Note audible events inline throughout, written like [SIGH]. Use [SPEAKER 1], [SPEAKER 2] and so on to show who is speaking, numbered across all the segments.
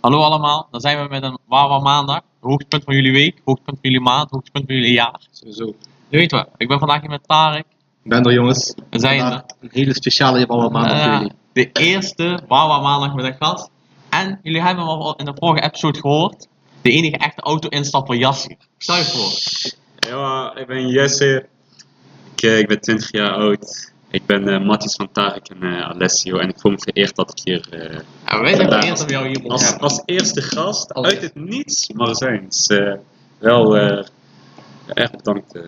[SPEAKER 1] Hallo allemaal, dan zijn we met een Wawa Maandag. Hoogtepunt van jullie week, hoogtepunt van jullie maand, hoogtepunt van jullie jaar.
[SPEAKER 2] Sowieso.
[SPEAKER 1] Je weet wel, ik ben vandaag hier met Tarek.
[SPEAKER 2] Ik ben er jongens.
[SPEAKER 1] We zijn
[SPEAKER 2] Vandaag
[SPEAKER 1] er.
[SPEAKER 2] een hele speciale Japan maandag voor
[SPEAKER 1] Eh,
[SPEAKER 2] jullie.
[SPEAKER 1] de eerste Wawa Maandag met een gast. En jullie hebben hem al in de vorige episode gehoord. De enige echte auto-instapper Jasser. Stel je voor.
[SPEAKER 3] Ja, ik ben Jesse. Ik, eh, ik ben 20 jaar oud. Ik ben eh Matthijs van Tarek en eh, Alessio. En ik voel me vereerd dat ik hier eh,
[SPEAKER 1] En wij zijn
[SPEAKER 3] Ja.
[SPEAKER 1] vereerd dat we jou hier mogen
[SPEAKER 3] als,
[SPEAKER 1] hebben.
[SPEAKER 3] als eerste gast
[SPEAKER 2] Als
[SPEAKER 3] uit het niets maar zijn. Dus, eh, wel eh, erg bedankt. eh.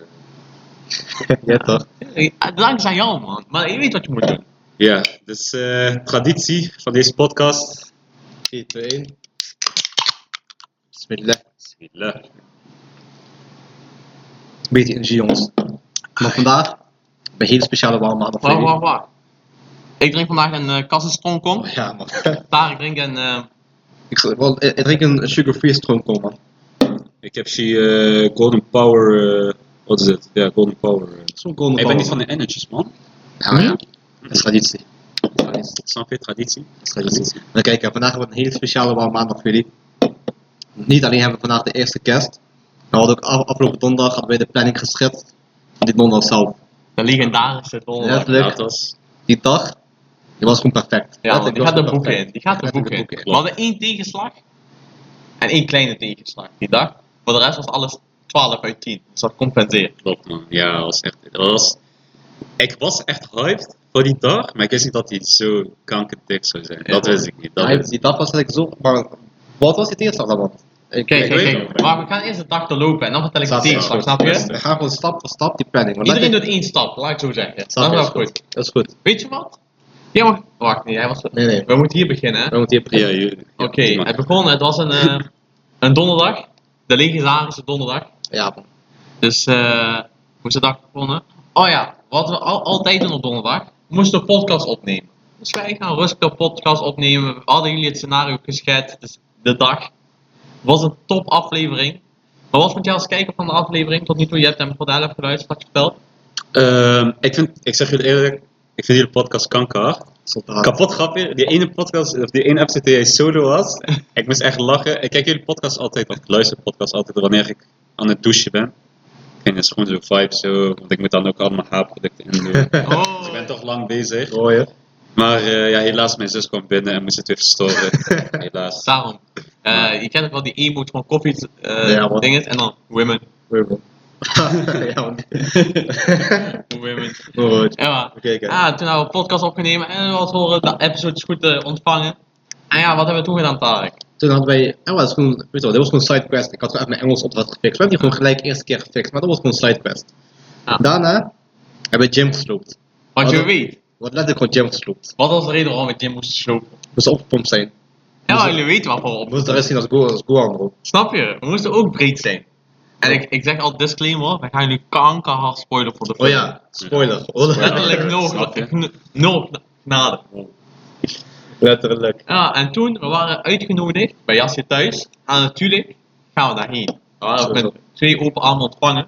[SPEAKER 2] ja toch?
[SPEAKER 1] Eh, Bedankt aan jou man, maar je weet wat je moet doen.
[SPEAKER 3] Ja, dus eh, traditie van deze podcast.
[SPEAKER 2] 3, 2, 1. Bismillah.
[SPEAKER 3] Bismillah.
[SPEAKER 2] Beetje energie jongens. Maar vandaag een hele speciale warme maandag voor
[SPEAKER 1] Wacht,
[SPEAKER 2] jullie.
[SPEAKER 1] wacht, wacht. Ik drink vandaag een eh kassenstroomkom.
[SPEAKER 2] Oh, ja man. [LAUGHS]
[SPEAKER 1] Tarek drinkt een... eh,
[SPEAKER 2] ik, zou- wel, eh, ik drink een sugar-free stroomkool man.
[SPEAKER 3] Ik heb hier eh, Golden Power. eh, wat is het? Ja, Golden Power. eh.
[SPEAKER 2] Stroomkool
[SPEAKER 3] Ik ben niet van de energies, man.
[SPEAKER 2] Ja, maar ja. Dat is traditie. Dat is traditie.
[SPEAKER 3] Snap je? Traditie.
[SPEAKER 2] Dat is traditie. Maar kijk, ja, vandaag wordt een hele speciale warme maandag voor jullie. Niet alleen hebben we vandaag de eerste kerst. Maar we hadden ook af- afgelopen donderdag hadden wij de planning geschetst. Van dit donderdag zelf.
[SPEAKER 1] De legendarische donderdag.
[SPEAKER 2] Letterlijk.
[SPEAKER 3] Ja, dat is-
[SPEAKER 2] die dag, die was gewoon perfect.
[SPEAKER 1] Ja,
[SPEAKER 2] Letterlijk,
[SPEAKER 1] man, die
[SPEAKER 2] was
[SPEAKER 1] gaat de
[SPEAKER 2] gewoon
[SPEAKER 1] boeken
[SPEAKER 2] perfect.
[SPEAKER 1] in. Die gaat de boeken
[SPEAKER 2] Letterlijk
[SPEAKER 1] in.
[SPEAKER 2] boeken
[SPEAKER 1] We hadden één tegenslag en één kleine tegenslag die dag. Voor de rest was alles 12 uit 10. Dus dat compenseert.
[SPEAKER 3] Klopt man, ja, dat was echt, dat was, ik was echt hyped voor die dag, maar ik wist niet dat die zo kankerdik zou zijn. Dat
[SPEAKER 1] Ja.
[SPEAKER 3] wist ik niet. Dat
[SPEAKER 2] Hij-
[SPEAKER 3] wist
[SPEAKER 2] dus die
[SPEAKER 3] ik.
[SPEAKER 2] dag was eigenlijk zo... Maar wat was die tegenslag dan? Want ik,
[SPEAKER 1] Kijk,
[SPEAKER 2] ik-
[SPEAKER 1] kijk,
[SPEAKER 3] weet
[SPEAKER 1] kijk.
[SPEAKER 3] het.
[SPEAKER 1] Maar we gaan eerst de dag te lopen en dan vertel ik de
[SPEAKER 2] Staat
[SPEAKER 1] tegenslag,
[SPEAKER 3] er.
[SPEAKER 1] snap
[SPEAKER 3] Best.
[SPEAKER 1] je?
[SPEAKER 2] Dus we gaan gewoon stap voor stap die planning. want
[SPEAKER 1] Iedereen doet
[SPEAKER 2] letterlijk-
[SPEAKER 1] één stap, laat ik het zo zeggen.
[SPEAKER 2] Snap
[SPEAKER 1] Dat
[SPEAKER 2] je,
[SPEAKER 1] is wel
[SPEAKER 2] is
[SPEAKER 1] goed.
[SPEAKER 2] Dat is goed.
[SPEAKER 1] Weet je wat? Ja, maar... Wacht, nee, hij was...
[SPEAKER 2] Nee, nee.
[SPEAKER 1] We moeten hier beginnen, hè?
[SPEAKER 2] We moeten hier
[SPEAKER 3] Ja,
[SPEAKER 2] beginnen.
[SPEAKER 3] jullie.
[SPEAKER 1] Oké, het begon, het was een, eh, een donderdag. De legendarische donderdag.
[SPEAKER 2] Ja, man.
[SPEAKER 1] Dus eh, hoe is de dag begonnen? Oh ja, wat we al, altijd doen op donderdag, we moesten een podcast opnemen. Dus wij gaan rustig een podcast opnemen. We hadden jullie het scenario geschetst, dus de dag. Was een top aflevering. Maar wat vond jij als kijker van de aflevering tot nu toe? Je hebt hem voor de helft geluisterd, had je verteld.
[SPEAKER 3] Ehm, ik, vind, ik zeg jullie eerlijk, ik vind jullie podcast
[SPEAKER 1] Ah.
[SPEAKER 3] kanker.
[SPEAKER 2] Soldaat.
[SPEAKER 3] Kapot grapje, die ene podcast, of die ene episode die jij solo
[SPEAKER 1] [LAUGHS]
[SPEAKER 3] was, ik moest echt lachen. Ik kijk jullie podcast altijd, of ik luister podcast altijd wanneer ik aan het douchen ben. En dat is gewoon zo'n vibe zo, want ik moet dan ook allemaal haarproducten in
[SPEAKER 1] [LAUGHS]
[SPEAKER 3] doen. Dus
[SPEAKER 1] Oh,
[SPEAKER 3] ik ben toch lang bezig.
[SPEAKER 2] Mooi, hè?
[SPEAKER 3] Maar eh, ja, helaas, mijn zus kwam binnen en moest het weer
[SPEAKER 2] [LAUGHS]
[SPEAKER 3] verstoren. helaas.
[SPEAKER 1] daarom. Eh, je kent ook wel die emote van koffie eh
[SPEAKER 2] Ja, man.
[SPEAKER 1] dinges en dan women,
[SPEAKER 2] Mooi, man. [LAUGHS] ja, man. [LAUGHS]
[SPEAKER 1] women.
[SPEAKER 2] Goed.
[SPEAKER 1] Ja, maar.
[SPEAKER 2] Oké, kijk.
[SPEAKER 1] Ja, toen hebben we een podcast opgenomen en we hadden horen de episodes goed eh, ontvangen. En ja, wat hebben we toen gedaan, Tarek?
[SPEAKER 2] Toen hadden wij... Ja, dat was gewoon... Weet je wel, dit was gewoon een sidequest. Ik had gewoon uit mijn Engels opdracht gefixt. We hebben die gewoon gelijk eerste keer gefixt. Maar dat was gewoon een sidequest.
[SPEAKER 1] Ja.
[SPEAKER 2] Daarna hebben we Jim gesloopt.
[SPEAKER 1] Want je
[SPEAKER 2] Hadden-
[SPEAKER 1] weet,
[SPEAKER 2] Wat letterlijk gewoon Jim gesloopt.
[SPEAKER 1] wat was de reden waarom we Jim moesten slopen?
[SPEAKER 2] Moest opgepompt zijn.
[SPEAKER 1] Ja, maar
[SPEAKER 2] Dus-
[SPEAKER 1] jullie weten waarvoor. we
[SPEAKER 2] We
[SPEAKER 1] op-
[SPEAKER 2] moesten eruit zien als Gohan, als Gohan bro.
[SPEAKER 1] Snap je? We moesten ook breed zijn. En ik, ik zeg al disclaimer, we gaan jullie kankerhard spoilen voor de
[SPEAKER 2] Oh
[SPEAKER 1] film.
[SPEAKER 2] ja, spoiler. Oh,
[SPEAKER 1] Letterlijk [LAUGHS] nul
[SPEAKER 3] Snap je?
[SPEAKER 1] gna- nul gna- genade.
[SPEAKER 2] Letterlijk.
[SPEAKER 1] Ja, en toen, we waren uitgenodigd bij Jasje thuis. En natuurlijk gaan we daarheen. We waren ook met twee open armen ontvangen.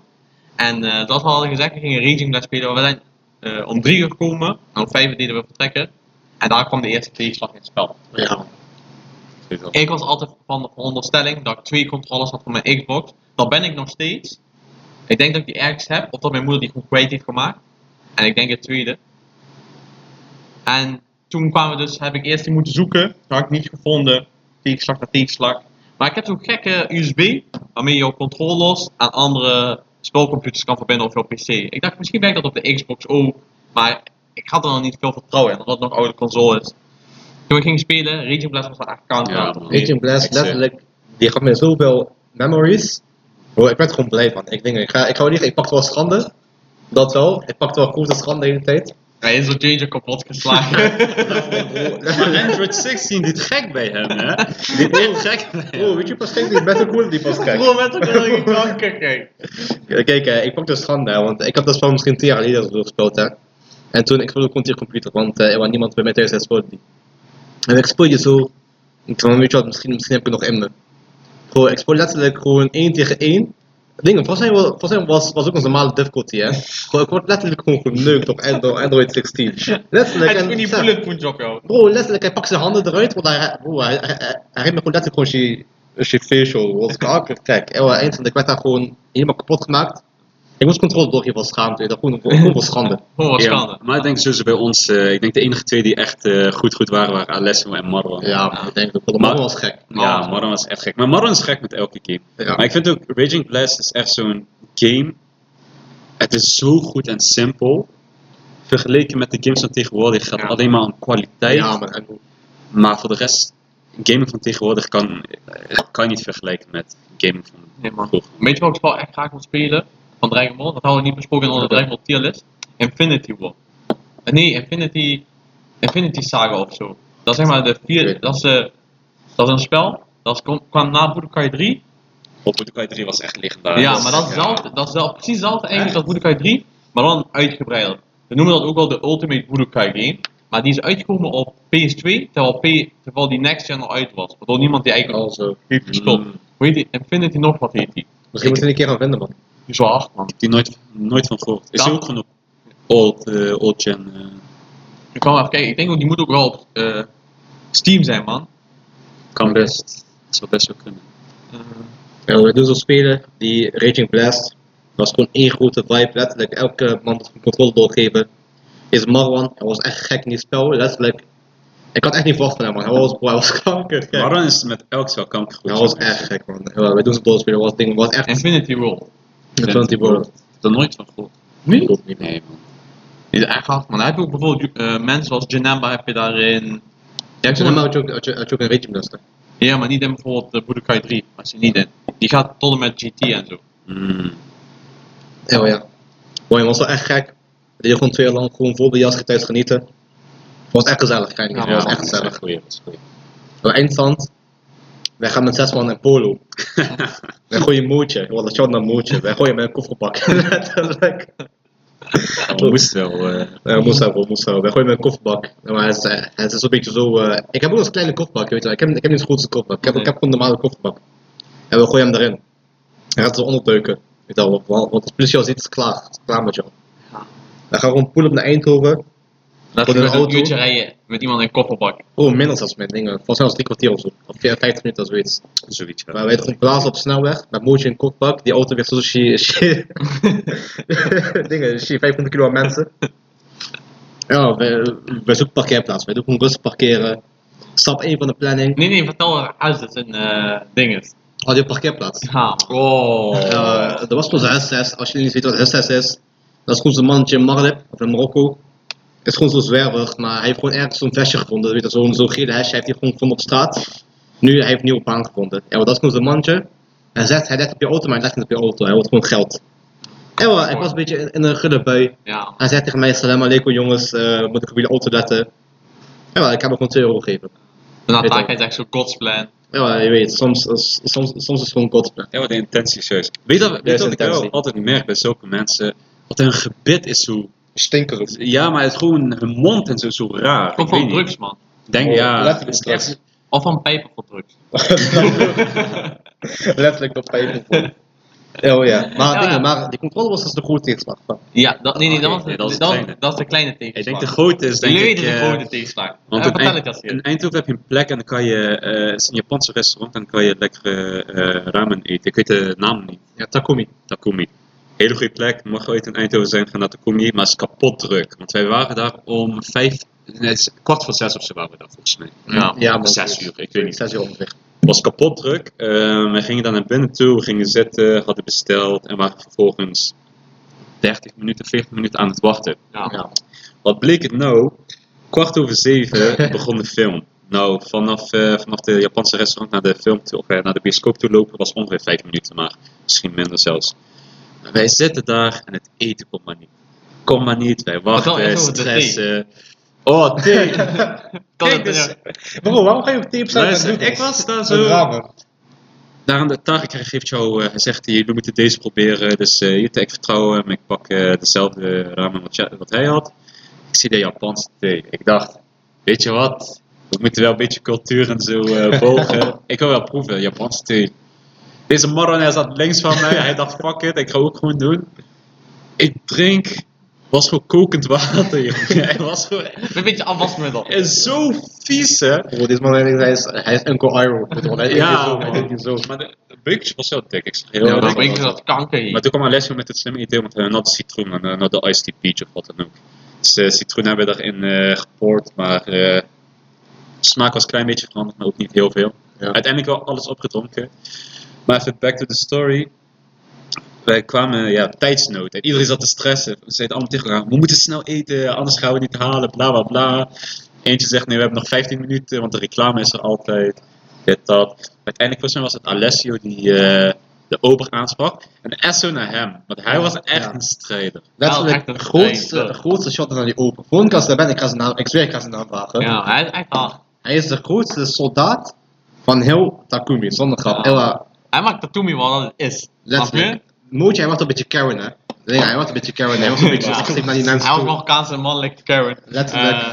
[SPEAKER 1] En eh, dat we hadden gezegd, we gingen Raging Blast spelen. We zijn eh, om drie uur gekomen. En om vijf uur deden we vertrekken. En daar kwam de eerste tegenslag in het spel.
[SPEAKER 2] Ja.
[SPEAKER 1] Ik was altijd van de veronderstelling dat ik twee controllers had voor mijn Xbox. Dat ben ik nog steeds. Ik denk dat ik die ergens heb, of dat mijn moeder die goed kwijt heeft gemaakt. En ik denk het tweede. En toen kwamen we dus, heb ik eerst die moeten zoeken. Dat had ik niet gevonden. Tegenslag na tegenslag. Maar ik heb zo'n gekke USB, waarmee je jouw controllers aan andere spelcomputers kan verbinden of jouw PC. Ik dacht, misschien werkt dat op de Xbox ook. Maar ik had er nog niet veel vertrouwen in, omdat het nog oude console is. Toen we gingen spelen, Raging Blast was daar echt kanker.
[SPEAKER 3] Ja,
[SPEAKER 1] aan.
[SPEAKER 3] man.
[SPEAKER 2] Agent Blast,
[SPEAKER 3] Ik zeg-
[SPEAKER 2] letterlijk, die gaf me zoveel memories. Bro, ik werd er gewoon blij van. Ik denk, ik ga, ik ga wel liggen, ik pakte wel schande. Dat wel. Ik pakte wel grote schande de hele tijd.
[SPEAKER 1] Hij is door JJ kapot geslagen. [LAUGHS]
[SPEAKER 3] Oh, Maar Android 16 dit gek bij hem, hè? Dit echt gek bij
[SPEAKER 2] Bro,
[SPEAKER 3] hem.
[SPEAKER 2] weet je pas gek die Battle Cool die pas gek.
[SPEAKER 1] Bro, met een [LAUGHS] hele kanker, kijk.
[SPEAKER 2] Ja, Kijk, eh, ik pakte schande, hè, want ik had dat spel misschien tien jaar geleden zo gespeeld, hè. En toen, ik speelde ook gewoon tegen computer, want eh, er was niemand bij mij thuis, hij speelde die. En ik speelde zo, ik dacht, weet je wat, misschien, misschien heb ik het nog in me. Bro, ik speelde letterlijk gewoon één tegen één. Dingen, volgens mij, wa- volgens mij was, was ook onze normale difficulty, hè? Gewoon, ik word letterlijk gewoon geneukt op Android,
[SPEAKER 1] [LAUGHS]
[SPEAKER 2] Android 16. Letterlijk.
[SPEAKER 1] Hij is
[SPEAKER 2] en-
[SPEAKER 1] ook niet bullet punch ook, joh.
[SPEAKER 2] Bro, letterlijk, hij pakt zijn handen eruit, want hij, bro, hij, hij, hij, hij reed me gewoon letterlijk gewoon zijn- zijn facial. Want ik ah, kijk, eeuw, eind van de- ik werd daar gewoon helemaal kapot gemaakt. Ik moest controle doorgeven van schaamte, dat gewoon gewoon van schande.
[SPEAKER 1] Gewoon Oh, wat
[SPEAKER 3] Ja,
[SPEAKER 1] schande.
[SPEAKER 3] Maar ik denk sowieso bij ons, eh, ik denk de enige twee die echt eh, goed goed waren, waren Alessio en Marwan.
[SPEAKER 2] Ja, maar ik denk dat dat allemaal was gek.
[SPEAKER 3] Ja, Marwan was echt gek. Maar Marwan is gek met elke game. Maar
[SPEAKER 2] Ja.
[SPEAKER 3] ik vind ook Raging Blast is echt zo'n game. Het is zo goed en simpel. Vergeleken met de games van tegenwoordig gaat het
[SPEAKER 1] Ja.
[SPEAKER 3] alleen maar om kwaliteit.
[SPEAKER 2] Ja, maar en,
[SPEAKER 3] Maar voor de rest, gaming van tegenwoordig kan, eh, kan je niet vergelijken met gaming van
[SPEAKER 1] Nee, man.
[SPEAKER 3] vroeger.
[SPEAKER 1] Weet je wat ik wel echt graag wil spelen? Van Dragon Ball? Dat hadden we niet besproken in onze Dragon Ball tierlist. Infinity War. Eh, Nee, Infinity... Infinity Saga of zo. Dat is zeg maar de vier...
[SPEAKER 2] Oké.
[SPEAKER 1] Dat is, eh, dat is een spel. Dat is, kom- kwam na Budokai 3.
[SPEAKER 3] Op Budokai 3 was echt
[SPEAKER 1] Ja,
[SPEAKER 3] legendarisch.
[SPEAKER 1] maar dat is, zelfde, dat is zelf, precies hetzelfde eigenlijk als Budokai 3. Maar dan uitgebreider. We noemen dat ook wel de Ultimate Budokai game. Maar die is uitgekomen op PS2. Terwijl, P, terwijl die next gen al uit was. Waardoor niemand die eigenlijk al
[SPEAKER 2] also,
[SPEAKER 1] heeft gestopt.
[SPEAKER 3] Mm.
[SPEAKER 1] Hoe heet die? Infinity nog wat heet die?
[SPEAKER 2] misschien moeten we een keer gaan vinden, man.
[SPEAKER 1] Die is wel hard man.
[SPEAKER 3] Die nooit, nooit van gehoord. Is
[SPEAKER 1] Dat-
[SPEAKER 3] die ook genoeg? Old, eh, old gen. eh,
[SPEAKER 1] Ik kan wel even kijken. Ik denk ook die moet ook wel op eh, Steam zijn, man.
[SPEAKER 3] kan best. Dat zou best wel kunnen.
[SPEAKER 1] Eh,
[SPEAKER 2] Ja, we doen zo'n spelen, die Raging Blast. was gewoon één grote vibe, letterlijk. Elke man dat we controle doorgeven is Marwan. Hij was echt gek in die spel, letterlijk. Ik had echt niet verwacht van hem, man. Hij was, hij was kanker. gek.
[SPEAKER 3] Marwan is met elk spel kanker
[SPEAKER 2] Ja,
[SPEAKER 3] goed.
[SPEAKER 2] dat was echt gek, man. Ja, we doen ze doorspelen, was ding, was echt
[SPEAKER 1] Infinity World.
[SPEAKER 2] Infinity World.
[SPEAKER 3] Ik heb er nooit van gehoord.
[SPEAKER 2] Nee? Klopt niet, man.
[SPEAKER 3] Nee, man.
[SPEAKER 1] Die is echt hard, man. Daar heb je ook bijvoorbeeld eh, mensen zoals Janemba heb je daarin.
[SPEAKER 2] Ja, ik zei, maar had je ook- had je had je ook een Raging Blast. hè?
[SPEAKER 1] Ja, maar niet in bijvoorbeeld de Budokai 3. Maar ze niet in. Die gaat tot en met GT en zo.
[SPEAKER 3] Mm.
[SPEAKER 2] Ja, maar ja. Boy, het was wel echt gek. We deden gewoon twee jaar lang gewoon vol de jas thuis genieten. Het was echt gezellig, gek.
[SPEAKER 1] Ja,
[SPEAKER 2] het was
[SPEAKER 1] man,
[SPEAKER 2] echt
[SPEAKER 3] dat is echt
[SPEAKER 2] gezellig.
[SPEAKER 3] goeie, dat is goeie.
[SPEAKER 2] Maar eindstand, wij gaan met zes man naar [LAUGHS] Polo. wij gooien een mootje. Wat dat shout naar mootje. Wij gooien met een kofferbak. [LAUGHS] Letterlijk.
[SPEAKER 3] We moesten wel. eh,
[SPEAKER 2] Ja, moest hebben, moest hebben. Wij gooien met een kofferbak. Ja, Maar het is, het is een beetje zo. eh, ik heb ook een kleine kofferbak, weet je wel. Ik heb, ik heb niet de grootste kofferbak. Ik heb, ik heb gewoon een normale kofferbak. En we gooien hem erin. Hij gaat zo onderduiken. Weet je wel, want want de politie al ziet, is het klaar. Het is klaar met jou.
[SPEAKER 1] Ja.
[SPEAKER 2] Dan gaan we gewoon poelen op naar Eindhoven.
[SPEAKER 1] Laat
[SPEAKER 2] Voor
[SPEAKER 1] je
[SPEAKER 2] een
[SPEAKER 1] met een
[SPEAKER 2] auto?
[SPEAKER 1] uurtje rijden met iemand in een kofferbak.
[SPEAKER 2] Oh, minder zelfs met dingen. Volgens mij was het drie kwartier of zo. Of vier- vijftig minuten, zoiets.
[SPEAKER 3] zoiets. ja.
[SPEAKER 2] Maar wij gewoon blazen op de snelweg. Met mootje in een kofferbak. Die auto weer zo'n shit. shit- [LAUGHS] dingen, shit, 500 kilo aan mensen. Ja, wij, wij zoeken parkeerplaats. Wij doen gewoon rustig parkeren. Stap 1 van de planning.
[SPEAKER 1] Nee, nee, vertel haar huis dat een eh ding is.
[SPEAKER 2] Had je parkeerplaats?
[SPEAKER 1] Ja, man.
[SPEAKER 3] Oh.
[SPEAKER 2] Eh dat was gewoon zijn SS. Als je niet weet wat SS is, dat is gewoon zo'n mannetje in Marlip, of in Marokko. Is gewoon zo zwervig, maar hij heeft gewoon ergens zo'n vestje gevonden. Weet je, zo'n zo'n gele hesje heeft hij gewoon gevonden op straat. Nu hij heeft een nieuwe baan gevonden. Ja, maar dat is gewoon zo'n mannetje. En zet, hij legt op je auto, maar hij legt niet op je auto. Hij wordt gewoon geld. Ja, maar ik was een beetje in, in een gulle bui.
[SPEAKER 1] Ja, man.
[SPEAKER 2] Hij zei tegen mij, salam alaikum jongens, eh, moet ik op jullie auto letten? Ja, maar ik heb hem gewoon 2 euro gegeven.
[SPEAKER 1] En dan
[SPEAKER 2] Weet
[SPEAKER 1] taak
[SPEAKER 2] ook.
[SPEAKER 1] hij echt zo godsplan.
[SPEAKER 2] Ja, maar je weet, soms, soms, soms is het gewoon godsplan.
[SPEAKER 3] Ja, wat een intentie, serieus. Weet je wat,
[SPEAKER 2] Ja,
[SPEAKER 3] weet
[SPEAKER 2] is
[SPEAKER 3] je wat ik wel
[SPEAKER 2] intentie.
[SPEAKER 3] altijd merk bij zulke mensen? Wat hun gebit is zo...
[SPEAKER 2] Stinker ook.
[SPEAKER 3] Ja, maar het gewoon hun mond en zo, zo raar.
[SPEAKER 1] Komt
[SPEAKER 3] Ik weet
[SPEAKER 1] van
[SPEAKER 3] niet.
[SPEAKER 1] drugs, man.
[SPEAKER 3] Ik Denk,
[SPEAKER 2] Oh,
[SPEAKER 3] ja.
[SPEAKER 2] letterlijk
[SPEAKER 3] Het is
[SPEAKER 2] drugs.
[SPEAKER 3] echt-
[SPEAKER 1] Of van pijpen voor drugs.
[SPEAKER 2] [LAUGHS] Letterlijk op paper. Oh ja, maar,
[SPEAKER 1] Ja,
[SPEAKER 2] dingen,
[SPEAKER 1] ja.
[SPEAKER 2] maar die controle was dus de goede tegenslag.
[SPEAKER 1] Ja, dat, nee, nee, dat,
[SPEAKER 3] Oké,
[SPEAKER 1] was, de-
[SPEAKER 3] Ah, nee, dat is de
[SPEAKER 1] dat, was-
[SPEAKER 3] kleine.
[SPEAKER 1] dat is de kleine
[SPEAKER 3] Ik
[SPEAKER 1] tegenslag.
[SPEAKER 3] denk de grote is, denk ik...
[SPEAKER 1] Leeuwen is
[SPEAKER 3] eh,
[SPEAKER 1] een grote tegenslag.
[SPEAKER 3] want
[SPEAKER 1] Eh,
[SPEAKER 3] in,
[SPEAKER 1] vertel
[SPEAKER 3] Eind-
[SPEAKER 1] het als
[SPEAKER 3] in
[SPEAKER 1] je.
[SPEAKER 3] Eindhoven heb je een plek en dan kan je... eh het is een Japanse restaurant en dan kan je lekker eh, ramen eten. Ik weet de naam niet.
[SPEAKER 2] Ja, Takumi.
[SPEAKER 3] Takumi. Hele goede plek, mag ooit in Eindhoven zijn, gaan naar Takumi, maar het is kapot druk. Want wij waren daar om vijf, nee, het is kwart voor zes of zo waren we daar volgens mij.
[SPEAKER 1] Ja.
[SPEAKER 2] Ja, man.
[SPEAKER 3] Zes uur, ik weet niet.
[SPEAKER 2] Zes uur ongeveer.
[SPEAKER 3] Het was kapot druk. Ehm, wij gingen daar naar binnen toe, we gingen zitten, hadden besteld en waren vervolgens 30 minuten, 40 minuten aan het wachten.
[SPEAKER 1] Ja.
[SPEAKER 2] Ja.
[SPEAKER 3] Wat bleek het nou? Kwart over
[SPEAKER 1] [LAUGHS]
[SPEAKER 3] zeven begon de film. Nou, vanaf, eh, vanaf de Japanse restaurant naar de film toe, of eh, naar de bioscoop toe lopen was ongeveer vijf minuten, maar misschien minder zelfs. Maar wij zitten daar en het eten komt maar niet. Kom maar niet, wij
[SPEAKER 1] dan
[SPEAKER 3] wachten,
[SPEAKER 1] echt over de
[SPEAKER 3] stressen. Oh, thee!
[SPEAKER 1] [LAUGHS] Kan
[SPEAKER 3] Kijk,
[SPEAKER 1] het,
[SPEAKER 3] dus,
[SPEAKER 1] ja.
[SPEAKER 2] Bro, waarom ga je op tips
[SPEAKER 3] luister, ik was daar zo. Daar aan de taart geeft jou, eh, hij zegt, hier, jullie moeten deze proberen. Dus eh hier, ik vertrouw hem, ik pak eh, dezelfde ramen wat, jij- wat hij had. Ik zie de Japanse thee. Ik dacht, weet je wat, we moeten wel een beetje cultuur en zo eh volgen. ik wil wel proeven, Japanse thee. Deze Marwan, hij zat links van mij. Hij dacht, fuck it, ik ga ook gewoon doen. Ik drink... was gewoon kokend water, [LAUGHS] jongen. Hij was gewoon...
[SPEAKER 1] Een beetje afwasmiddel.
[SPEAKER 3] en zo vies, hè.
[SPEAKER 2] Bro, dit man, hij is, hij is Uncle Iroh. bro. Hij
[SPEAKER 3] Ja,
[SPEAKER 2] ja, zo, hij
[SPEAKER 3] man.
[SPEAKER 2] denkt niet zo.
[SPEAKER 3] Maar de de beukjes was heel dik. Ik zag heel
[SPEAKER 2] Ja,
[SPEAKER 1] Ja,
[SPEAKER 3] erg
[SPEAKER 1] dat
[SPEAKER 3] wat
[SPEAKER 1] brengt
[SPEAKER 3] was.
[SPEAKER 1] dat kanker
[SPEAKER 3] Maar
[SPEAKER 1] hier.
[SPEAKER 3] toen kwam Alessio met het slimme idee om een natte citroen en eh, naar de iced tea peach of wat dan ook. Dus eh, citroen hebben we daarin eh gepoord, maar eh, de smaak was een klein beetje veranderd, maar ook niet heel veel.
[SPEAKER 2] Ja.
[SPEAKER 3] Uiteindelijk wel alles opgedronken. Maar even back to the story. Wij kwamen, ja, tijdsnood. En iedereen zat te stressen. We zeiden allemaal tegen elkaar, we moeten snel eten, anders gaan we het niet halen, bla bla bla. Eentje zegt, nee, we hebben nog 15 minuten, want de reclame is er altijd. Dit, dat. Uiteindelijk volgens mij was het Alessio die eh, de ober aansprak. En Esso naar hem, want hij was echt
[SPEAKER 2] Ja.
[SPEAKER 3] een strijder.
[SPEAKER 2] Letterlijk,
[SPEAKER 1] echt een
[SPEAKER 2] de grootste,
[SPEAKER 1] vreemde.
[SPEAKER 2] de grootste shot is aan die open. Gewoon als daar ben, ik ga zijn naam, ik zweer, ik ga zijn naam vragen.
[SPEAKER 1] Ja, hij is echt hard.
[SPEAKER 2] Hij is de grootste soldaat van heel Takumi, zonder grap.
[SPEAKER 1] Ja.
[SPEAKER 2] Ella,
[SPEAKER 1] Hij maakt Tatumi wel dat het is. Snap je?
[SPEAKER 2] letterlijk. Mootje, hij was een beetje Karen, hè. Nee, hij was een beetje Karen, hij was een beetje
[SPEAKER 1] Ja.
[SPEAKER 2] zichtig naar die mensen
[SPEAKER 1] Hij was
[SPEAKER 2] toe.
[SPEAKER 1] Marokkaans en mannelijk Karen.
[SPEAKER 2] Letterlijk.
[SPEAKER 1] Eh,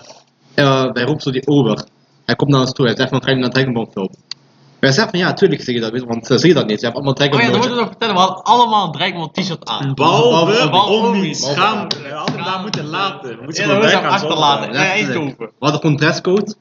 [SPEAKER 2] Eh, hij roept zo die ober. Hij komt naar ons toe, hij zegt van, ga je naar Dragon Ball film? Wij zeggen van, ja, tuurlijk zeg je dat, weet je, want ze zie je dat niet, ze hebben allemaal Dragon
[SPEAKER 1] Oh ja, dat
[SPEAKER 2] Ball.
[SPEAKER 1] moeten we nog vertellen. We hadden allemaal een Dragon Ball t-shirt aan.
[SPEAKER 2] Behalve
[SPEAKER 1] Omi.
[SPEAKER 2] Schaam.
[SPEAKER 3] We hadden daar moeten laten. We
[SPEAKER 1] Ja, dat moeten we achterlaten. Ja, eens
[SPEAKER 2] Letterlijk.
[SPEAKER 1] over.
[SPEAKER 2] We hadden gewoon dresscode.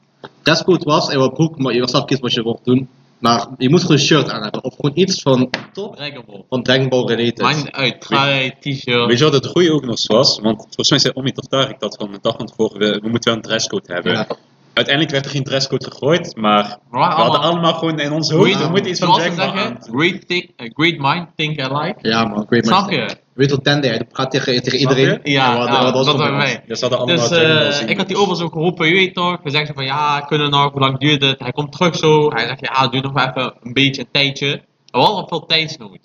[SPEAKER 2] Dresscode was, en wat broek, maar je was zelf kiezen wat je wilt doen. Maar je moest gewoon een shirt aan hebben, of gewoon iets van,
[SPEAKER 1] Dragon Ball.
[SPEAKER 2] van Dragon Ball related.
[SPEAKER 1] Maakt niet uit. Trui,
[SPEAKER 3] Weet
[SPEAKER 1] t-shirt.
[SPEAKER 3] je wat het goede ook nog eens was? Want volgens mij zei Omi toch daar, ik dat van de dag van tevoren, we, we moeten wel een dresscode hebben.
[SPEAKER 2] Ja.
[SPEAKER 3] Uiteindelijk werd er geen dresscode gegooid, maar we
[SPEAKER 1] Maar
[SPEAKER 3] hadden
[SPEAKER 1] allemaal-
[SPEAKER 3] allemaal gewoon in ons hoofd, we
[SPEAKER 2] Great-
[SPEAKER 3] moeten iets van
[SPEAKER 1] zoals ze
[SPEAKER 3] Dragon Ball
[SPEAKER 1] zeggen,
[SPEAKER 3] aan.
[SPEAKER 1] great, think- eh, great mind, think alike.
[SPEAKER 2] Ja man, great man.
[SPEAKER 1] Snap je?
[SPEAKER 2] Weet wat Tende, hij praat tegen, tegen
[SPEAKER 3] Snap je?
[SPEAKER 2] iedereen.
[SPEAKER 1] Ja,
[SPEAKER 2] we hadden-
[SPEAKER 1] nou,
[SPEAKER 2] we hadden ons
[SPEAKER 1] dat
[SPEAKER 2] gewoon
[SPEAKER 1] waren
[SPEAKER 2] bij
[SPEAKER 1] wij.
[SPEAKER 2] ons.
[SPEAKER 3] Dus ze hadden allemaal
[SPEAKER 1] Dus
[SPEAKER 3] Dragon Ball
[SPEAKER 1] eh,
[SPEAKER 3] zien.
[SPEAKER 1] ik had die overigens ook geroepen, je weet toch. We zeggen van ja, kunnen nog, hoe lang duurt het? Hij komt terug zo. Hij zegt ja, duurt nog wel even een beetje een tijdje. We hadden al veel tijdsnood.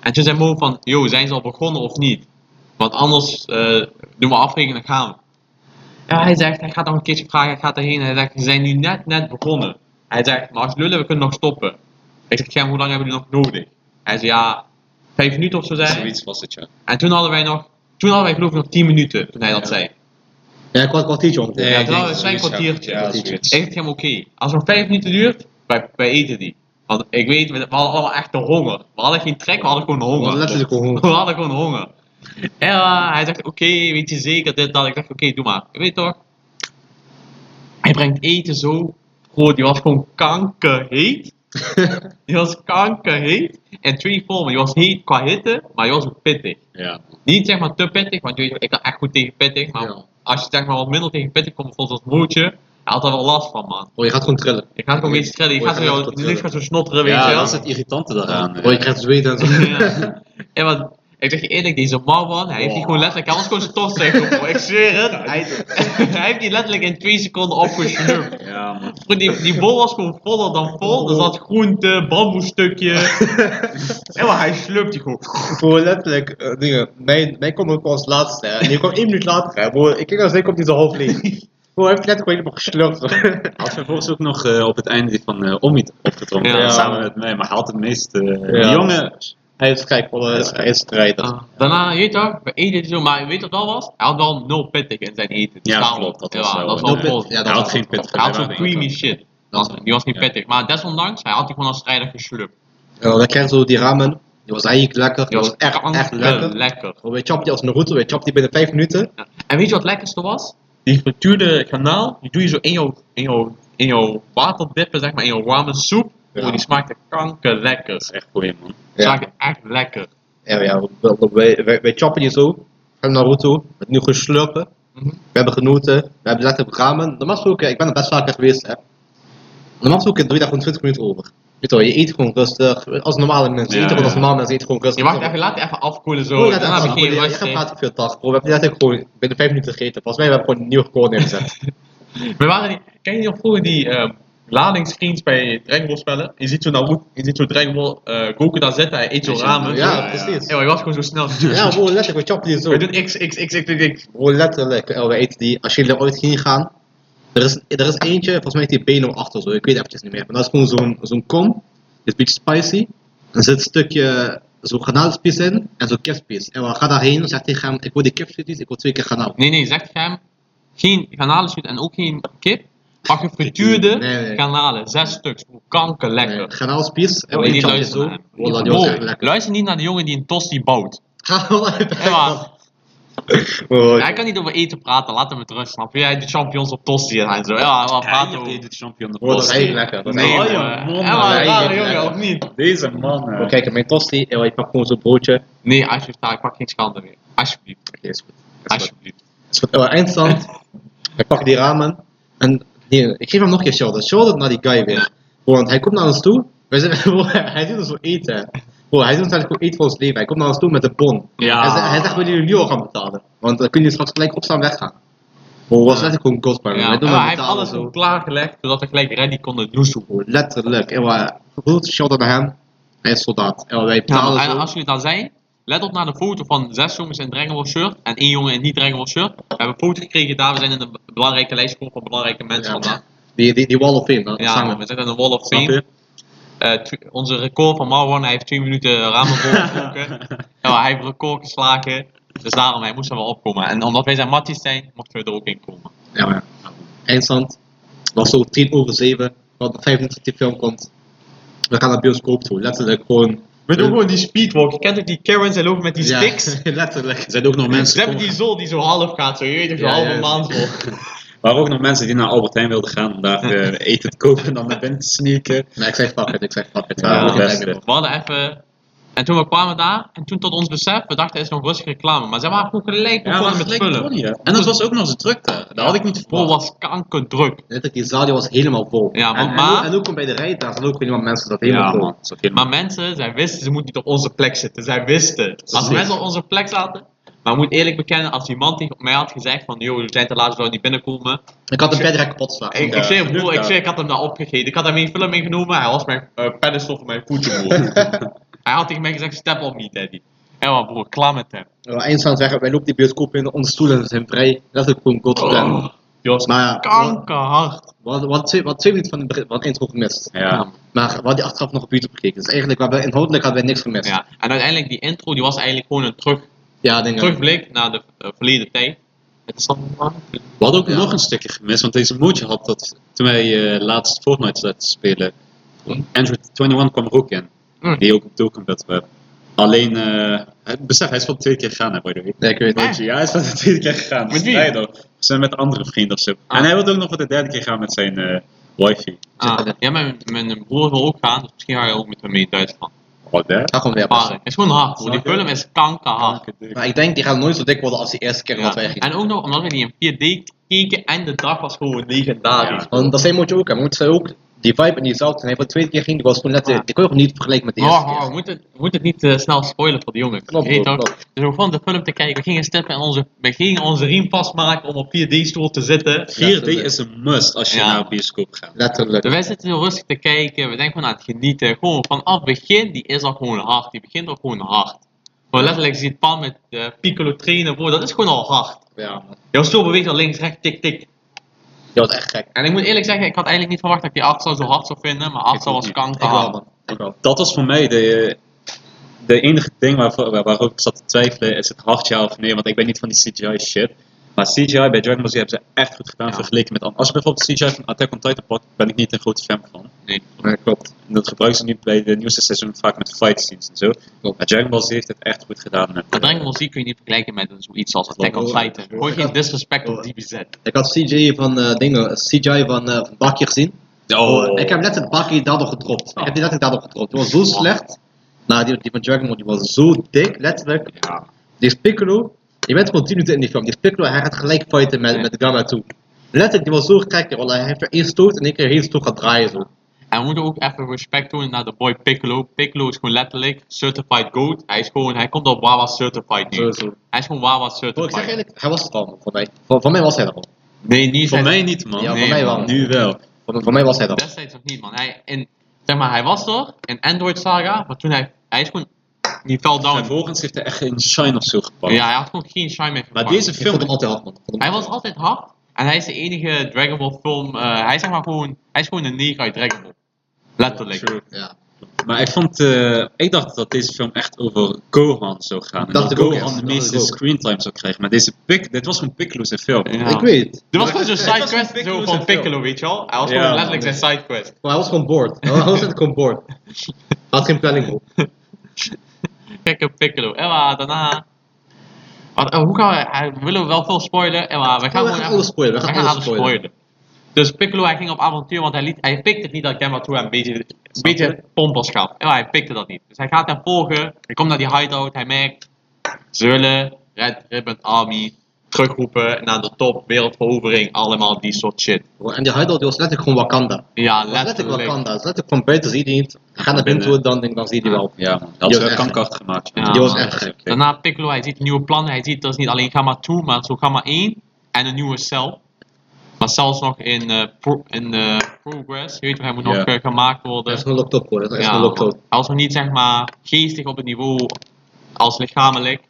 [SPEAKER 1] En toen zei Mo van, yo, zijn ze al begonnen of niet? Want anders eh, doen we afrekenen, dan gaan we. Ja, hij zegt, hij gaat nog een keertje vragen, hij gaat erheen. Hij zegt, ze zijn nu net, net begonnen. Hij zegt, maar als jullie we kunnen nog stoppen. Ik zeg, ja, hoe lang hebben jullie nog nodig? Hij zei, ja, vijf minuten of zo zijn.
[SPEAKER 3] Dus Zoiets was het, ja.
[SPEAKER 1] En toen hadden wij nog, toen hadden wij geloof ik nog tien minuten, toen hij dat
[SPEAKER 3] Ja.
[SPEAKER 1] zei.
[SPEAKER 2] Ja, ik had een kwartiertje ongeveer.
[SPEAKER 1] Ja,
[SPEAKER 3] ik denk
[SPEAKER 1] nou,
[SPEAKER 3] dat
[SPEAKER 1] een klein
[SPEAKER 3] zoiets, ja.
[SPEAKER 1] kwartiertje.
[SPEAKER 3] Ja, zoiets.
[SPEAKER 1] Ik vind hem oké. Als het nog vijf minuten duurt, wij, wij eten die. Want ik weet, we hadden allemaal echt de honger. We hadden geen trek, we hadden gewoon
[SPEAKER 2] We hadden
[SPEAKER 1] honger.
[SPEAKER 2] letterlijk gewoon honger.
[SPEAKER 1] [LAUGHS] We hadden gewoon honger. En eh, hij zegt, oké, weet je zeker dit, dat. Ik dacht, oké, doe maar. Je weet toch? Hij brengt eten zo. Goh, die was gewoon
[SPEAKER 3] [LAUGHS]
[SPEAKER 1] kankerheet. die was kankerheet. En twee vormen. Die was heet qua hitte, maar die was ook pittig.
[SPEAKER 3] Ja.
[SPEAKER 1] Niet zeg maar te pittig, want je weet, ik kan echt goed tegen pittig. Maar
[SPEAKER 2] Ja.
[SPEAKER 1] als je zeg maar wat minder tegen pittig komt, bijvoorbeeld als moertje, hij had daar wel last van, man.
[SPEAKER 2] Oh, je gaat gewoon trillen.
[SPEAKER 1] Je gaat gewoon
[SPEAKER 2] Ja.
[SPEAKER 1] iets trillen, je
[SPEAKER 2] Oh, je
[SPEAKER 1] gaat zo,
[SPEAKER 2] gaat
[SPEAKER 1] jouw
[SPEAKER 2] echt
[SPEAKER 1] lief gaat zo snotteren, weet
[SPEAKER 3] Ja,
[SPEAKER 1] je
[SPEAKER 3] dat is
[SPEAKER 1] wel.
[SPEAKER 3] het irritante daaraan. eh.
[SPEAKER 2] Oh, je krijgt zweet en
[SPEAKER 1] [LAUGHS]
[SPEAKER 2] zo.
[SPEAKER 1] Ja. En wat, ik zeg je eerlijk, deze Marwan, hij heeft die gewoon letterlijk, hij was gewoon stof zeggen, bro. ik zweer het. Hij, [LAUGHS] hij heeft die letterlijk in twee seconden opgesnoept.
[SPEAKER 3] Ja, man.
[SPEAKER 1] Bro, Die, die bol was gewoon voller dan vol, er zat groente, [LAUGHS] bamboestukje. En wat, hij slurpt die gewoon.
[SPEAKER 2] Voor letterlijk, eh, dingen. Mijn, mijn kwam ook als laatste. Hè. En die kwam één minuut later. Hè. Bro, ik kijk naar zijn komt hij zo half [LAUGHS] leeg. Bro, hij heeft letterlijk gewoon helemaal geslurpt. hoor. [LAUGHS]
[SPEAKER 3] Had vervolgens ook nog eh, op het einde die van eh Omi opgedronken,
[SPEAKER 1] Ja.
[SPEAKER 3] samen met mij, maar hij had het meest... eh,
[SPEAKER 2] Ja.
[SPEAKER 3] Die jongen,
[SPEAKER 2] Hij is gek, hoor. hij is- hij is strijder.
[SPEAKER 1] Ah, daarna, je weet toch, we eten het zo, maar weet je wat wel was? Hij had wel nul pittig in zijn eten. Dus
[SPEAKER 3] Ja,
[SPEAKER 1] daarom-
[SPEAKER 3] klopt, dat was
[SPEAKER 1] ja,
[SPEAKER 3] zo.
[SPEAKER 1] Dat
[SPEAKER 3] Nul
[SPEAKER 1] was
[SPEAKER 2] pit-
[SPEAKER 1] wel
[SPEAKER 2] ja, dat
[SPEAKER 3] hij had
[SPEAKER 2] was-
[SPEAKER 3] geen pit.
[SPEAKER 1] Hij had zo'n creamy shit. Dat was- die was niet
[SPEAKER 3] Ja.
[SPEAKER 1] pittig, maar desondanks, hij had die gewoon als strijder geslupt.
[SPEAKER 2] Ja, dan krijg je zo die ramen. Die was eigenlijk lekker. Die was echt, echt
[SPEAKER 1] kanker
[SPEAKER 2] lekker.
[SPEAKER 1] lekker.
[SPEAKER 2] Bro, Wij chapten die als Naruto. Wij chapten die binnen 5 minuten.
[SPEAKER 1] Ja. En weet je wat het lekkerste was? Die frituurde kanaal, die doe je zo in jouw, in jouw, in jouw water dippen, zeg maar, in jouw warme soep.
[SPEAKER 2] Ja.
[SPEAKER 1] Oh, die smaakte kanker lekker.
[SPEAKER 3] Dat is echt goeie, man.
[SPEAKER 2] Ja.
[SPEAKER 1] Smaakte echt lekker.
[SPEAKER 2] Ja, ja, we- we- wij, wij, wij choppen die zo. Van Naruto. Met nu gewoon slurpen.
[SPEAKER 1] Mhm.
[SPEAKER 2] We hebben genoten. We hebben letterlijk ramen. Normaal gesproken, ik ben er best vaker geweest. Hè. Normaal gesproken doe je daar gewoon 20 minuten over. Weet je, wel, je eet gewoon rustig. Als normale mensen.
[SPEAKER 3] Ja,
[SPEAKER 2] je eet gewoon
[SPEAKER 3] ja.
[SPEAKER 2] als normale mensen. Je eet gewoon rustig.
[SPEAKER 1] Je wacht even, laat die even afkoelen zo.
[SPEAKER 2] Gewoon
[SPEAKER 1] daarna
[SPEAKER 2] laten
[SPEAKER 1] heb je geen
[SPEAKER 2] afkoelen. Ja,
[SPEAKER 1] rust
[SPEAKER 2] Je
[SPEAKER 1] in.
[SPEAKER 2] gaat praten veel dag. Bro, we hebben letterlijk gewoon binnen 5 minuten gegeten. Volgens mij hebben we gewoon een nieuw record neergezet.
[SPEAKER 1] We waren die, ken je nog vroeger die ehm ladingsscreens bij Dragon Ball spellen? Je ziet zo, Naruto, je ziet zo Dragon Ball eh, Goku daar zitten, hij eet zo ramen.
[SPEAKER 2] ja,
[SPEAKER 1] zo.
[SPEAKER 2] precies.
[SPEAKER 1] En
[SPEAKER 2] Ja,
[SPEAKER 1] hij was gewoon zo snel.
[SPEAKER 2] ja bro, letterlijk. We choppen die zo.
[SPEAKER 1] We doen x, x, x, x, x, x.
[SPEAKER 2] Gewoon letterlijk, eh, we eten die. Als jullie er ooit heen gaan, er is, er is eentje, volgens mij heet die Beno achter zo, ik weet eventjes niet meer. Maar dat is gewoon zo'n zo'n kom, die is een beetje spicy. Er zit een stukje zo'n garnalenspies in en zo'n kipspies. En we gaan daarheen en zegt tegen hem, ik wil die kipspies, ik wil twee keer garnaal.
[SPEAKER 1] Nee, nee, zegt je hem. Geen garnalenschiet en ook geen kip. Pak gefrituurde
[SPEAKER 2] Nee, nee.
[SPEAKER 1] garnalen, zes stuks. kanker lekker.
[SPEAKER 2] Nee, Granaalspiers en
[SPEAKER 1] Oh,
[SPEAKER 2] een
[SPEAKER 1] die
[SPEAKER 2] chapje
[SPEAKER 1] luisteren
[SPEAKER 2] zo.
[SPEAKER 1] naar hem.
[SPEAKER 2] Wallah, die
[SPEAKER 1] Wow,
[SPEAKER 2] was echt lekker.
[SPEAKER 1] luister niet naar de jongen die een tosti bouwt.
[SPEAKER 2] Ga wel [LAUGHS] uit.
[SPEAKER 1] Echt waar.
[SPEAKER 2] Oh,
[SPEAKER 1] Ja, hij kan niet over eten praten, laat hem het rust, snap je? Hij doet champions op tosti en zo. Ja, wat praten
[SPEAKER 3] Ja,
[SPEAKER 1] over?
[SPEAKER 3] je de champion.
[SPEAKER 2] Oh, dat is echt lekker. Dat is
[SPEAKER 1] Nee,
[SPEAKER 2] echt
[SPEAKER 1] man.
[SPEAKER 2] lekker.
[SPEAKER 1] Ja,
[SPEAKER 3] man,
[SPEAKER 1] maar
[SPEAKER 2] hij
[SPEAKER 1] rare
[SPEAKER 2] eet
[SPEAKER 1] jongen,
[SPEAKER 2] lekker.
[SPEAKER 1] of niet?
[SPEAKER 3] Deze man.
[SPEAKER 2] Maar
[SPEAKER 3] eh.
[SPEAKER 2] kijk, mijn tosti, eh, je pakt gewoon zo'n broodje. Oké,
[SPEAKER 1] Nee, alsjeblieft, nou, ik pak geen schande meer. Alsjeblieft,
[SPEAKER 2] is goed. Is goed.
[SPEAKER 1] alsjeblieft.
[SPEAKER 2] Is goed. Eh, eindstand. Hij pakt die ramen. En nee, ik geef hem nog een keer shout-out. Shout-out naar die guy weer. Bro, Want hij komt naar ons toe. Wij zijn, [LAUGHS] bro, hij doet ons zo eten. Bro, hij doet ons eigenlijk gewoon eten voor ons leven. Hij komt naar ons toe met een bon.
[SPEAKER 1] Ja.
[SPEAKER 2] Hij, zegt- hij zegt, we jullie nu al gaan betalen. Want dan kun je straks gelijk opstaan en weggaan. Bro, was letterlijk gewoon god, man.
[SPEAKER 1] Ja,
[SPEAKER 2] Hij doet
[SPEAKER 1] maar
[SPEAKER 2] maar
[SPEAKER 1] hij heeft
[SPEAKER 2] betalen
[SPEAKER 1] alles
[SPEAKER 2] zo.
[SPEAKER 1] zo klaargelegd, zodat we gelijk ready konden douchen.
[SPEAKER 2] Bro, letterlijk. Eh, maar Goed, shout-out naar hem. Hij is soldaat. Eh, wij
[SPEAKER 1] Ja,
[SPEAKER 2] betalen
[SPEAKER 1] en
[SPEAKER 2] zo.
[SPEAKER 1] als jullie daar zijn, let op naar de foto van zes jongens in Dragon Ball shirt en één jongen in niet Dragon Ball shirt. We hebben een foto gekregen daar, we zijn in de be- belangrijke lijst gekomen van belangrijke mensen
[SPEAKER 2] Ja.
[SPEAKER 1] vandaag.
[SPEAKER 2] Die, die, die Wall of Fame, dat
[SPEAKER 1] Ja,
[SPEAKER 2] samen.
[SPEAKER 1] man, we zitten in de Wall of
[SPEAKER 3] Snap
[SPEAKER 1] Fame.
[SPEAKER 3] je?
[SPEAKER 1] Eh, tw- onze record van Marwan, hij heeft twee minuten [LAUGHS] ramen volgetrokken. ja, hij heeft record geslagen. Dus daarom, hij moest er wel opkomen. En omdat wij zijn matties zijn, mochten we er ook in komen.
[SPEAKER 2] Ja, maar eindstand was zo 10 over 7, want nog 25 tot die film komt. We gaan naar bioscoop toe, letterlijk gewoon.
[SPEAKER 1] We doen gewoon die speedwalk. Je kent ook die Karens en lopen met die
[SPEAKER 2] Ja,
[SPEAKER 1] sticks. [LAUGHS]
[SPEAKER 2] [LAUGHS] letterlijk.
[SPEAKER 3] Er zijn ook nog
[SPEAKER 1] Ze hebben
[SPEAKER 3] mensen.
[SPEAKER 1] die zol die zo half gaat, zo je weet toch, zo
[SPEAKER 2] Ja,
[SPEAKER 1] halve
[SPEAKER 2] ja.
[SPEAKER 1] maand vol.
[SPEAKER 3] Maar ook nog mensen die naar Albert Heijn wilden gaan om [LAUGHS] daar eh, eten te kopen en dan naar binnen te sneaken.
[SPEAKER 2] Nee, ik zei fuck it, ik zei fuck it.
[SPEAKER 3] Ja,
[SPEAKER 2] we gaan
[SPEAKER 3] best.
[SPEAKER 2] kijken.
[SPEAKER 1] We hadden even. En toen we kwamen daar, en toen tot ons besef, we dachten het is nog rustige reclame. Maar zij waren gewoon gelijk
[SPEAKER 3] Ja,
[SPEAKER 1] begonnen
[SPEAKER 3] maar
[SPEAKER 1] met Oh,
[SPEAKER 3] gelijk
[SPEAKER 1] vullen.
[SPEAKER 3] begonnen, ja. En dat was ook nog eens druk daar. Dat had ik niet
[SPEAKER 1] Bro,
[SPEAKER 3] verwacht.
[SPEAKER 1] was kankerdruk.
[SPEAKER 2] Letterlijk, die zaal die was helemaal vol.
[SPEAKER 1] Ja, maar-
[SPEAKER 2] en, en
[SPEAKER 1] maar-
[SPEAKER 2] ook- En ook bij de rij, daar zaten ook helemaal mensen, dat helemaal vol.
[SPEAKER 3] Dat is ook helemaal-
[SPEAKER 1] Maar mensen, zij wisten, ze moeten niet op onze plek zitten. Zij wisten. Als
[SPEAKER 2] zeker.
[SPEAKER 1] mensen op onze plek zaten. Maar ik moet eerlijk bekennen, als iemand tegen mij had gezegd van, joh, jullie zijn te laat, we zouden niet binnenkomen.
[SPEAKER 2] Ik had een bedrek kapot geslagen.
[SPEAKER 1] Ik, ik,
[SPEAKER 3] Ja,
[SPEAKER 1] zweer, broer, ik,
[SPEAKER 3] inderdaad.
[SPEAKER 1] zweer, ik had hem daar opgegeten. Ik had hem in film meegenomen. Hij was mijn eh pedestal van mijn voeten, broer. hij had tegen mij gezegd, step op niet, Daddy. En wat, broer, klaar met hem.
[SPEAKER 2] We waren eindstand weg, wij lopen die bioscoop in, onze stoelen zijn vrij. Letterlijk gewoon
[SPEAKER 3] Oh,
[SPEAKER 2] god gedaan.
[SPEAKER 1] Die was
[SPEAKER 2] Oh. Maar ja,
[SPEAKER 1] kankerhard.
[SPEAKER 2] wat, wat, twee, wat twee minuten van de van het intro gemist.
[SPEAKER 3] Ja.
[SPEAKER 2] Maar we hadden die achteraf nog op YouTube gekeken. Dus eigenlijk, we hebben, inhoudelijk hadden wij niks gemist.
[SPEAKER 1] Ja. En uiteindelijk, die intro, die was eigenlijk gewoon een terug,
[SPEAKER 2] Ja, ik denk ik.
[SPEAKER 1] terugblik naar de eh, verleden tijd. Het is dan
[SPEAKER 3] We hadden ook
[SPEAKER 2] Ja.
[SPEAKER 3] nog een stukje gemist, want deze mootje had dat toen wij eh, laatst Fortnite zaten spelen. Android 21 kwam er ook in,
[SPEAKER 1] Hm.
[SPEAKER 3] die ook op tokenbed werd. Alleen, eh, het- besef, hij is wel twee keer gegaan, hè, by the way.
[SPEAKER 2] Nee, ik weet het
[SPEAKER 1] Maar-
[SPEAKER 2] niet.
[SPEAKER 3] Ja, hij is wel [LAUGHS] de tweede keer gegaan.
[SPEAKER 1] Met wie?
[SPEAKER 3] Vrijdag. We zijn met andere vrienden of zo.
[SPEAKER 1] Ah.
[SPEAKER 3] En hij wilde ook nog voor de derde keer gaan met zijn eh wifi.
[SPEAKER 1] Ah, ja, mijn, mijn broer wil ook gaan, dus misschien ga je ook met hem mee in Duitsland.
[SPEAKER 3] Wat hè?
[SPEAKER 2] Ga gewoon weer
[SPEAKER 1] Ervaring. Het is gewoon hard, broer. Die
[SPEAKER 3] Snap je?
[SPEAKER 1] film is kankerhard.
[SPEAKER 2] Maar ik denk, die gaan nooit zo dik worden als die eerste keer dat
[SPEAKER 1] Ja.
[SPEAKER 2] wij gingen.
[SPEAKER 1] En ook nog omdat we die in 4D keken en de dag was gewoon legendarisch.
[SPEAKER 3] Ja.
[SPEAKER 2] Want dat zijn moet je ook hebben. Want zij ook, die vibe en die zout, en hij voor de tweede keer ging, die was gewoon net,
[SPEAKER 1] Ja.
[SPEAKER 2] die kon je gewoon niet vergelijken met de eerste
[SPEAKER 1] Oh, oh,
[SPEAKER 2] keer.
[SPEAKER 1] moet het, moet het niet eh, snel spoilen voor de jongen.
[SPEAKER 2] Klopt,
[SPEAKER 1] Je weet
[SPEAKER 2] klopt,
[SPEAKER 1] ook.
[SPEAKER 2] klopt.
[SPEAKER 1] Dus we begonnen de film te kijken, we gingen steppen en onze, we gingen onze riem vastmaken om op 4D-stoel te zitten.
[SPEAKER 3] 4D is een must als je
[SPEAKER 1] Ja.
[SPEAKER 3] naar een bioscoop gaat.
[SPEAKER 2] Letterlijk.
[SPEAKER 1] Dus wij zitten heel rustig te kijken, we denken gewoon aan het genieten. Gewoon vanaf het begin, die is al gewoon hard. Die begint al gewoon hard. Maar letterlijk zie je het pan met eh, piccolo trainen, bro, dat is gewoon al hard.
[SPEAKER 2] Ja, man.
[SPEAKER 1] Jouw stoel beweegt al links, rechts, tik, tik.
[SPEAKER 2] Die was echt gek.
[SPEAKER 1] En ik moet eerlijk zeggen, ik had eigenlijk niet verwacht dat ik die afstand zo hard zou vinden, maar afstand
[SPEAKER 3] ook
[SPEAKER 1] was
[SPEAKER 3] niet.
[SPEAKER 2] Ik wel,
[SPEAKER 1] kankerhard.
[SPEAKER 2] man. Ik wel.
[SPEAKER 3] Dat was voor mij de, de enige ding waarvoor, waar- waarover ik zat te twijfelen. Is het hard ja of nee? Want ik ben niet van die CGI shit. Maar CGI bij Dragon Ball Z hebben ze echt goed gedaan
[SPEAKER 1] Ja.
[SPEAKER 3] vergeleken met... an- Als je bijvoorbeeld CGI van Attack on Titan pakt, ben ik niet een grote fan van.
[SPEAKER 1] Nee.
[SPEAKER 2] Nee, klopt.
[SPEAKER 3] En dat gebruiken ze nu bij de nieuwste seizoen vaak met fight scenes en zo.
[SPEAKER 2] Klopt.
[SPEAKER 3] Maar Dragon Ball Z heeft het echt goed gedaan. Met,
[SPEAKER 1] Maar Dragon Ball Z kun je niet vergelijken met zoiets als Attack on
[SPEAKER 2] Bro,
[SPEAKER 1] Titan.
[SPEAKER 2] bro.
[SPEAKER 1] Gooi geen disrespect op
[SPEAKER 2] Bro.
[SPEAKER 1] DBZ.
[SPEAKER 2] Ik had CJ van, eh dingen, CJ van, eh van Bakje gezien.
[SPEAKER 3] Oh,
[SPEAKER 2] Ik heb net een Bakje daardoor gedropt. Ik heb die letterlijk daardoor gedropt. Die was
[SPEAKER 1] Ah.
[SPEAKER 2] zo slecht. Nou, die, die van Dragon Ball, die was zo dik, letterlijk.
[SPEAKER 3] Ja.
[SPEAKER 2] Die is Piccolo. Je bent gewoon 10 minuten in die film. Die is Piccolo, hij gaat gelijk fighten met,
[SPEAKER 1] Ja.
[SPEAKER 2] met Gamma toe. Letterlijk, die was zo gek. joh. Hij heeft er één stoot en één keer heel stoot gaat draaien zo.
[SPEAKER 1] En we moeten ook even respect doen naar de boy Piccolo. Piccolo is gewoon letterlijk certified goat. Hij, is gewoon, hij komt op Wawa certified nu.
[SPEAKER 2] Sowieso.
[SPEAKER 1] Hij is gewoon
[SPEAKER 3] Oh,
[SPEAKER 1] Wawa
[SPEAKER 2] Bro, ik zeg
[SPEAKER 1] certified.
[SPEAKER 2] eigenlijk, hij was er al man, voor mij. Voor, voor mij was hij er al.
[SPEAKER 1] Nee, niet
[SPEAKER 3] Voor
[SPEAKER 1] zijn-
[SPEAKER 3] mij niet, man.
[SPEAKER 2] Ja, voor
[SPEAKER 1] nee,
[SPEAKER 2] mij wel.
[SPEAKER 1] man.
[SPEAKER 3] Nu wel.
[SPEAKER 2] Voor, voor mij was hij er al.
[SPEAKER 1] Destijds nog niet, man. Hij, in, zeg maar, hij was er in Android Saga, maar toen hij... Hij is gewoon... Die fell
[SPEAKER 3] En
[SPEAKER 1] down.
[SPEAKER 3] volgens heeft hij echt een shine of zo gepakt.
[SPEAKER 1] Ja, hij had gewoon geen shine meer
[SPEAKER 3] Maar
[SPEAKER 1] gepakt.
[SPEAKER 3] deze
[SPEAKER 2] Ik vond hem
[SPEAKER 3] film...
[SPEAKER 2] altijd hard man. Ik vond hem
[SPEAKER 1] Hij was
[SPEAKER 2] altijd
[SPEAKER 1] altijd hard. En hij is de enige Dragon Ball film... eh, hij, is zeg maar gewoon, hij is gewoon een neger uit Dragon Ball. Letterlijk.
[SPEAKER 3] True.
[SPEAKER 2] hard. Ja.
[SPEAKER 3] Maar ik vond, eh, ik dacht dat deze film echt over Gohan zou gaan. En
[SPEAKER 2] Dacht
[SPEAKER 3] dat,
[SPEAKER 2] ik ook
[SPEAKER 3] Gohan
[SPEAKER 2] eerst,
[SPEAKER 3] de
[SPEAKER 2] dacht
[SPEAKER 3] meeste
[SPEAKER 2] ik ook.
[SPEAKER 3] screentime zou krijgen. Maar deze pik, dit was een pikloze film.
[SPEAKER 1] Ja.
[SPEAKER 2] Ik weet het.
[SPEAKER 1] Dit was gewoon zo'n
[SPEAKER 2] Het was
[SPEAKER 3] gewoon
[SPEAKER 1] sidequest
[SPEAKER 3] Piccolo's
[SPEAKER 1] zo van
[SPEAKER 3] en Phil.
[SPEAKER 1] Piccolo, weet je wel? Hij was
[SPEAKER 3] Ja,
[SPEAKER 1] gewoon
[SPEAKER 3] man,
[SPEAKER 1] letterlijk zijn
[SPEAKER 3] dit-
[SPEAKER 1] sidequest.
[SPEAKER 2] Maar hij was gewoon bored. Hij was altijd gewoon bored. Hij had geen planning voor.
[SPEAKER 1] Gekke Piccolo. Emma, daarna... Wat, eh, hoe gaan we... hij- We willen wel veel spoilen, Emma. We gaan
[SPEAKER 2] Oh, we
[SPEAKER 1] gewoon
[SPEAKER 2] gaan
[SPEAKER 1] even-
[SPEAKER 2] alles spoilen, we
[SPEAKER 1] we
[SPEAKER 2] gaan
[SPEAKER 1] gaan
[SPEAKER 2] alles
[SPEAKER 1] alles
[SPEAKER 2] spoilen.
[SPEAKER 1] spoilen. Dus Piccolo, hij ging op avontuur, want hij, liet, hij pikte het niet dat Gamma True hem een beetje, een beetje pompers gaf. Emma, hij pikte dat niet. Dus hij gaat hem volgen. Hij komt naar die hideout. Hij merkt... Ze willen Red Ribbon Army terugroepen naar de top, wereldverovering, allemaal die soort shit.
[SPEAKER 2] En die hideout die was letterlijk gewoon Wakanda.
[SPEAKER 1] Ja,
[SPEAKER 2] Dat was letterlijk
[SPEAKER 1] letterlijk.
[SPEAKER 2] Wakanda. Dat was letterlijk van buiten zie je die niet. Ga naar binnen toe, dan denk ik, dan zie je die wel.
[SPEAKER 3] Ja, man. Dat
[SPEAKER 2] Die was
[SPEAKER 3] had
[SPEAKER 2] echt-
[SPEAKER 3] ze kankerhard gemaakt.
[SPEAKER 1] Ja,
[SPEAKER 2] Die was
[SPEAKER 1] man.
[SPEAKER 2] echt gek.
[SPEAKER 3] Oké.
[SPEAKER 1] Daarna Piccolo, hij ziet nieuwe plannen. Hij ziet dat is niet alleen Gamma 2, maar zo Gamma 1 en een nieuwe cel. Maar zelfs nog in, eh, pro- in eh, progress. Je weet toch, hij moet nog
[SPEAKER 3] Ja.
[SPEAKER 1] eh, gemaakt worden.
[SPEAKER 2] Dat is gewoon locked up hoor. Dat is echt
[SPEAKER 1] Ja,
[SPEAKER 2] gewoon locked up.
[SPEAKER 1] hij was nog niet zeg maar geestig op het niveau als lichamelijk.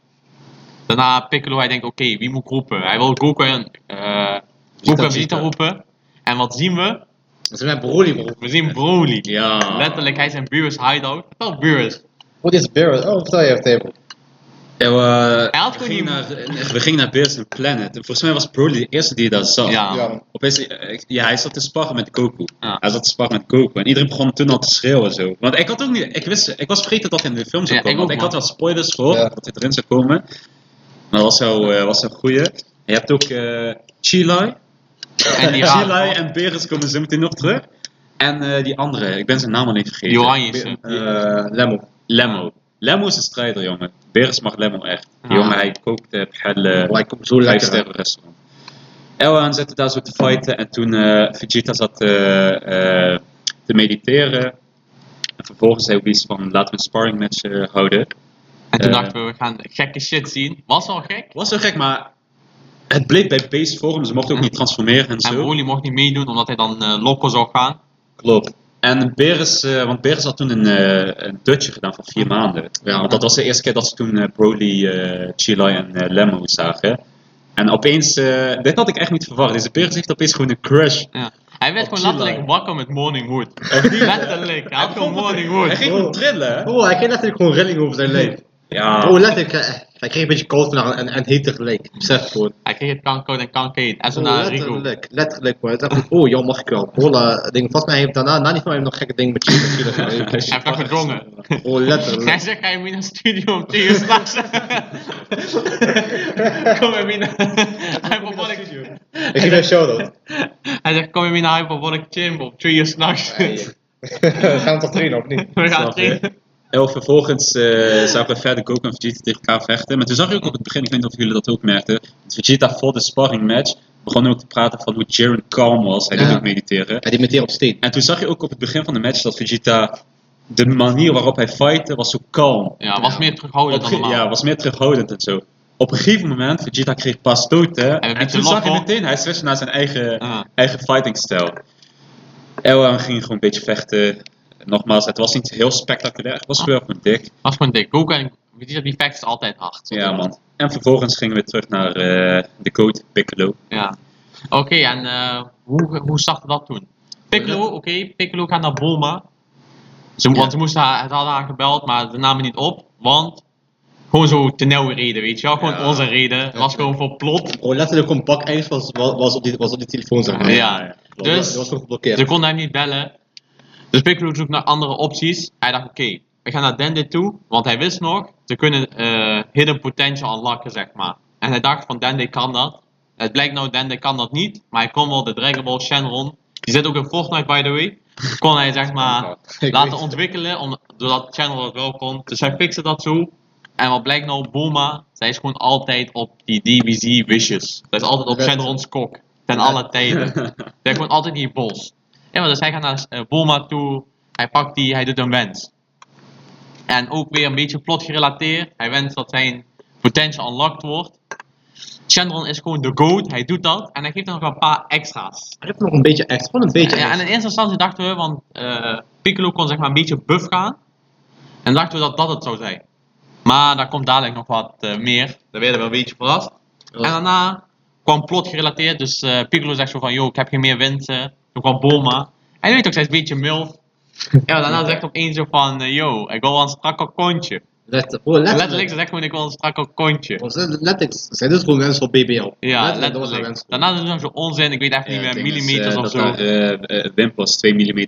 [SPEAKER 1] Daarna Piccolo, hij denkt oké, wie moet ik roepen? Hij wil Goku en eh Goku en Vegeta
[SPEAKER 3] Vegeta.
[SPEAKER 1] roepen. En wat zien we?
[SPEAKER 2] Dat is mijn broer bro.
[SPEAKER 1] We zien Broly.
[SPEAKER 3] Ja.
[SPEAKER 1] Letterlijk, hij is in Beerus hideout. Wat is Beerus?
[SPEAKER 2] Wat is Barrett? Oh, vertel je even.
[SPEAKER 3] Ja, we,
[SPEAKER 1] Hij had
[SPEAKER 3] we
[SPEAKER 1] gewoon
[SPEAKER 3] gingen
[SPEAKER 1] die-
[SPEAKER 3] naar, we gingen naar Bears and Planet. En volgens mij was Broly de eerste die dat zag.
[SPEAKER 1] Ja.
[SPEAKER 2] Ja.
[SPEAKER 3] Opeens, eh, ik- ja, hij zat te sparren met Goku.
[SPEAKER 1] Ja.
[SPEAKER 3] Hij zat te sparren met Goku. En iedereen begon toen al te schreeuwen zo. Want ik had ook niet, ik wist, ik was vergeten dat hij in de film zou
[SPEAKER 1] Ja,
[SPEAKER 3] komen.
[SPEAKER 1] ik ook,
[SPEAKER 3] want ik
[SPEAKER 1] man.
[SPEAKER 3] had wat spoilers gehoord
[SPEAKER 2] Ja.
[SPEAKER 3] dat hij erin zou komen. Maar dat was wel, eh, was wel een goeie. En je hebt ook eh Chilai.
[SPEAKER 1] En die
[SPEAKER 3] Chilai
[SPEAKER 1] raar.
[SPEAKER 3] en Beres komen zo meteen nog terug. En eh, die andere, ik ben zijn naam al even vergeten.
[SPEAKER 1] Die oranje is, eh.
[SPEAKER 3] Eh,
[SPEAKER 2] Lemon.
[SPEAKER 3] Lemmo. Lemmo is een strijder, jongen. Beres mag Lemmo echt. Die
[SPEAKER 1] Ja.
[SPEAKER 3] jongen, hij kookt eh hele
[SPEAKER 2] Maar ik kom zo
[SPEAKER 3] vijf
[SPEAKER 2] lekker.
[SPEAKER 3] sterren restaurant. Elwan zette daar zo te fighten en toen eh, Vegeta zat eh, eh, te mediteren. En vervolgens zei Whis van laten we een sparring match eh, houden.
[SPEAKER 1] En toen
[SPEAKER 3] Eh.
[SPEAKER 1] dachten we, we gaan gekke shit zien. Was wel gek.
[SPEAKER 3] Was zo gek, maar het bleef bij base vorm. Ze mochten ook niet transformeren en
[SPEAKER 1] En
[SPEAKER 3] zo.
[SPEAKER 1] Broly mocht niet meedoen omdat hij dan eh loco zou gaan.
[SPEAKER 3] Klopt. En Beres, eh, want Beres had toen een, eh een dutje gedaan van vier maanden. Ja, want dat was de eerste keer dat ze toen eh, Broly, eh Chilai en eh, Lemmo zagen. En opeens, eh, dit had ik echt niet verwacht. Deze Beres heeft opeens gewoon een crush.
[SPEAKER 1] Ja. Hij werd
[SPEAKER 3] Op
[SPEAKER 1] gewoon
[SPEAKER 3] Chile.
[SPEAKER 1] letterlijk wakker met Morning Wood.
[SPEAKER 3] die-
[SPEAKER 1] letterlijk, hij had gewoon Morning Wood.
[SPEAKER 3] Hij ging gewoon
[SPEAKER 2] Oh.
[SPEAKER 3] trillen, hè?
[SPEAKER 2] Oh, hij kreeg letterlijk gewoon rilling over zijn lijf.
[SPEAKER 3] Ja.
[SPEAKER 2] Oh, letterlijk. eh, Hij kreeg een beetje koud naar en, en heet tegelijk. Besef gewoon.
[SPEAKER 1] Hij kreeg het kanker en kanker heen. En zo
[SPEAKER 2] Oh,
[SPEAKER 1] naar Rico.
[SPEAKER 2] letterlijk. Letterlijk hoor. Hij dacht, oh, joh, mag ik wel. Hola, ding. Vast mij heeft daarna, na die van hem nog gekke dingen met je.
[SPEAKER 1] Hij heeft dat gedrongen.
[SPEAKER 2] Oh,
[SPEAKER 1] Hij [LAUGHS]
[SPEAKER 2] letterlijk.
[SPEAKER 1] zegt, ga je mee naar het studio om twee uur s'nachts? [LAUGHS] kom je mee
[SPEAKER 3] [LAUGHS]
[SPEAKER 1] naar... Hyperbolic...
[SPEAKER 2] Ik geef een shout-out.
[SPEAKER 1] Hij zegt, kom je mee naar Hyperbolic Gym om twee uur s'nachts?
[SPEAKER 2] Hey, eh, Gaan [LAUGHS] we toch trainen of niet?
[SPEAKER 1] [LAUGHS] We gaan
[SPEAKER 3] Snap je?
[SPEAKER 1] trainen.
[SPEAKER 3] En vervolgens eh zagen we verder Goku en Vegeta tegen elkaar vechten. Maar toen zag je ook op het begin, ik weet niet of jullie dat ook merkten. dat Vegeta voor de sparring match begon ook te praten van hoe Jiren kalm was. Hij
[SPEAKER 2] Ja.
[SPEAKER 3] deed ook mediteren.
[SPEAKER 2] Hij die met die op steen.
[SPEAKER 3] En toen zag je ook op het begin van de match dat Vegeta. De manier waarop hij fightte was zo kalm.
[SPEAKER 1] Ja, was
[SPEAKER 2] Ja.
[SPEAKER 1] meer terughoudend
[SPEAKER 3] Op
[SPEAKER 1] dan
[SPEAKER 3] ge-
[SPEAKER 1] normaal.
[SPEAKER 3] ja, was meer terughoudend en zo. Op een gegeven moment, Vegeta kreeg pas stoten.
[SPEAKER 1] een
[SPEAKER 3] En,
[SPEAKER 1] beetje
[SPEAKER 3] toen zag je
[SPEAKER 1] loco.
[SPEAKER 3] meteen, hij switchte naar zijn eigen,
[SPEAKER 1] Ja.
[SPEAKER 3] eigen fighting stijl. Elwan ging gewoon een beetje vechten. Nogmaals, het was niet heel spectaculair. Het was wel gewoon dik.
[SPEAKER 1] Was gewoon dik. Goku en Vegeta, die vechten is altijd hard.
[SPEAKER 3] Ja, man. En vervolgens gingen we terug naar eh, de code Piccolo.
[SPEAKER 1] Ja. Oké, en eh, hoe, hoe startte dat toen? Piccolo, oké, Piccolo gaat naar Bulma. Ze,
[SPEAKER 3] Ja.
[SPEAKER 1] Want ze moesten haar, het hadden haar gebeld, maar ze namen niet op, want gewoon zo tenauwe reden, weet je wel? Gewoon
[SPEAKER 3] Ja.
[SPEAKER 1] onze reden. Het was gewoon voor plot.
[SPEAKER 2] Gewoon letterlijk gewoon pak ijs was, was, was op die, was op die telefoon zeg
[SPEAKER 1] Ja.
[SPEAKER 2] maar. Dat was-
[SPEAKER 1] Dus-
[SPEAKER 2] dat was gewoon
[SPEAKER 1] Ze
[SPEAKER 2] geblokkeerd.
[SPEAKER 1] konden hem niet bellen. Dus Piccolo zoekt naar andere opties. Hij dacht, oké, we gaan naar Dende toe, want hij wist nog, ze kunnen eh, hidden potential unlocken, zeg maar. En hij dacht van, Dende kan dat. Het blijkt nou, Dende kan dat niet, maar hij kon wel de Dragon Ball Shenron. Die zit ook in Fortnite, by the way. Kon hij, zeg maar,
[SPEAKER 2] [LAUGHS] Ik
[SPEAKER 1] laten
[SPEAKER 2] weet-
[SPEAKER 1] ontwikkelen, om, doordat Shenron dat wel kon. Dus hij fixte dat zo. En wat blijkt nou, Bulma, zij is gewoon altijd op die DBZ wishes. Zij is altijd op
[SPEAKER 2] Red.
[SPEAKER 1] Shenron's kok, ten alle tijden.
[SPEAKER 2] [LAUGHS]
[SPEAKER 1] Ze heeft gewoon altijd die bos. Ja, maar dus hij gaat naar eh, Bulma toe, hij pakt die, hij doet een wens. En ook weer een beetje plot gerelateerd. Hij wenst dat zijn potential unlocked wordt. Chandron is gewoon de goat, hij doet dat. En hij geeft dan nog een paar extra's.
[SPEAKER 2] Hij heeft nog een beetje echt, gewoon een beetje
[SPEAKER 1] Ja, en
[SPEAKER 2] echt.
[SPEAKER 1] in eerste instantie dachten we, want eh, Piccolo kon zeg maar een beetje buff gaan. En dachten we dat dat het zou zijn. Maar daar komt dadelijk nog wat eh, meer. Daar werden we een beetje verrast. En daarna kwam plot gerelateerd. Dus eh, Piccolo zegt zo van, yo, ik heb geen meer winsten. Toen kwam Bulma. En je weet ook, zij is een beetje milf. Ja, daarna zegt opeens zo van, eh, yo, ik wil wel een strakker kontje.
[SPEAKER 2] Let, oh, letterlijk.
[SPEAKER 1] Letterlijk, ze zegt gewoon, ik wil een strakker kontje.
[SPEAKER 2] Was het- Letterlijk, zijn dit gewoon mensen op BBL?
[SPEAKER 1] Ja,
[SPEAKER 2] dat was een
[SPEAKER 1] letterlijk.
[SPEAKER 2] wens.
[SPEAKER 1] Daarna doen ze zo onzin, ik weet echt niet meer, millimeters of
[SPEAKER 3] dat
[SPEAKER 1] zo.
[SPEAKER 3] daar, eh, eh, wimpels 2 mm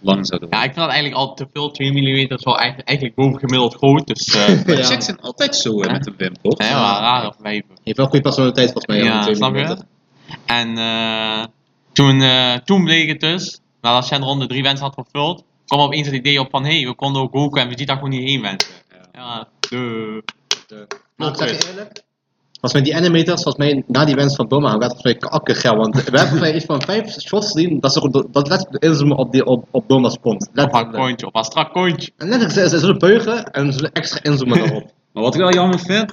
[SPEAKER 3] lang zouden
[SPEAKER 1] Ja,
[SPEAKER 3] worden.
[SPEAKER 1] ik vind dat eigenlijk al te veel, 2 mm is wel eigenlijk, eigenlijk bovengemiddeld groot, dus... eh
[SPEAKER 3] Maar
[SPEAKER 2] Ja.
[SPEAKER 3] chicks zijn altijd zo hè,
[SPEAKER 1] Ja.
[SPEAKER 3] met een wimpel.
[SPEAKER 1] hè, wel raar of lijpen.
[SPEAKER 2] Je hebt wel goede personaliteit volgens mij.
[SPEAKER 1] Ja,
[SPEAKER 2] om te
[SPEAKER 1] snap je?
[SPEAKER 2] doen.
[SPEAKER 1] En eh, toen, eh, toen bleek het dus, nadat Shenron de drie wensen had vervuld, kwam opeens het idee op van, hé, hey, we konden ook Goku en Vegeta gewoon niet heen wensen. Ja, duh.
[SPEAKER 2] Maar ik zeg je eerlijk. Volgens mij die animators, volgens mij na die wens van Boma, werd volgens mij kakkergel. Want we hebben volgens mij iets van vijf shots gezien dat ze dat letterlijk inzoomen op, die, op, op Boma's kont.
[SPEAKER 1] Of een
[SPEAKER 2] Letterlijk.
[SPEAKER 1] kontje, of een strak kontje.
[SPEAKER 2] En letterlijk, ze, ze zullen buigen en ze zullen extra inzoomen daarop.
[SPEAKER 3] Maar wat ik wel jammer vind,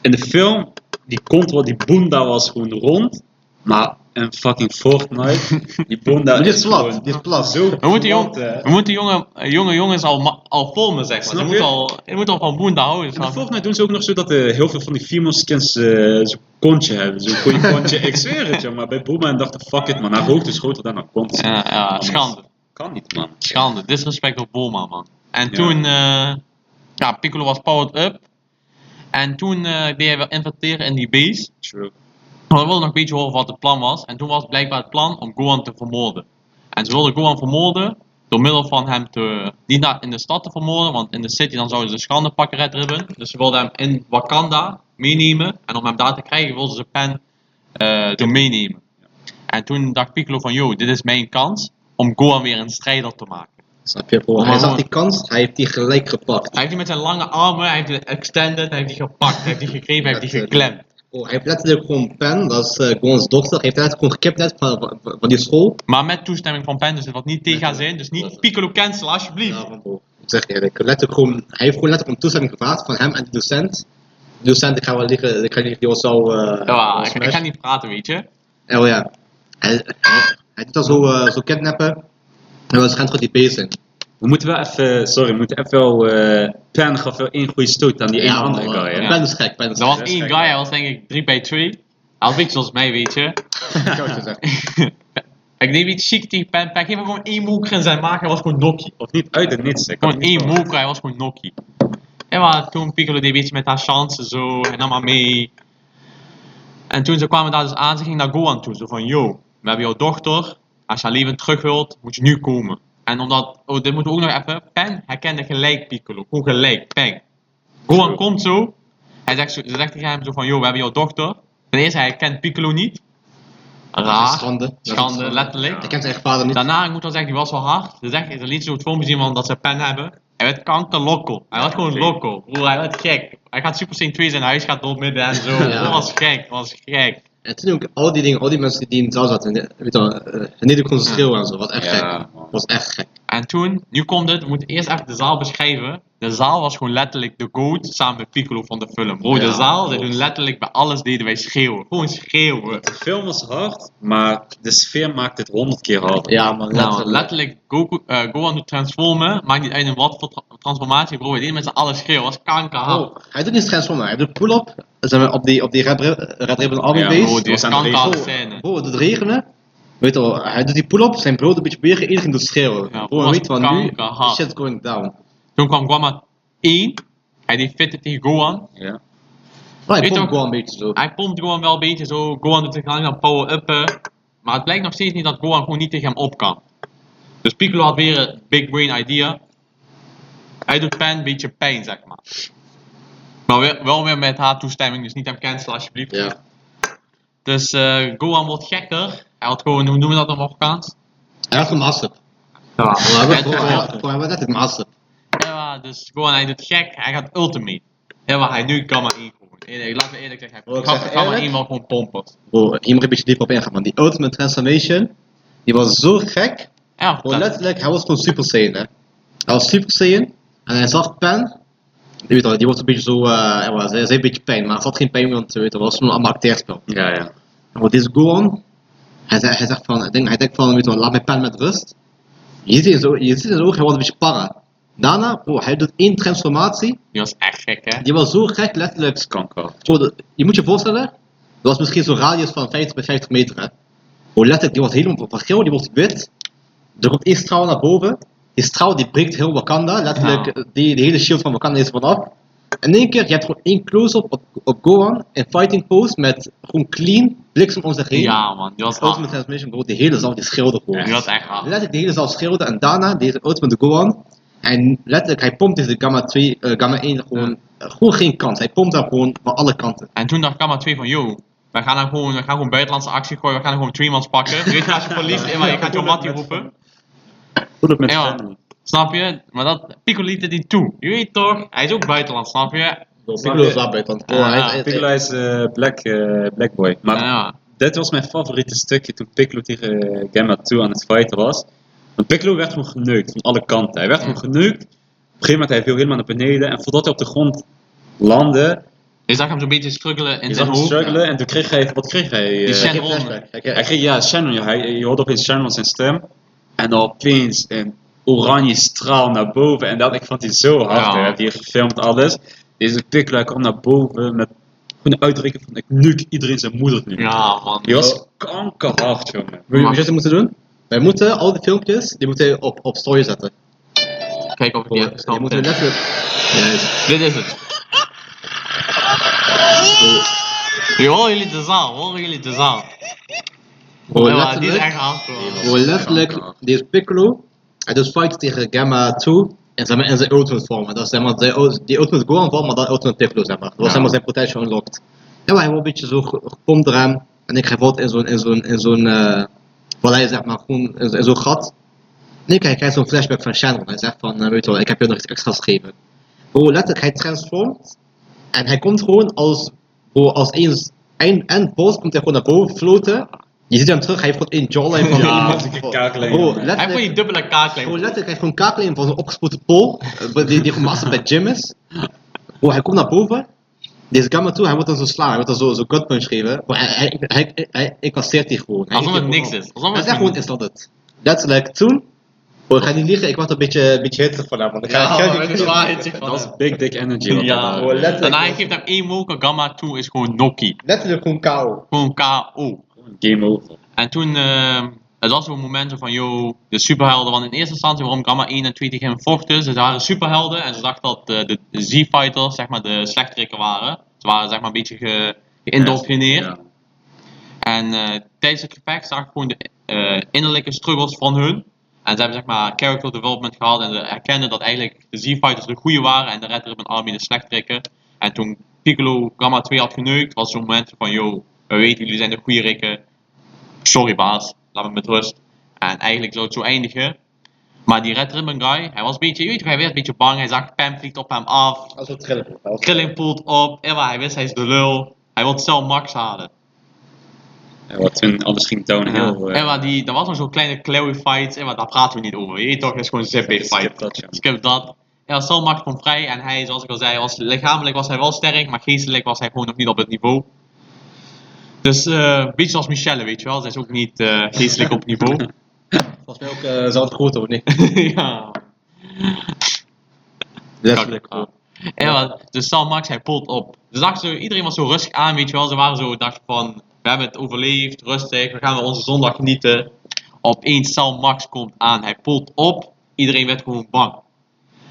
[SPEAKER 3] in de film, die kont, wel- die bunda was gewoon rond, maar in fucking
[SPEAKER 1] [LAUGHS]
[SPEAKER 3] Fortnite, die bunda
[SPEAKER 2] Maar dit is
[SPEAKER 3] gewoon
[SPEAKER 2] plat, dit is plat.
[SPEAKER 3] Zo
[SPEAKER 1] We moeten, jong,
[SPEAKER 3] plat, Eh, hè.
[SPEAKER 1] we moeten jonge, jonge jongens al, ma- al filmen, zeg maar.
[SPEAKER 3] Snap
[SPEAKER 1] Je
[SPEAKER 3] je?
[SPEAKER 1] moet al, je moet al van boenda houden,
[SPEAKER 3] In
[SPEAKER 1] snap je?
[SPEAKER 3] Fortnite doen ze ook nog zo dat eh, heel veel van die female skins eh, zo'n kontje hebben. Zo'n
[SPEAKER 1] [LAUGHS]
[SPEAKER 3] goeie kontje. Ik zweer het, joh. Maar bij Boeman dacht ik, fuck it, man. Hij rookt dus groter dan een kont.
[SPEAKER 1] Ja, ja, schande.
[SPEAKER 3] Kan niet, man.
[SPEAKER 1] Schande, disrespect op Bulma, man. En
[SPEAKER 3] Ja.
[SPEAKER 1] toen, eh, ja, Piccolo was powered up. En toen eh, deed hij wel inventeren in die base.
[SPEAKER 3] True.
[SPEAKER 1] Maar we wilden nog een beetje horen wat het plan was. En toen was blijkbaar het plan om Gohan te vermoorden. En ze wilden Gohan vermoorden door middel van hem te, niet naar, in de stad te vermoorden, want in de city dan zouden ze schandepakket hebben. Dus ze wilden hem in Wakanda meenemen. En om hem daar te krijgen wilden ze Pen eh door meenemen. En toen dacht Piccolo van, yo, dit is mijn kans om Gohan weer een strijder te maken.
[SPEAKER 2] Snap je, bro?
[SPEAKER 1] Oh,
[SPEAKER 2] Hij zag
[SPEAKER 1] man.
[SPEAKER 2] die kans, hij heeft die gelijk gepakt.
[SPEAKER 1] Hij heeft die met zijn lange armen, hij heeft die extended, hij heeft die gepakt, hij heeft die gegrepen, hij heeft die geklemd.
[SPEAKER 2] Oh, hij heeft letterlijk gewoon Pen, dat is eh Gon's dochter, hij heeft letterlijk gewoon gekidnapt van, van, van die school.
[SPEAKER 1] Maar met toestemming van Pen, dus het wat niet tegen gaan zijn. Dus niet Piccolo cancel, alsjeblieft.
[SPEAKER 2] Ja, van, bro. Ik zeg eerlijk, letterlijk gewoon, hij heeft gewoon letterlijk om toestemming gevraagd van hem en die docent. De docent, ik ga wel liggen, ik ga niet die ons zou... eh,
[SPEAKER 1] Ja, ik,
[SPEAKER 2] smash.
[SPEAKER 1] ik ga niet praten, weet je.
[SPEAKER 2] Oh ja. Hij, hij, hij doet dat zo, eh, zo kidnappen. En we schijnt goed die bezig.
[SPEAKER 3] We moeten wel even, sorry, we moeten even wel, eh Pan gaf wel één goede stoot aan die ene andere guy, hè.
[SPEAKER 2] Ik ben dus gek, ben dus
[SPEAKER 1] Er was
[SPEAKER 2] gek.
[SPEAKER 1] één guy, hij was denk ik 3 bij 2. Hij was een beetje zoals mij, weet je. [LAUGHS]
[SPEAKER 2] Ik zou het zo zeggen.
[SPEAKER 1] ik neem iets chic tegen Pen. Pen geef hem gewoon één moeker in zijn maag, hij was gewoon nokkie.
[SPEAKER 3] Of niet uit het niets, hè. Ik had
[SPEAKER 1] Gewoon
[SPEAKER 3] het niet
[SPEAKER 1] één
[SPEAKER 3] verwacht.
[SPEAKER 1] moeker, hij was gewoon nokkie. En maar toen Piccolo deed een beetje met haar chance zo, en nam haar mee. En toen ze kwamen daar dus aan, ze ging naar Gohan toe. Zo van, yo, we hebben jouw dochter. Als je haar levend terug wilt, moet je nu komen. En omdat, oh, dit moeten we ook nog even. Pen herkende gelijk Piccolo. Gewoon gelijk, Pen. Gohan
[SPEAKER 3] Zo.
[SPEAKER 1] komt zo. Hij zegt, zo- ze zegt tegen hem zo van, yo, we hebben jouw dochter. Ten eerste, hij herkent Piccolo niet.
[SPEAKER 2] Dat is
[SPEAKER 1] Raar.
[SPEAKER 2] Schande. Dat is
[SPEAKER 1] Schande, letterlijk.
[SPEAKER 2] Ik ken zijn echt vader niet.
[SPEAKER 1] Daarna, ik moet wel zeggen, die was wel hard. Ze, zegt, ze liet zo het filmpje zien van dat ze pen hebben. Hij werd kanker loco. Hij werd gewoon
[SPEAKER 3] oké.
[SPEAKER 1] loco. Broer, hij werd gek. Hij gaat Super Saiyan 2 zijn huis, gaat door midden en zo.
[SPEAKER 2] [LAUGHS] Ja.
[SPEAKER 1] Dat was gek, dat was gek.
[SPEAKER 2] En toen ook al die dingen, al die mensen die in de zaal zaten, en, eh, weet je wel, eh, en niet ook konden schreeuwen en zo. Was echt
[SPEAKER 3] Ja,
[SPEAKER 2] gek.
[SPEAKER 3] man.
[SPEAKER 2] Was echt gek.
[SPEAKER 1] En toen, nu komt het, we moeten eerst even de zaal beschrijven. De zaal was gewoon letterlijk de goat samen met Piccolo van de film. Bro, de
[SPEAKER 2] Ja,
[SPEAKER 1] zaal, ze
[SPEAKER 2] klopt.
[SPEAKER 1] doen letterlijk bij alles deden wij schreeuwen. Gewoon schreeuwen.
[SPEAKER 3] De film was hard, maar de sfeer maakt het honderd keer harder.
[SPEAKER 2] Ja, man,
[SPEAKER 1] Nou,
[SPEAKER 2] letterlijk.
[SPEAKER 1] letterlijk Goku, eh, Gohan doet transformen, maakt niet uit in wat voor tra- transformatie, bro. We deden met z'n allen schreeuwen, was kankerhard.
[SPEAKER 2] Oh, hij doet niet transformen, hij doet pull-up. Dan zijn we op die, op die Red, Rib- Red Ribbon Army
[SPEAKER 3] Ja,
[SPEAKER 2] Base.
[SPEAKER 1] Bro,
[SPEAKER 3] Het
[SPEAKER 1] dit is
[SPEAKER 3] was aan de
[SPEAKER 1] kankerharde
[SPEAKER 2] regel.
[SPEAKER 1] scène.
[SPEAKER 2] Bro, het doet regenen. Weet je wel, hij doet die pull-up, zijn brood een beetje bewegen, iedereen doet schreeuwen.
[SPEAKER 1] Ja,
[SPEAKER 2] Bro, hij
[SPEAKER 1] was
[SPEAKER 2] weet van nu,
[SPEAKER 1] kankerhard.
[SPEAKER 2] shit's going down.
[SPEAKER 1] Toen kwam Guama 1. Hij die fitte tegen Gohan.
[SPEAKER 3] Ja.
[SPEAKER 2] Maar
[SPEAKER 1] Weet
[SPEAKER 2] ik
[SPEAKER 1] je
[SPEAKER 2] vond
[SPEAKER 1] ook- Ah.
[SPEAKER 2] gewoon een beetje zo.
[SPEAKER 1] Hij pompt Gohan wel een beetje zo. Gohan doet zich aan aan power-uppen. Maar het blijkt nog steeds niet dat Gohan gewoon niet tegen hem op kan. Dus Piccolo had weer een big brain idea. Hij doet Pan een beetje pijn, zeg maar. Maar weer- wel weer met haar toestemming, dus niet hem cancelen alsjeblieft.
[SPEAKER 2] Ja.
[SPEAKER 1] Dus eh, Gohan wordt gekker. Hij had gewoon, hoe noemen we dat op Marokkaans?
[SPEAKER 2] Hij had hem hassen.
[SPEAKER 1] Ja,
[SPEAKER 2] Hij
[SPEAKER 1] [LAUGHS]
[SPEAKER 2] had net hem hassen.
[SPEAKER 1] Ja, dus gewoon, hij doet gek, hij gaat ultimate. Ja, maar hij nu kan maar één gewoon. Eerlijk, laten we eerlijk zeggen, hij
[SPEAKER 2] Wil ik
[SPEAKER 1] kan,
[SPEAKER 2] zeggen
[SPEAKER 1] kan maar
[SPEAKER 2] eerlijk?
[SPEAKER 1] één wel gewoon pompen.
[SPEAKER 2] Bro, hier moet ik een beetje diep op ingaan, man. Die Ultimate Transformation, die was zo gek.
[SPEAKER 1] Ja,
[SPEAKER 2] Gewoon
[SPEAKER 1] dat,
[SPEAKER 2] letterlijk, hij was gewoon Super Saiyan, hè. Hij was Super Saiyan, en hij zag Pen. Je weet wel, die wordt een beetje zo, eh, ja, ze, ze heeft een beetje pijn, maar ze had geen pijn, want weet je wel, het was gewoon allemaal acteerspel.
[SPEAKER 3] Ja, ja.
[SPEAKER 2] Maar dit is Gohan. Hij zegt, hij zegt van, hij denkt, hij denkt van, weet je wel, laat mijn pen met rust. Je ziet in zijn oog- je ziet in zijn oog, hij wordt een beetje para. Daarna, bro, hij doet één transformatie.
[SPEAKER 1] die was echt gek, hè?
[SPEAKER 2] Die was zo gek, letterlijk.
[SPEAKER 3] Kanker.
[SPEAKER 2] Bro, dat- je moet je voorstellen, dat was misschien zo'n radius van 50 bij 50 meter. Hè. Bro, letterlijk, die wordt helemaal van geel, die wordt wit. Er komt één straal naar boven. Die straal die breekt heel Wakanda. Letterlijk,
[SPEAKER 1] Ja.
[SPEAKER 2] die, die hele shield van Wakanda is vanaf. In één keer, je hebt gewoon één close-up op, op Gohan in fighting pose met gewoon clean bliksem om zich heen.
[SPEAKER 1] Ja, man. Die was
[SPEAKER 2] Ultimate
[SPEAKER 1] hard.
[SPEAKER 2] Transmission, bro, die hele zaal die schilder gewoon.
[SPEAKER 1] Die was echt hard.
[SPEAKER 2] Letterlijk de hele zaal schilderen en daarna deze Ultimate Gohan. En letterlijk, hij pompt deze Gamma 2, eh, Gamma 1 gewoon, eh, gewoon geen kans. Hij pompt daar gewoon van alle kanten.
[SPEAKER 1] En toen dacht Gamma 2 van, yo, wij gaan, dan gewoon, wij gaan gewoon buitenlandse actie gooien, we gaan gewoon Tremans pakken. Weet je, als je verliest, eh, maar je gaat jouw mattie
[SPEAKER 3] [LAUGHS]
[SPEAKER 1] roepen.
[SPEAKER 3] Voel het met
[SPEAKER 1] Ja, man.
[SPEAKER 3] family.
[SPEAKER 1] Snap je? Maar dat, Pico liet het niet toe. Je weet toch, hij is ook buitenland, snap je?
[SPEAKER 2] Piccolo is waarbij, want
[SPEAKER 1] Ja,
[SPEAKER 2] hij-
[SPEAKER 1] ja,
[SPEAKER 2] hij-
[SPEAKER 3] Piccolo is eh, black, eh, black boy. Maar
[SPEAKER 1] Ja, ja.
[SPEAKER 3] dit was mijn favoriete stukje toen Piccolo tegen eh, Gamma 2 aan het fighten was. Want Piccolo werd gewoon geneukt van alle kanten. Hij werd gewoon geneukt. Op een gegeven moment hij viel helemaal naar beneden. En voordat hij op de grond landde,
[SPEAKER 1] Je zag hem zo'n beetje struggelen in
[SPEAKER 3] je zag
[SPEAKER 1] zijn
[SPEAKER 3] hem
[SPEAKER 1] hoofd.
[SPEAKER 3] struggelen. En toen kreeg hij, wat kreeg hij? eh,
[SPEAKER 2] hij
[SPEAKER 1] Shen-
[SPEAKER 2] kreeg
[SPEAKER 1] Shenron.
[SPEAKER 2] flashback. Hij kreeg-
[SPEAKER 3] hij kreeg, ja, Shannon. ja, Hij, je hoorde opeens Shannon zijn stem. En dan opeens een oranje straal naar boven. En dat, ik vond hij zo hard.
[SPEAKER 1] Ja.
[SPEAKER 3] Hij heeft hier gefilmd alles. Deze Piccolo hij kwam naar boven met gewoon een uitdrukking van ik nuke iedereen zijn moeder nu.
[SPEAKER 1] Ja, man.
[SPEAKER 3] Die was kankerhard, jongen.
[SPEAKER 2] Weet je wat we moeten doen? Wij moeten al die filmpjes, die moeten we op, op story zetten.
[SPEAKER 1] Kijk of ik die heb
[SPEAKER 2] die
[SPEAKER 1] gesnapt.
[SPEAKER 2] moeten we letterlijk... Juist.
[SPEAKER 1] Dit is het. Nu horen jullie de zaal, horen jullie de zaal.
[SPEAKER 2] Bro,
[SPEAKER 1] Ja, maar die is echt
[SPEAKER 2] letterlijk,
[SPEAKER 1] hard, hoor.
[SPEAKER 2] bro, letterlijk, die is Piccolo. Hij doet fight tegen Gamma 2 en zeg maar in zijn ultimate vorm. En Dat is zeg maar zijn ul- die ultimate Gohan vorm, maar dan ultimate Piccolo zeg maar. Dat was
[SPEAKER 1] Ja.
[SPEAKER 2] zeg maar zijn potential unlocked. En hij wordt een beetje zo ge- gepompt eraan. En ik bijvoorbeeld in zo'n, in zo'n, in zo'n, eh vallei zeg maar, gewoon in, zo- in zo'n gat. En ik hij krijgt zo'n flashback van Shannon. Hij zegt van, eh, weet je wel, ik heb je nog iets extra's gegeven. Bro, letterlijk, hij transformt. En hij komt gewoon als, bro, als eens eind en boss komt hij gewoon naar boven floten. Je ziet hem terug, hij heeft gewoon één
[SPEAKER 1] [LAUGHS]
[SPEAKER 2] jawline van
[SPEAKER 3] Ja,
[SPEAKER 2] iemand.
[SPEAKER 3] dikke kaaklijn.
[SPEAKER 2] Bro,
[SPEAKER 1] Hij heeft gewoon
[SPEAKER 2] letterlijk,
[SPEAKER 1] die dubbele kaaklijn.
[SPEAKER 2] bro, letterlijk, hij heeft gewoon kaaklijn van zo'n opgespoten pol. eh, Die, die gewoon master bij Jim is. Bro, hij komt naar boven. Deze gamma toe, hij wordt dan zo slaan, hij wordt dan zo, zo gut punch geven. Bro, hij, hij, hij, hij, hij incasseert die gewoon. Hij
[SPEAKER 1] Alsof
[SPEAKER 2] heeft
[SPEAKER 1] het
[SPEAKER 2] die
[SPEAKER 1] niks
[SPEAKER 2] gewoon op.
[SPEAKER 1] is. Alsof
[SPEAKER 2] Hij
[SPEAKER 1] het
[SPEAKER 2] zegt gewoon, is Oh, dat het? Letterlijk, toen... Bro, ik ga niet liegen, ik was een beetje, een beetje hittig vanavond. want ik ga-
[SPEAKER 1] Ja,
[SPEAKER 2] ik ga-
[SPEAKER 1] het is waar, het is
[SPEAKER 3] Dat is
[SPEAKER 1] waar.
[SPEAKER 3] big dick energy. wat
[SPEAKER 1] Ja,
[SPEAKER 3] hij daar-
[SPEAKER 2] letterlijk.
[SPEAKER 1] en hij geeft hem één moker, Gamma 2 is gewoon Nokkie.
[SPEAKER 2] Letterlijk gewoon KO.
[SPEAKER 1] Gewoon KO.
[SPEAKER 3] Game over.
[SPEAKER 1] En toen, ehm het was zo'n moment zo van, yo, de superhelden, want in eerste instantie waarom Gamma 1 en 2 tegen hem vochten, ze waren superhelden en ze dachten dat eh, de, de Z-fighters, zeg maar, de slechterikken waren. Ze waren, zeg maar, een beetje ge, geïndoctrineerd.
[SPEAKER 3] Ja.
[SPEAKER 1] En eh, tijdens het gevecht zag ik gewoon de eh, innerlijke struggles van hun. En ze hebben zeg maar character development gehad en ze erkenden dat eigenlijk de Z-fighters de goede waren en de Red Ribbon Army de slechterikken. En toen Piccolo Gamma 2 had geneukt, was zo'n moment van yo, we weten jullie zijn de goede rikken. Sorry baas, laat me met rust. En eigenlijk zou het zo eindigen. Maar die Red Ribbon guy, hij was een beetje, je weet toch, hij werd een beetje bang. Hij zag Pam vliegt op hem af.
[SPEAKER 2] Dat is wel trillen. bro. Dat was-
[SPEAKER 1] Krillin poelt op. Ewa, hij wist hij is de lul. Hij wil zelf Max halen.
[SPEAKER 3] Ja, wat toen alles ging
[SPEAKER 1] Ja.
[SPEAKER 3] downhill. eh,
[SPEAKER 1] En maar die, er was nog zo'n kleine Chloe fight, en maar daar praten we niet over. Je weet toch, dat is gewoon een zipping
[SPEAKER 3] skip
[SPEAKER 1] fight.
[SPEAKER 3] dat, ja.
[SPEAKER 1] Skip dat. Ja, Sal maakt van vrij en hij, zoals ik al zei, was, lichamelijk was hij wel sterk, maar geestelijk was hij gewoon nog niet op het niveau. Dus eh, een beetje als Michelle, weet je wel, zij is ook niet eh, geestelijk op
[SPEAKER 3] [LAUGHS]
[SPEAKER 1] niveau. [LAUGHS]
[SPEAKER 2] Volgens mij ook eh, zelfs groter, of niet?
[SPEAKER 1] ja,
[SPEAKER 2] Letterlijk.
[SPEAKER 1] Ja. En maar, dus Sal Max, hij poelt op. Dus dacht zo, iedereen was zo rustig aan, weet je wel, ze waren zo, dacht van, we hebben het overleefd, rustig, we gaan wel onze zondag genieten. Opeens Sal Max komt aan. Hij poelt op. Iedereen werd gewoon bang.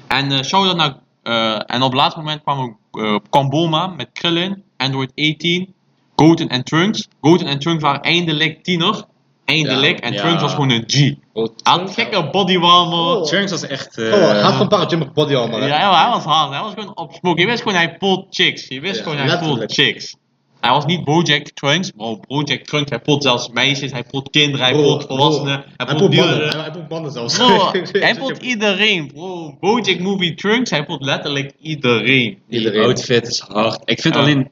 [SPEAKER 1] En eh shout-out naar... eh, en op het laatste moment kwam, ook, eh kwam Bulma met Krillin, Android 18, Goten en Trunks. Goten en Trunks waren eindelijk tiener. Eindelijk.
[SPEAKER 2] Ja,
[SPEAKER 1] en
[SPEAKER 3] ja.
[SPEAKER 1] Trunks was gewoon een G. Hij had gekke bodywarmer.
[SPEAKER 2] Oh.
[SPEAKER 3] Trunks was echt. eh,
[SPEAKER 2] Oh, hij had een paar Jim body armor.
[SPEAKER 1] Ja,
[SPEAKER 2] hè?
[SPEAKER 1] ja, hij was hard. Hij was gewoon op smoke. Je wist gewoon hij poelt chicks. Je wist
[SPEAKER 2] Ja,
[SPEAKER 1] gewoon hij poelt
[SPEAKER 2] letterlijk.
[SPEAKER 1] chicks. Hij was niet Bojack Trunks, maar Bojack Trunks. Hij poelt zelfs meisjes, hij poelt kinderen, hij
[SPEAKER 2] Bro,
[SPEAKER 1] poelt
[SPEAKER 2] bro.
[SPEAKER 1] volwassenen, hij
[SPEAKER 2] Hij
[SPEAKER 1] poelt
[SPEAKER 2] poelt
[SPEAKER 1] dieren.
[SPEAKER 2] [LAUGHS] mannen. Hij poelt mannen zelfs.
[SPEAKER 1] Bro, hij voelt iedereen, bro. Bojack Movie Trunks, hij voelt letterlijk iedereen.
[SPEAKER 3] Die
[SPEAKER 2] Iedereen.
[SPEAKER 3] outfit is hard. Ik vind
[SPEAKER 1] Ja.
[SPEAKER 3] alleen.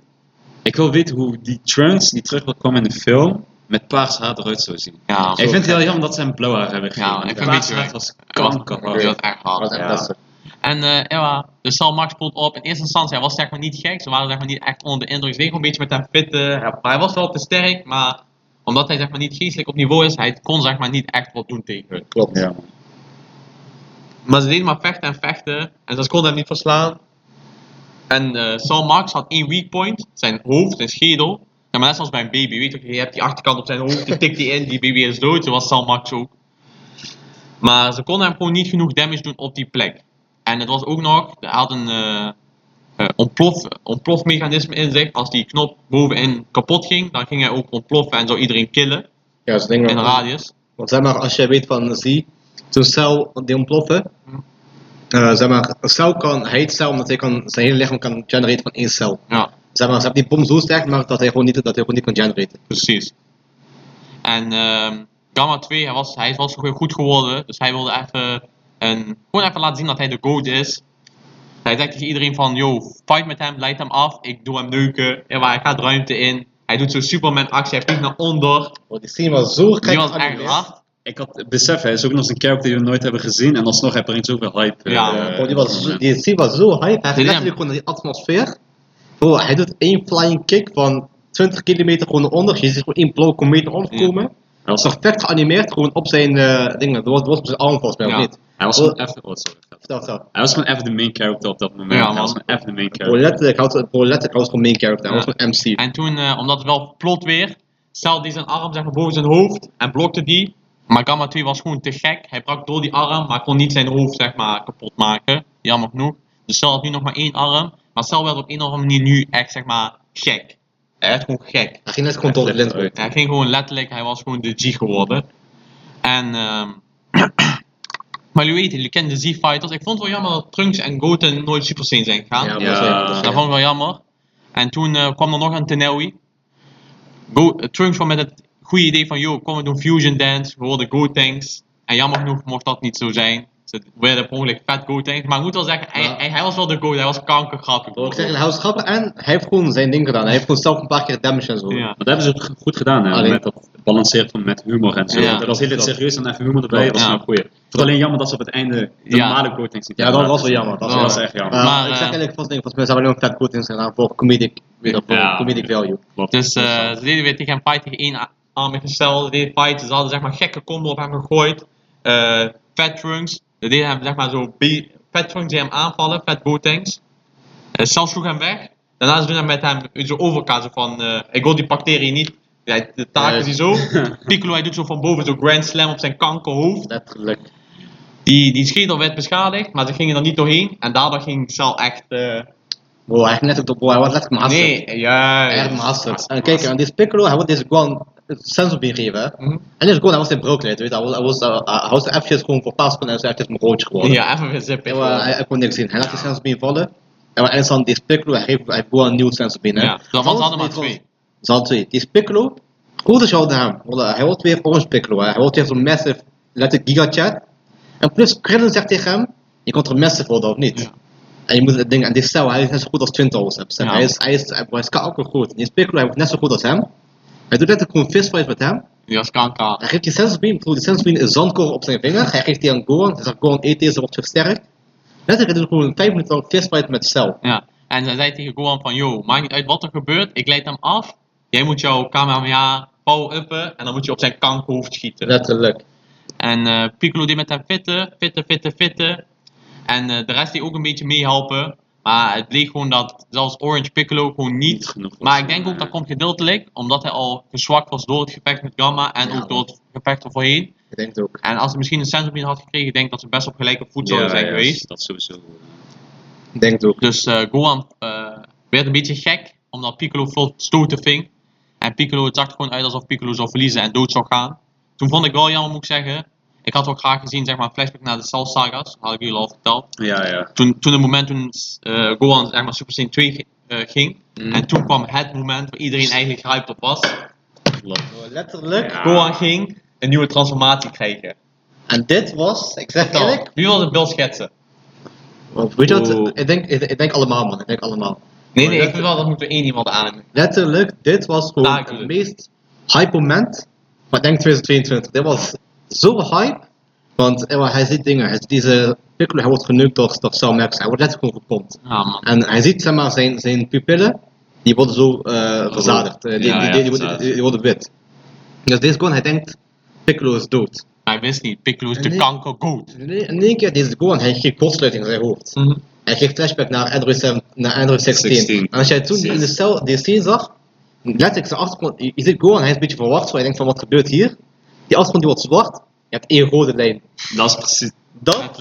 [SPEAKER 3] Ik wil weten hoe die Trunks die terug wil komen in de film. met paars haar eruit zou zien.
[SPEAKER 1] Ja,
[SPEAKER 3] ik vind het heel jammer dat ze hem blauw haar hebben gegeven.
[SPEAKER 1] Ja, ik vind het
[SPEAKER 3] paars
[SPEAKER 1] een
[SPEAKER 3] haar
[SPEAKER 1] beetje
[SPEAKER 3] was
[SPEAKER 1] dat
[SPEAKER 3] kankerhard.
[SPEAKER 1] was echt hard.
[SPEAKER 2] Dat is echt
[SPEAKER 3] Ja.
[SPEAKER 2] lastig.
[SPEAKER 1] En eh, ja, dus Sal Max poelt op. In eerste instantie, hij was zeg maar niet gek. Ze waren zeg maar niet echt onder de indruk. Ze deden gewoon een beetje met hem fitten. Hij- Maar hij was wel te sterk, maar omdat hij zeg maar niet geestelijk op niveau is, hij kon zeg maar niet echt wat doen tegen hun.
[SPEAKER 2] Klopt.
[SPEAKER 3] Ja.
[SPEAKER 1] Maar ze deden maar vechten en vechten. En ze konden hem niet verslaan. En eh Sal Max had één weak point. Zijn hoofd, zijn schedel. Ja, maar net zoals bij een baby. Weet je, je hebt die achterkant op zijn hoofd. Die tikt die in. Die baby is dood. Zo was Sal Max ook. Maar ze konden hem gewoon niet genoeg damage doen op die plek. En het was ook nog, hij had een eh, eh, ontplof, ontplofmechanisme in zich. Als die knop bovenin kapot ging, dan ging hij ook ontploffen en zou iedereen killen
[SPEAKER 2] Ja, dat is denk
[SPEAKER 1] in
[SPEAKER 2] ik
[SPEAKER 1] de
[SPEAKER 2] wel-
[SPEAKER 1] radius.
[SPEAKER 2] Want zeg maar, als jij weet van, zie, zo'n cel die ontploffen.
[SPEAKER 1] Hm.
[SPEAKER 2] eh, zeg maar, een cel kan, hij heet cel omdat hij kan, zijn hele lichaam kan genereren van één cel.
[SPEAKER 1] Ja,
[SPEAKER 2] Zeg maar, ze hebben die bom zo sterk gemaakt dat hij gewoon niet, dat hij gewoon niet kon genereren.
[SPEAKER 1] precies. En ehm, Gamma 2, hij was, hij was gewoon goed geworden. Dus hij wilde even, een, gewoon even laten zien dat hij de goat is. Hij zegt tegen iedereen van, yo, fight met hem, leid hem af. Ik doe hem neuken. Ja, maar hij gaat ruimte in. Hij doet zo'n Superman actie, hij vliegt naar onder.
[SPEAKER 2] Want Oh, die scene was zo gek.
[SPEAKER 1] Die was echt
[SPEAKER 2] geanimeerd.
[SPEAKER 1] hard.
[SPEAKER 3] Ik had besef, hij is ook nog eens een character die we nooit hebben gezien. En alsnog heb er niet zoveel hype.
[SPEAKER 1] Ja,
[SPEAKER 3] eh,
[SPEAKER 2] Ja, bro, Oh, die, was, zo-
[SPEAKER 3] van,
[SPEAKER 2] die scene was zo hype. Hij
[SPEAKER 1] Dit is
[SPEAKER 2] letterlijk gewoon naar die atmosfeer. Bro, hij doet één flying kick van 20 kilometer gewoon naar onder. Je ziet gewoon één blauwe komeet naar onder
[SPEAKER 1] Ja.
[SPEAKER 2] komen.
[SPEAKER 3] Hij
[SPEAKER 2] Dat
[SPEAKER 3] was,
[SPEAKER 2] was perfect geanimeerd, gewoon op zijn eh dingen. Dat was, dat was op zijn arm volgens mij,
[SPEAKER 1] Ja.
[SPEAKER 2] of niet?
[SPEAKER 3] hij was gewoon even... Oh, sorry.
[SPEAKER 2] Vertel, vertel.
[SPEAKER 3] Hij was gewoon even de main character op dat moment.
[SPEAKER 1] Ja,
[SPEAKER 3] hij
[SPEAKER 1] man.
[SPEAKER 3] was gewoon even de main
[SPEAKER 2] Bro,
[SPEAKER 3] character.
[SPEAKER 2] letterlijk, hij was- bro, letterlijk, hij was gewoon main character. Hij
[SPEAKER 1] Ja.
[SPEAKER 2] was gewoon MC.
[SPEAKER 1] En toen, eh, omdat het wel plot weer, stelde hij zijn arm zeg maar, boven zijn hoofd en blokte die. Maar Gamma 2 was gewoon te gek. Hij brak door die arm, maar kon niet zijn hoofd zeg maar, kapot maken. Jammer genoeg. Dus Cell had nu nog maar één arm. Maar Cell werd op een of andere manier nu echt zeg maar, gek. Hij werd gewoon gek.
[SPEAKER 2] Hij ging net gewoon door de lint. bro.
[SPEAKER 1] Hij ging gewoon letterlijk, hij was gewoon de G geworden. En, ehm [CLEARS THROAT] maar jullie weten, jullie kennen de Z-fighters. Ik vond het wel jammer dat Trunks en Goten nooit Super Saiyan zijn gegaan.
[SPEAKER 2] Ja,
[SPEAKER 3] Ja.
[SPEAKER 2] dat was-
[SPEAKER 1] Dat vond ik wel jammer. En toen eh, kwam er nog een Tenawi. Go, eh, Trunks kwam met het goede idee van, yo, kom we doen Fusion Dance, we worden Gotenks. En jammer genoeg mocht dat niet zo zijn. Ze werden per ongeluk vet Gotenks. Maar ik moet wel zeggen, hij,
[SPEAKER 2] Ja.
[SPEAKER 1] hij, hij was wel de Goten, hij was kankergrappig.
[SPEAKER 2] Bro, ik zeg, hij was grappig en hij heeft gewoon zijn ding gedaan. Hij heeft gewoon zelf een paar keer damage en zo.
[SPEAKER 1] Ja.
[SPEAKER 3] Maar dat hebben ze ook goed gedaan, hè?
[SPEAKER 2] Alleen-
[SPEAKER 3] Met dat balanceren van met humor en zo.
[SPEAKER 1] Ja.
[SPEAKER 3] Dat was heel het serieus en even humor erbij.
[SPEAKER 2] Klopt,
[SPEAKER 3] Dat was
[SPEAKER 1] ja.
[SPEAKER 3] wel een goeie. Het is alleen jammer dat ze op het einde de
[SPEAKER 1] Ja.
[SPEAKER 3] normale quotings niet
[SPEAKER 2] Ja,
[SPEAKER 3] hebben
[SPEAKER 2] dat was wel
[SPEAKER 3] laten
[SPEAKER 2] jammer. Dat
[SPEAKER 3] zien.
[SPEAKER 2] was,
[SPEAKER 1] Ja.
[SPEAKER 3] Dat was echt jammer.
[SPEAKER 2] Eh,
[SPEAKER 1] Maar,
[SPEAKER 2] ik
[SPEAKER 1] eh,
[SPEAKER 2] zeg eigenlijk, volgens mij- volgens mij zouden we nog vet goed in zijn gedaan voor comedic,
[SPEAKER 3] Ja.
[SPEAKER 2] voor
[SPEAKER 3] Ja.
[SPEAKER 2] comedic value.
[SPEAKER 3] Klopt.
[SPEAKER 1] Dus eh, ze deden weer tegen hem fight tegen één armige cel. Ze deden fight, ze hadden zeg maar gekke combo op hem gegooid. Eh Fat Trunks, ze deden hem zeg maar zo. be- Fat Trunks die hem aanvallen, Fat Botanks. Uh, Cel sloeg hem weg. Daarna ze doen hem met hem zo overkaat. Zo van, eh, ik wil die bacterie niet. Hij, de taak is hij [LAUGHS] zo. Piccolo hij doet zo van boven zo Grand Slam op zijn kankerhoofd.
[SPEAKER 2] Letterlijk.
[SPEAKER 1] Die, die schedel werd beschadigd, maar ze gingen er niet doorheen. En daardoor ging Cel echt... eh,
[SPEAKER 2] Bro, hij, heeft net op de, bro, hij was letterlijk master.
[SPEAKER 1] nee, juist.
[SPEAKER 2] Hij had master. En kijk, en deze Piccolo, hij wordt deze Guan sensorbeen gegeven. hè.
[SPEAKER 1] Mhm.
[SPEAKER 2] En deze Guan, hij was in broodkleed, weet je. Hij was, hij was, eh, hij was eventjes gewoon verpast en hij is eventjes een dus broodje geworden.
[SPEAKER 1] Ja, even weer zippen.
[SPEAKER 2] Hij, eh, hij, hij kon niks zien. Hij laat die sensorbeen vallen. En wat interessant, deze Piccolo, hij geeft hij heeft Guan een nieuw sensorbeen. hè.
[SPEAKER 1] Ja, want ze
[SPEAKER 2] Trouwens,
[SPEAKER 1] hadden maar
[SPEAKER 2] nee, trouwens,
[SPEAKER 1] twee.
[SPEAKER 2] Ze hadden twee. Die Piccolo, grote shout naar hem. Want, eh, Hij wordt weer Orange Piccolo. hè. Hij wordt weer zo'n massive, letterlijk gigachat. En plus, Krillin zegt tegen hem, je kunt er massive worden of niet.
[SPEAKER 1] Ja.
[SPEAKER 2] En je moet het ding, en die cel, hij is net zo goed als Twin Towers. hè. Besef,
[SPEAKER 1] Ja.
[SPEAKER 2] Hij is, hij is, hij is kanker goed. Die Piccolo, hij wordt net zo goed als hem. Hij doet net gewoon fistfight met hem.
[SPEAKER 1] Die was kanker.
[SPEAKER 2] Hij geeft die sensorbeam, bijvoorbeeld die sensorbeam is zandkorrel op zijn vinger. Hij geeft die aan Gohan. Hij zegt, Gohan, eet deze, wordt versterkt. Letterlijk, hij doet gewoon 5 minuten lang fistfight met cel.
[SPEAKER 1] Ja, en zij zei tegen Gohan van, yo, maakt niet uit wat er gebeurt, ik leid hem af. Jij moet jouw Kamehameha power-uppen en dan moet je op zijn kankerhoofd schieten.
[SPEAKER 2] Letterlijk.
[SPEAKER 1] En eh, Piccolo die met hem fitten, fitten, fitten, fitten. En eh, de rest die ook een beetje meehelpen. Maar het bleek gewoon dat zelfs Orange Piccolo gewoon
[SPEAKER 3] Niet
[SPEAKER 1] niet...
[SPEAKER 3] genoeg. was.
[SPEAKER 1] Maar ik denk ook dat komt gedeeltelijk omdat hij al gezwakt was door het gevecht met Gamma en
[SPEAKER 2] Ja,
[SPEAKER 1] ook door het gevecht ervoorheen.
[SPEAKER 2] Ik denk het ook.
[SPEAKER 1] En als hij misschien een sensorbeam had gekregen, denk ik dat ze best op gelijke voet zouden zijn
[SPEAKER 3] ja,
[SPEAKER 1] geweest.
[SPEAKER 3] Dat sowieso.
[SPEAKER 2] Ik denk het ook.
[SPEAKER 1] Dus eh, Gohan eh, werd een beetje gek, omdat Piccolo veel stoten ving. En Piccolo, het zag er gewoon uit alsof Piccolo zou verliezen en dood zou gaan. Toen vond ik wel jammer, moet ik zeggen. Ik had ook graag gezien, zeg maar, een flashback naar de Cell Sagas. Dat had ik jullie al verteld.
[SPEAKER 3] Ja, ja.
[SPEAKER 1] Toen, toen het moment toen eh, Gohan, zeg maar, Super Saiyan 2 ge- eh, ging. En toen kwam het moment waar iedereen eigenlijk hyped op was.
[SPEAKER 3] Klopt.
[SPEAKER 2] Letterlijk.
[SPEAKER 3] Ja.
[SPEAKER 1] Gohan ging een nieuwe transformatie krijgen.
[SPEAKER 2] En dit was, ik zeg
[SPEAKER 1] Vertel,
[SPEAKER 2] eerlijk.
[SPEAKER 1] wie wil het beeld schetsen?
[SPEAKER 2] Weet je
[SPEAKER 3] Oeh.
[SPEAKER 2] wat, ik denk, ik, ik denk allemaal man, ik denk allemaal.
[SPEAKER 1] Nee, nee, ik vind wel dat moeten we één iemand aan.
[SPEAKER 2] Letterlijk, dit was gewoon
[SPEAKER 1] Daar
[SPEAKER 2] het
[SPEAKER 1] kunnen.
[SPEAKER 2] meest hype moment. Maar ik denk 2022, dit was zo hype. Want eh, hij ziet dingen, hij ziet deze Piccolo, hij wordt geneukt door, door Cell Max, hij wordt letterlijk gewoon gepompt.
[SPEAKER 1] Ja, Ah, man.
[SPEAKER 2] En hij ziet zeg maar zijn, zijn pupillen, die worden zo eh verzadigd. Eh, die,
[SPEAKER 3] Ja,
[SPEAKER 2] die,
[SPEAKER 3] ja,
[SPEAKER 2] die- die worden-
[SPEAKER 3] verzadigd.
[SPEAKER 2] die- die worden wit. Dus deze Gon, hij denkt, Piccolo is dood.
[SPEAKER 1] Hij wist niet, Piccolo is de
[SPEAKER 2] Nee.
[SPEAKER 1] kanker goed.
[SPEAKER 2] En in één keer, deze Gon, hij geeft kortsluiting in zijn hoofd. Hij geeft flashback naar Android, 7, naar Android 16.
[SPEAKER 3] 16.
[SPEAKER 2] En als jij toen die in de cel die scene zag, letterlijk zijn achtergrond, je, je ziet Gohan, hij is een beetje verward, zo. hij denkt van wat gebeurt hier? Die achtergrond die wordt zwart, Je hebt één rode lijn.
[SPEAKER 3] Dat is precies.
[SPEAKER 2] Dat,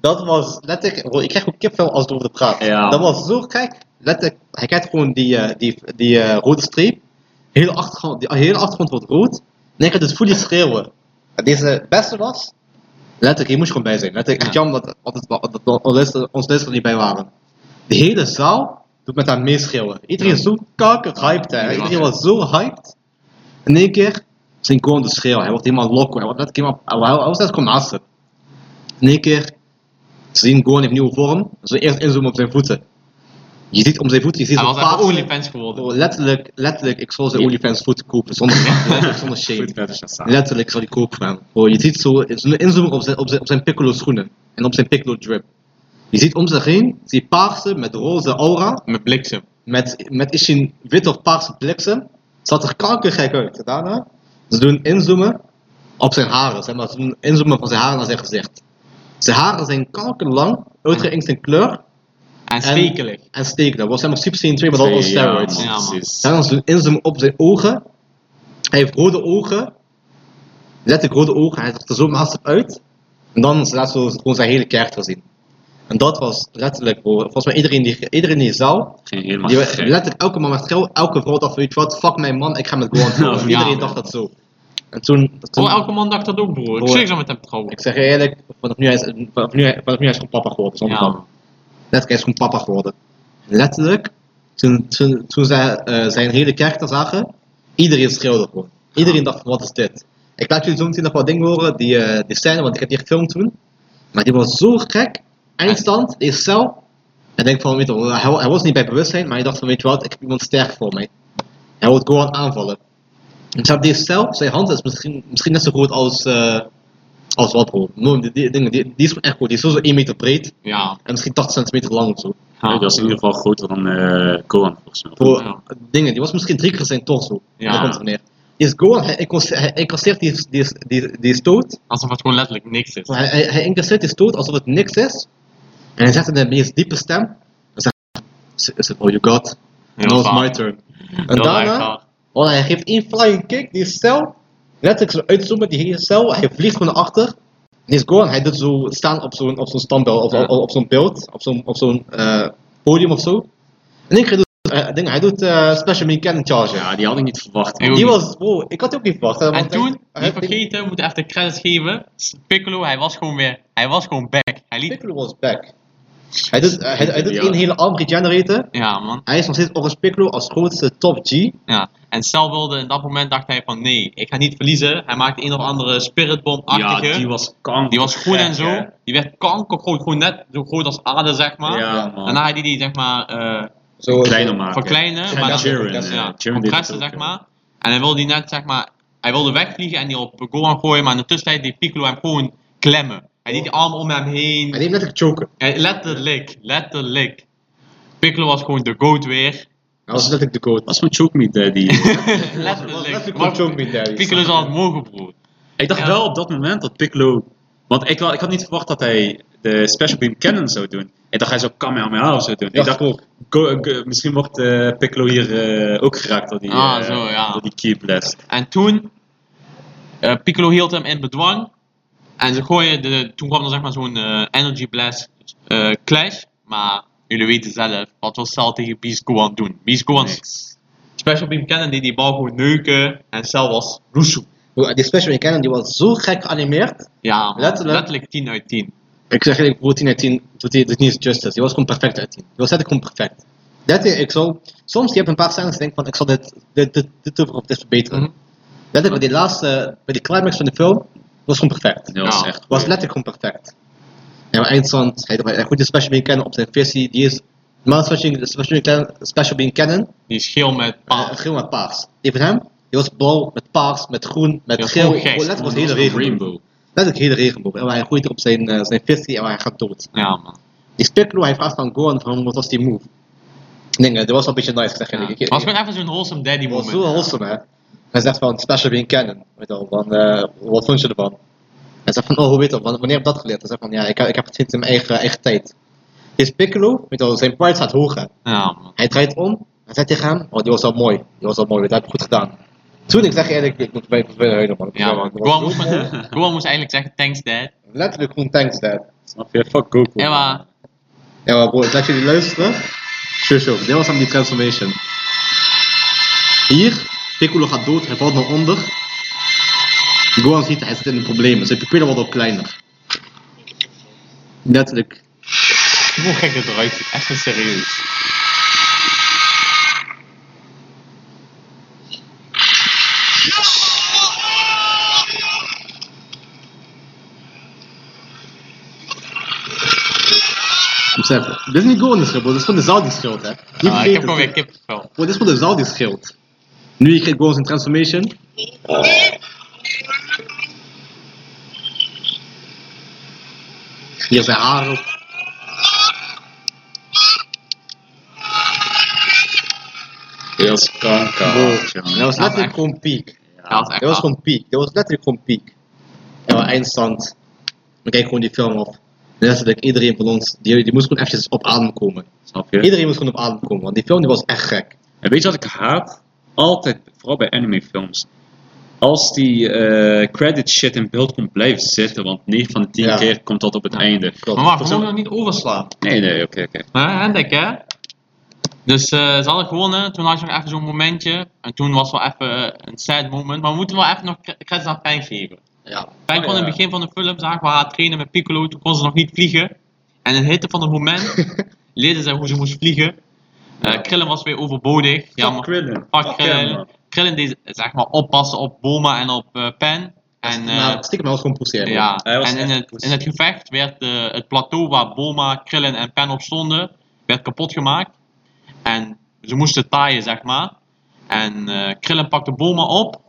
[SPEAKER 2] dat was letterlijk, bro, ik krijg ook kipvel als ik erover praat.
[SPEAKER 3] Ja.
[SPEAKER 2] Dat was zo, kijk, letterlijk, hij kijkt gewoon die, eh, die, die eh, rode streep. Heel achtergrond, die hele achtergrond wordt rood. En ik had het voelen schreeuwen. En deze het beste was, letterlijk, hier moest je gewoon bij zijn. Letterlijk, echt
[SPEAKER 1] Ja.
[SPEAKER 2] jammer dat, altijd wa- dat, we- ons les- ons les er niet bij waren. De hele zaal doet met haar meeschreeuwen. Iedereen is zo kakker hyped, hè.
[SPEAKER 1] Ja.
[SPEAKER 2] Iedereen was zo hyped. In één keer, zijn gewoon de schreeuw. Hij wordt helemaal loco. Hij wordt net helemaal, hij hij- hij was net gewoon naast hem. In één keer, ze zien gewoon een nieuwe vorm. Ze eerst inzoomen op zijn voeten. Je ziet om zijn voeten, je ziet
[SPEAKER 1] Hij
[SPEAKER 2] zo'n
[SPEAKER 1] was echt
[SPEAKER 2] paarse-
[SPEAKER 1] OnlyFans geworden.
[SPEAKER 2] Bro, letterlijk, letterlijk, ik zal zijn
[SPEAKER 1] Ja.
[SPEAKER 2] OnlyFans voeten kopen zonder,
[SPEAKER 1] [LAUGHS]
[SPEAKER 2] zonder shame.
[SPEAKER 3] Goed, dat is dat.
[SPEAKER 2] Letterlijk zal die kopen gaan. Bro, je ziet zo zo'n inzoomen op zijn, op, zijn, op zijn piccolo schoenen en op zijn piccolo drip. Je ziet om zich heen, zie je paarse met roze aura,
[SPEAKER 1] Met bliksem.
[SPEAKER 2] met, met is een wit of paarse bliksem. Zat er kankergek uit. Daarna, ze doen inzoomen op zijn haren, zeg maar, ze doen inzoomen van zijn haren naar zijn gezicht. Zijn haren zijn kankerlang, uitgeëngst in kleur
[SPEAKER 1] En stekelig.
[SPEAKER 2] en steek. Dat was helemaal super scene 2, maar dat was steroids.
[SPEAKER 1] man.
[SPEAKER 2] Dan als we inzoomen op zijn ogen. Hij heeft rode ogen. Letterlijk rode ogen. Hij zag er zo master uit. En dan laten we gewoon zijn hele karakter zien. En dat was letterlijk, bro. Volgens mij iedereen, die, iedereen in die zaal.
[SPEAKER 3] Ging helemaal
[SPEAKER 2] Die,
[SPEAKER 3] gek.
[SPEAKER 2] letterlijk elke man met geel. Elke vrouw dacht, weet je wat, fuck mijn man, ik ga met Gohan trouwen.
[SPEAKER 3] Ja,
[SPEAKER 2] iedereen
[SPEAKER 1] man.
[SPEAKER 2] dacht dat zo. En toen, toen
[SPEAKER 1] Oh, elke man dacht dat ook, broer. Ik
[SPEAKER 2] Broer.
[SPEAKER 1] zeg zo met hem trouwen.
[SPEAKER 2] ik zeg je eerlijk, vanaf nu, hij is, vanaf nu, hij- vanaf nu hij is gewoon papa geworden. Zonder
[SPEAKER 1] Ja,
[SPEAKER 2] grap.
[SPEAKER 1] man.
[SPEAKER 2] Letterlijk, hij is gewoon papa geworden. Letterlijk, toen, toen, toen zij eh, zijn hele karakter zagen, iedereen schreeuwde gewoon. Iedereen dacht van, wat is dit? Ik laat jullie zo meteen nog wat dingen horen, die, eh, die scène, want ik heb die gefilmd toen. Maar die was zo gek. Eindstand, die cel. En denk van, weet je, wel, hij, wa- hij was niet bij bewustzijn, maar hij dacht van, weet je wat, ik heb iemand sterk voor mij. Hij wil gewoon aanvallen. En zelfs die cel, zijn hand is misschien, misschien net zo groot als, eh, als wat, bro. No, die, die, die, die die is gewoon echt goed. Die is sowieso 1 meter breed.
[SPEAKER 1] Ja.
[SPEAKER 2] En misschien 80 centimeter lang of zo.
[SPEAKER 3] Ja,
[SPEAKER 1] Ja.
[SPEAKER 3] dat is in ieder geval groter dan eh Gohan volgens mij.
[SPEAKER 2] Bro,
[SPEAKER 1] Ja.
[SPEAKER 2] dingen, die was misschien drie keer zijn torso.
[SPEAKER 1] Ja.
[SPEAKER 2] Daar komt het neer. Is Gohan, hij incasseert- hij incasseert die, die, die, die stoot.
[SPEAKER 1] Alsof het gewoon letterlijk niks is.
[SPEAKER 2] Hij, hij, hij incasseert die stoot alsof het niks is. En hij zegt in de meest diepe stem. Hij zegt, "Is- is it all you got?
[SPEAKER 1] Heel
[SPEAKER 2] Now it's
[SPEAKER 1] vaag.
[SPEAKER 2] my turn. En
[SPEAKER 1] Heel erg
[SPEAKER 2] daarna,
[SPEAKER 1] vaag.
[SPEAKER 2] oh, hij geeft één flying kick, die cel. Letterlijk zo uitzoomen, die hele cel. Hij vliegt gewoon naar achter. En is Gohan, hij doet zo staan op zo'n op zo'n standbeeld, of
[SPEAKER 1] Ja.
[SPEAKER 2] op, op zo'n beeld, op zo'n op zo'n eh, podium of zo. En ik doet, eh, ding, hij doet eh, Special Mechanic Charge.
[SPEAKER 3] Ja, die had ik niet verwacht.
[SPEAKER 1] Ik ook
[SPEAKER 2] Die
[SPEAKER 1] niet.
[SPEAKER 2] was, wow, ik had die ook niet verwacht. hè,
[SPEAKER 1] En
[SPEAKER 2] want
[SPEAKER 1] toen,
[SPEAKER 2] hij-
[SPEAKER 1] niet
[SPEAKER 2] hij-
[SPEAKER 1] vergeten, we moeten even de credits geven. Piccolo, hij was gewoon weer, hij was gewoon back. Hij liet,
[SPEAKER 2] Piccolo was back. Hij doet, hij, hij doet één hele arm regeneraten.
[SPEAKER 1] ja man.
[SPEAKER 2] Hij is nog steeds Orange Piccolo als grootste top G.
[SPEAKER 1] Ja. En Cell wilde, in dat moment dacht hij van nee, ik ga niet verliezen. Hij maakte een of andere
[SPEAKER 3] Ja,
[SPEAKER 1] spiritbom-achtige.
[SPEAKER 3] die was kanker.
[SPEAKER 1] Die was groen
[SPEAKER 3] gek,
[SPEAKER 1] en zo.
[SPEAKER 3] hè.
[SPEAKER 1] Die werd kankergroot, gewoon net zo groot als aarde, zeg maar.
[SPEAKER 3] Ja,
[SPEAKER 2] Ja.
[SPEAKER 3] man.
[SPEAKER 1] Daarna hij die die, zeg maar, eh
[SPEAKER 2] Zo,
[SPEAKER 3] Kleiner maken.
[SPEAKER 1] verkleinen.
[SPEAKER 2] Ja,
[SPEAKER 1] Maar
[SPEAKER 3] Ja,
[SPEAKER 1] dan
[SPEAKER 2] dat-
[SPEAKER 3] Jiren,
[SPEAKER 2] dat-
[SPEAKER 3] eh,
[SPEAKER 1] ja,
[SPEAKER 3] Jiren deed
[SPEAKER 1] compressen,
[SPEAKER 3] het
[SPEAKER 1] zeg
[SPEAKER 3] ook, hè.
[SPEAKER 1] maar. En hij wilde die net, zeg maar, hij wilde wegvliegen en die op Gohan gooien. Maar in de tussentijd deed Piccolo hem gewoon klemmen. Hij deed die arm om hem heen.
[SPEAKER 2] Hij heeft letterlijk choken.
[SPEAKER 1] Hij- letterlijk, letterlijk. Piccolo was gewoon de goat weer.
[SPEAKER 2] Hij was letterlijk de goat.
[SPEAKER 3] Was mijn choke eh, meat
[SPEAKER 1] [LAUGHS]
[SPEAKER 3] daddy.
[SPEAKER 1] letterlijk.
[SPEAKER 2] Letterlijk de
[SPEAKER 1] Maar
[SPEAKER 2] choke me daddy.
[SPEAKER 1] Piccolo zou het mogen, broer.
[SPEAKER 3] ik dacht
[SPEAKER 1] Ja.
[SPEAKER 3] wel op dat moment dat Piccolo... Want ik, wa- ik had niet verwacht dat hij de Special Beam Cannon zou doen. Ik dacht hij zou Kamehameha of zo doen. ik dacht
[SPEAKER 2] ook.
[SPEAKER 3] Go- go- misschien wordt eh, Piccolo hier eh, ook geraakt door die, eh
[SPEAKER 1] Ah, zo, ja.
[SPEAKER 3] door die key blast.
[SPEAKER 1] En toen, eh, Piccolo hield hem in bedwang. En ze gooien, de, toen kwam er zeg maar zo'n eh, energy blast eh, clash. Maar jullie weten zelf, wat was Cell tegen Beast Gohan doen? Beast Gohan's
[SPEAKER 3] Niks.
[SPEAKER 1] special beam cannon die die bal gewoon neuken. En Cell was roesoe.
[SPEAKER 2] Die special mechanic die was zo gek geanimeerd.
[SPEAKER 1] Ja, man.
[SPEAKER 2] Letterlijk.
[SPEAKER 1] letterlijk. 10 uit 10.
[SPEAKER 2] Ik zeg eerlijk, broer 10 uit 10 doet hij doet niet eens justice. Die was gewoon perfect uit 10. Die was letterlijk gewoon perfect. Dat ik zou, soms je hebt een paar scènes die denken van ik zal dit, dit, dit, dit, over- of dit verbeteren.
[SPEAKER 1] Mhm.
[SPEAKER 2] Letterlijk bij die laatste, bij die climax van de film, was gewoon perfect.
[SPEAKER 3] Dat was
[SPEAKER 1] Ja.
[SPEAKER 3] echt
[SPEAKER 2] was
[SPEAKER 3] goed.
[SPEAKER 2] letterlijk gewoon perfect. En maar eindstand, hij hij goed de special being cannon op zijn versie, die is normaal special, being- special, being cannon, special being cannon,
[SPEAKER 1] Die is geel met
[SPEAKER 2] eh,
[SPEAKER 1] paard.
[SPEAKER 2] geel met paars. Die van hem, die was blauw met paars, met groen, met
[SPEAKER 1] Ja,
[SPEAKER 2] geel,
[SPEAKER 1] gewoon gek.
[SPEAKER 2] letterlijk was de hele
[SPEAKER 3] Dat was een
[SPEAKER 2] regenboog.
[SPEAKER 3] rainbow.
[SPEAKER 2] Letterlijk hele regenboog. En hij gooit er op zijn, eh, zijn versie en hij gaat dood.
[SPEAKER 1] Ja, man.
[SPEAKER 2] Die Spiklo, hij vraagt aan Gohan van wat was die move? Ik denk, eh, dat was wel een beetje nice, ik zeg
[SPEAKER 1] Ja.
[SPEAKER 2] eerlijk.
[SPEAKER 1] Het
[SPEAKER 2] Ik-
[SPEAKER 1] was gewoon even zo'n wholesome daddy
[SPEAKER 2] die was
[SPEAKER 1] moment.
[SPEAKER 2] zo wholesome, hè. Hij zegt van, special being canon. Weet je wel, van, eh, wat vond je ervan? Hij zegt van, oh, hoe weet je wel, wanneer heb je dat geleerd? Hij zegt van, ja, ik, ik heb het sinds in mijn eigen, eigen tijd. Is Piccolo, weet je wel, zijn pride staat hoog, hè.
[SPEAKER 1] Ja, man.
[SPEAKER 2] Hij draait om, hij zegt tegen hem, oh, die was al mooi. Die was al mooi, weet je, dat heb ik goed gedaan. Toen, ik zeg je eerlijk, ik moet bij het huilen, man.
[SPEAKER 1] Ja, man. Gohan moest, maar- Gohan moest eigenlijk zeggen, thanks dad.
[SPEAKER 2] Letterlijk gewoon thanks, dad.
[SPEAKER 3] Snap je? Fuck Goku.
[SPEAKER 1] Ja, maar
[SPEAKER 2] Ja, maar broer, laat jullie luisteren. Sure, sure. Dit was aan die transformation. Hier, Piccolo gaat dood, hij valt naar onder. Gohan ziet, hij zit in de problemen. Zijn pupillen worden ook kleiner. Letterlijk.
[SPEAKER 1] hoe gek dit eruit ziet. Echt een serieus.
[SPEAKER 2] Besef, dit is niet Gohan die schreeuwt, broer. dit is gewoon de zaal die schreeuwt, hè. Niet
[SPEAKER 1] Ah, ik
[SPEAKER 2] vergeten.
[SPEAKER 1] heb gewoon weer kippenvel.
[SPEAKER 2] Broer, dit is gewoon de zaal die schreeuwt. Nu krijgt Gohan zijn transformation. Hier zijn haar op.
[SPEAKER 3] Heel skanka.
[SPEAKER 2] Wow.
[SPEAKER 3] jongen.
[SPEAKER 2] Dat
[SPEAKER 1] Dat
[SPEAKER 2] was
[SPEAKER 1] was echt-
[SPEAKER 2] letterlijk gewoon piek.
[SPEAKER 1] Dat was echt
[SPEAKER 2] Dat was
[SPEAKER 1] hard.
[SPEAKER 2] gewoon piek. Dat was letterlijk gewoon piek. En wel eindstand. We kijken gewoon die film af. En letterlijk iedereen van ons, die, die moest gewoon eventjes op adem komen.
[SPEAKER 3] Snap je?
[SPEAKER 2] Iedereen moest gewoon op adem komen, want die film die was echt gek.
[SPEAKER 3] En weet je wat ik haat? Altijd, vooral bij animefilms. Als die eh, credit shit in beeld komt blijven zitten, want 9 van de 10
[SPEAKER 2] Ja.
[SPEAKER 3] keer komt dat op het
[SPEAKER 1] Ja.
[SPEAKER 3] einde.
[SPEAKER 2] Klopt.
[SPEAKER 1] Maar wacht, we mogen nog niet overslaan.
[SPEAKER 3] Nee, nee, oké, oké.
[SPEAKER 1] Hè, Hendrik, hè? Dus eh, ze hadden gewonnen, toen had je nog even zo'n momentje. En toen was wel even eh, een sad moment. Maar we moeten wel even nog cre- credits aan Pijn geven.
[SPEAKER 2] Ja.
[SPEAKER 1] Pijn
[SPEAKER 3] Oh,
[SPEAKER 1] kon in
[SPEAKER 3] ja.
[SPEAKER 1] het begin van de film, zagen we haar trainen met Piccolo, toen kon ze nog niet vliegen. En in de hitte van het moment
[SPEAKER 3] [LAUGHS]
[SPEAKER 1] leerde ze hoe ze moest vliegen. Eh,
[SPEAKER 3] Ja.
[SPEAKER 1] Krillin was weer overbodig.
[SPEAKER 3] Fuck
[SPEAKER 1] Jammer.
[SPEAKER 3] Krillin.
[SPEAKER 1] Fuck
[SPEAKER 3] Fuck
[SPEAKER 1] Krillin.
[SPEAKER 3] hem, man.
[SPEAKER 1] Krillin deed zeg maar oppassen op Boma en op eh Pen. En,
[SPEAKER 3] nou
[SPEAKER 1] eh,
[SPEAKER 2] maar stiekem was gewoon poesier.
[SPEAKER 1] ja,
[SPEAKER 3] Hij was
[SPEAKER 1] en in
[SPEAKER 3] echt
[SPEAKER 1] het,
[SPEAKER 3] poes.
[SPEAKER 1] in het gevecht werd eh, het plateau waar Boma, Krillin en Pen op stonden, werd kapot gemaakt. En ze moesten taaien, zeg maar. En eh Krillin pakte Boma op,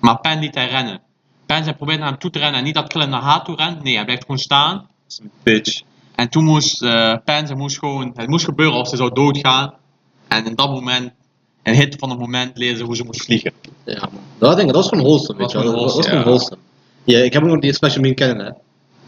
[SPEAKER 1] maar Pen liet hij rennen. Pen zei probeerde naar hem toe te rennen en niet dat Krillin naar haar toe rent. Nee, hij blijft gewoon staan.
[SPEAKER 3] Dat is een bitch.
[SPEAKER 1] En toen moest eh Pen, ze moest gewoon, het moest gebeuren of ze zou doodgaan. En in dat moment, in het hit van het moment, leerde ze hoe ze moest vliegen.
[SPEAKER 2] Ja, man. Dat, denk ik, dat was gewoon wholesome,
[SPEAKER 1] Was
[SPEAKER 2] weet je wel.
[SPEAKER 1] gewoon
[SPEAKER 2] Dat was gewoon
[SPEAKER 3] wholesome,
[SPEAKER 2] wholesome. Ja, ik heb ook nog die Special Bean kennen, hè.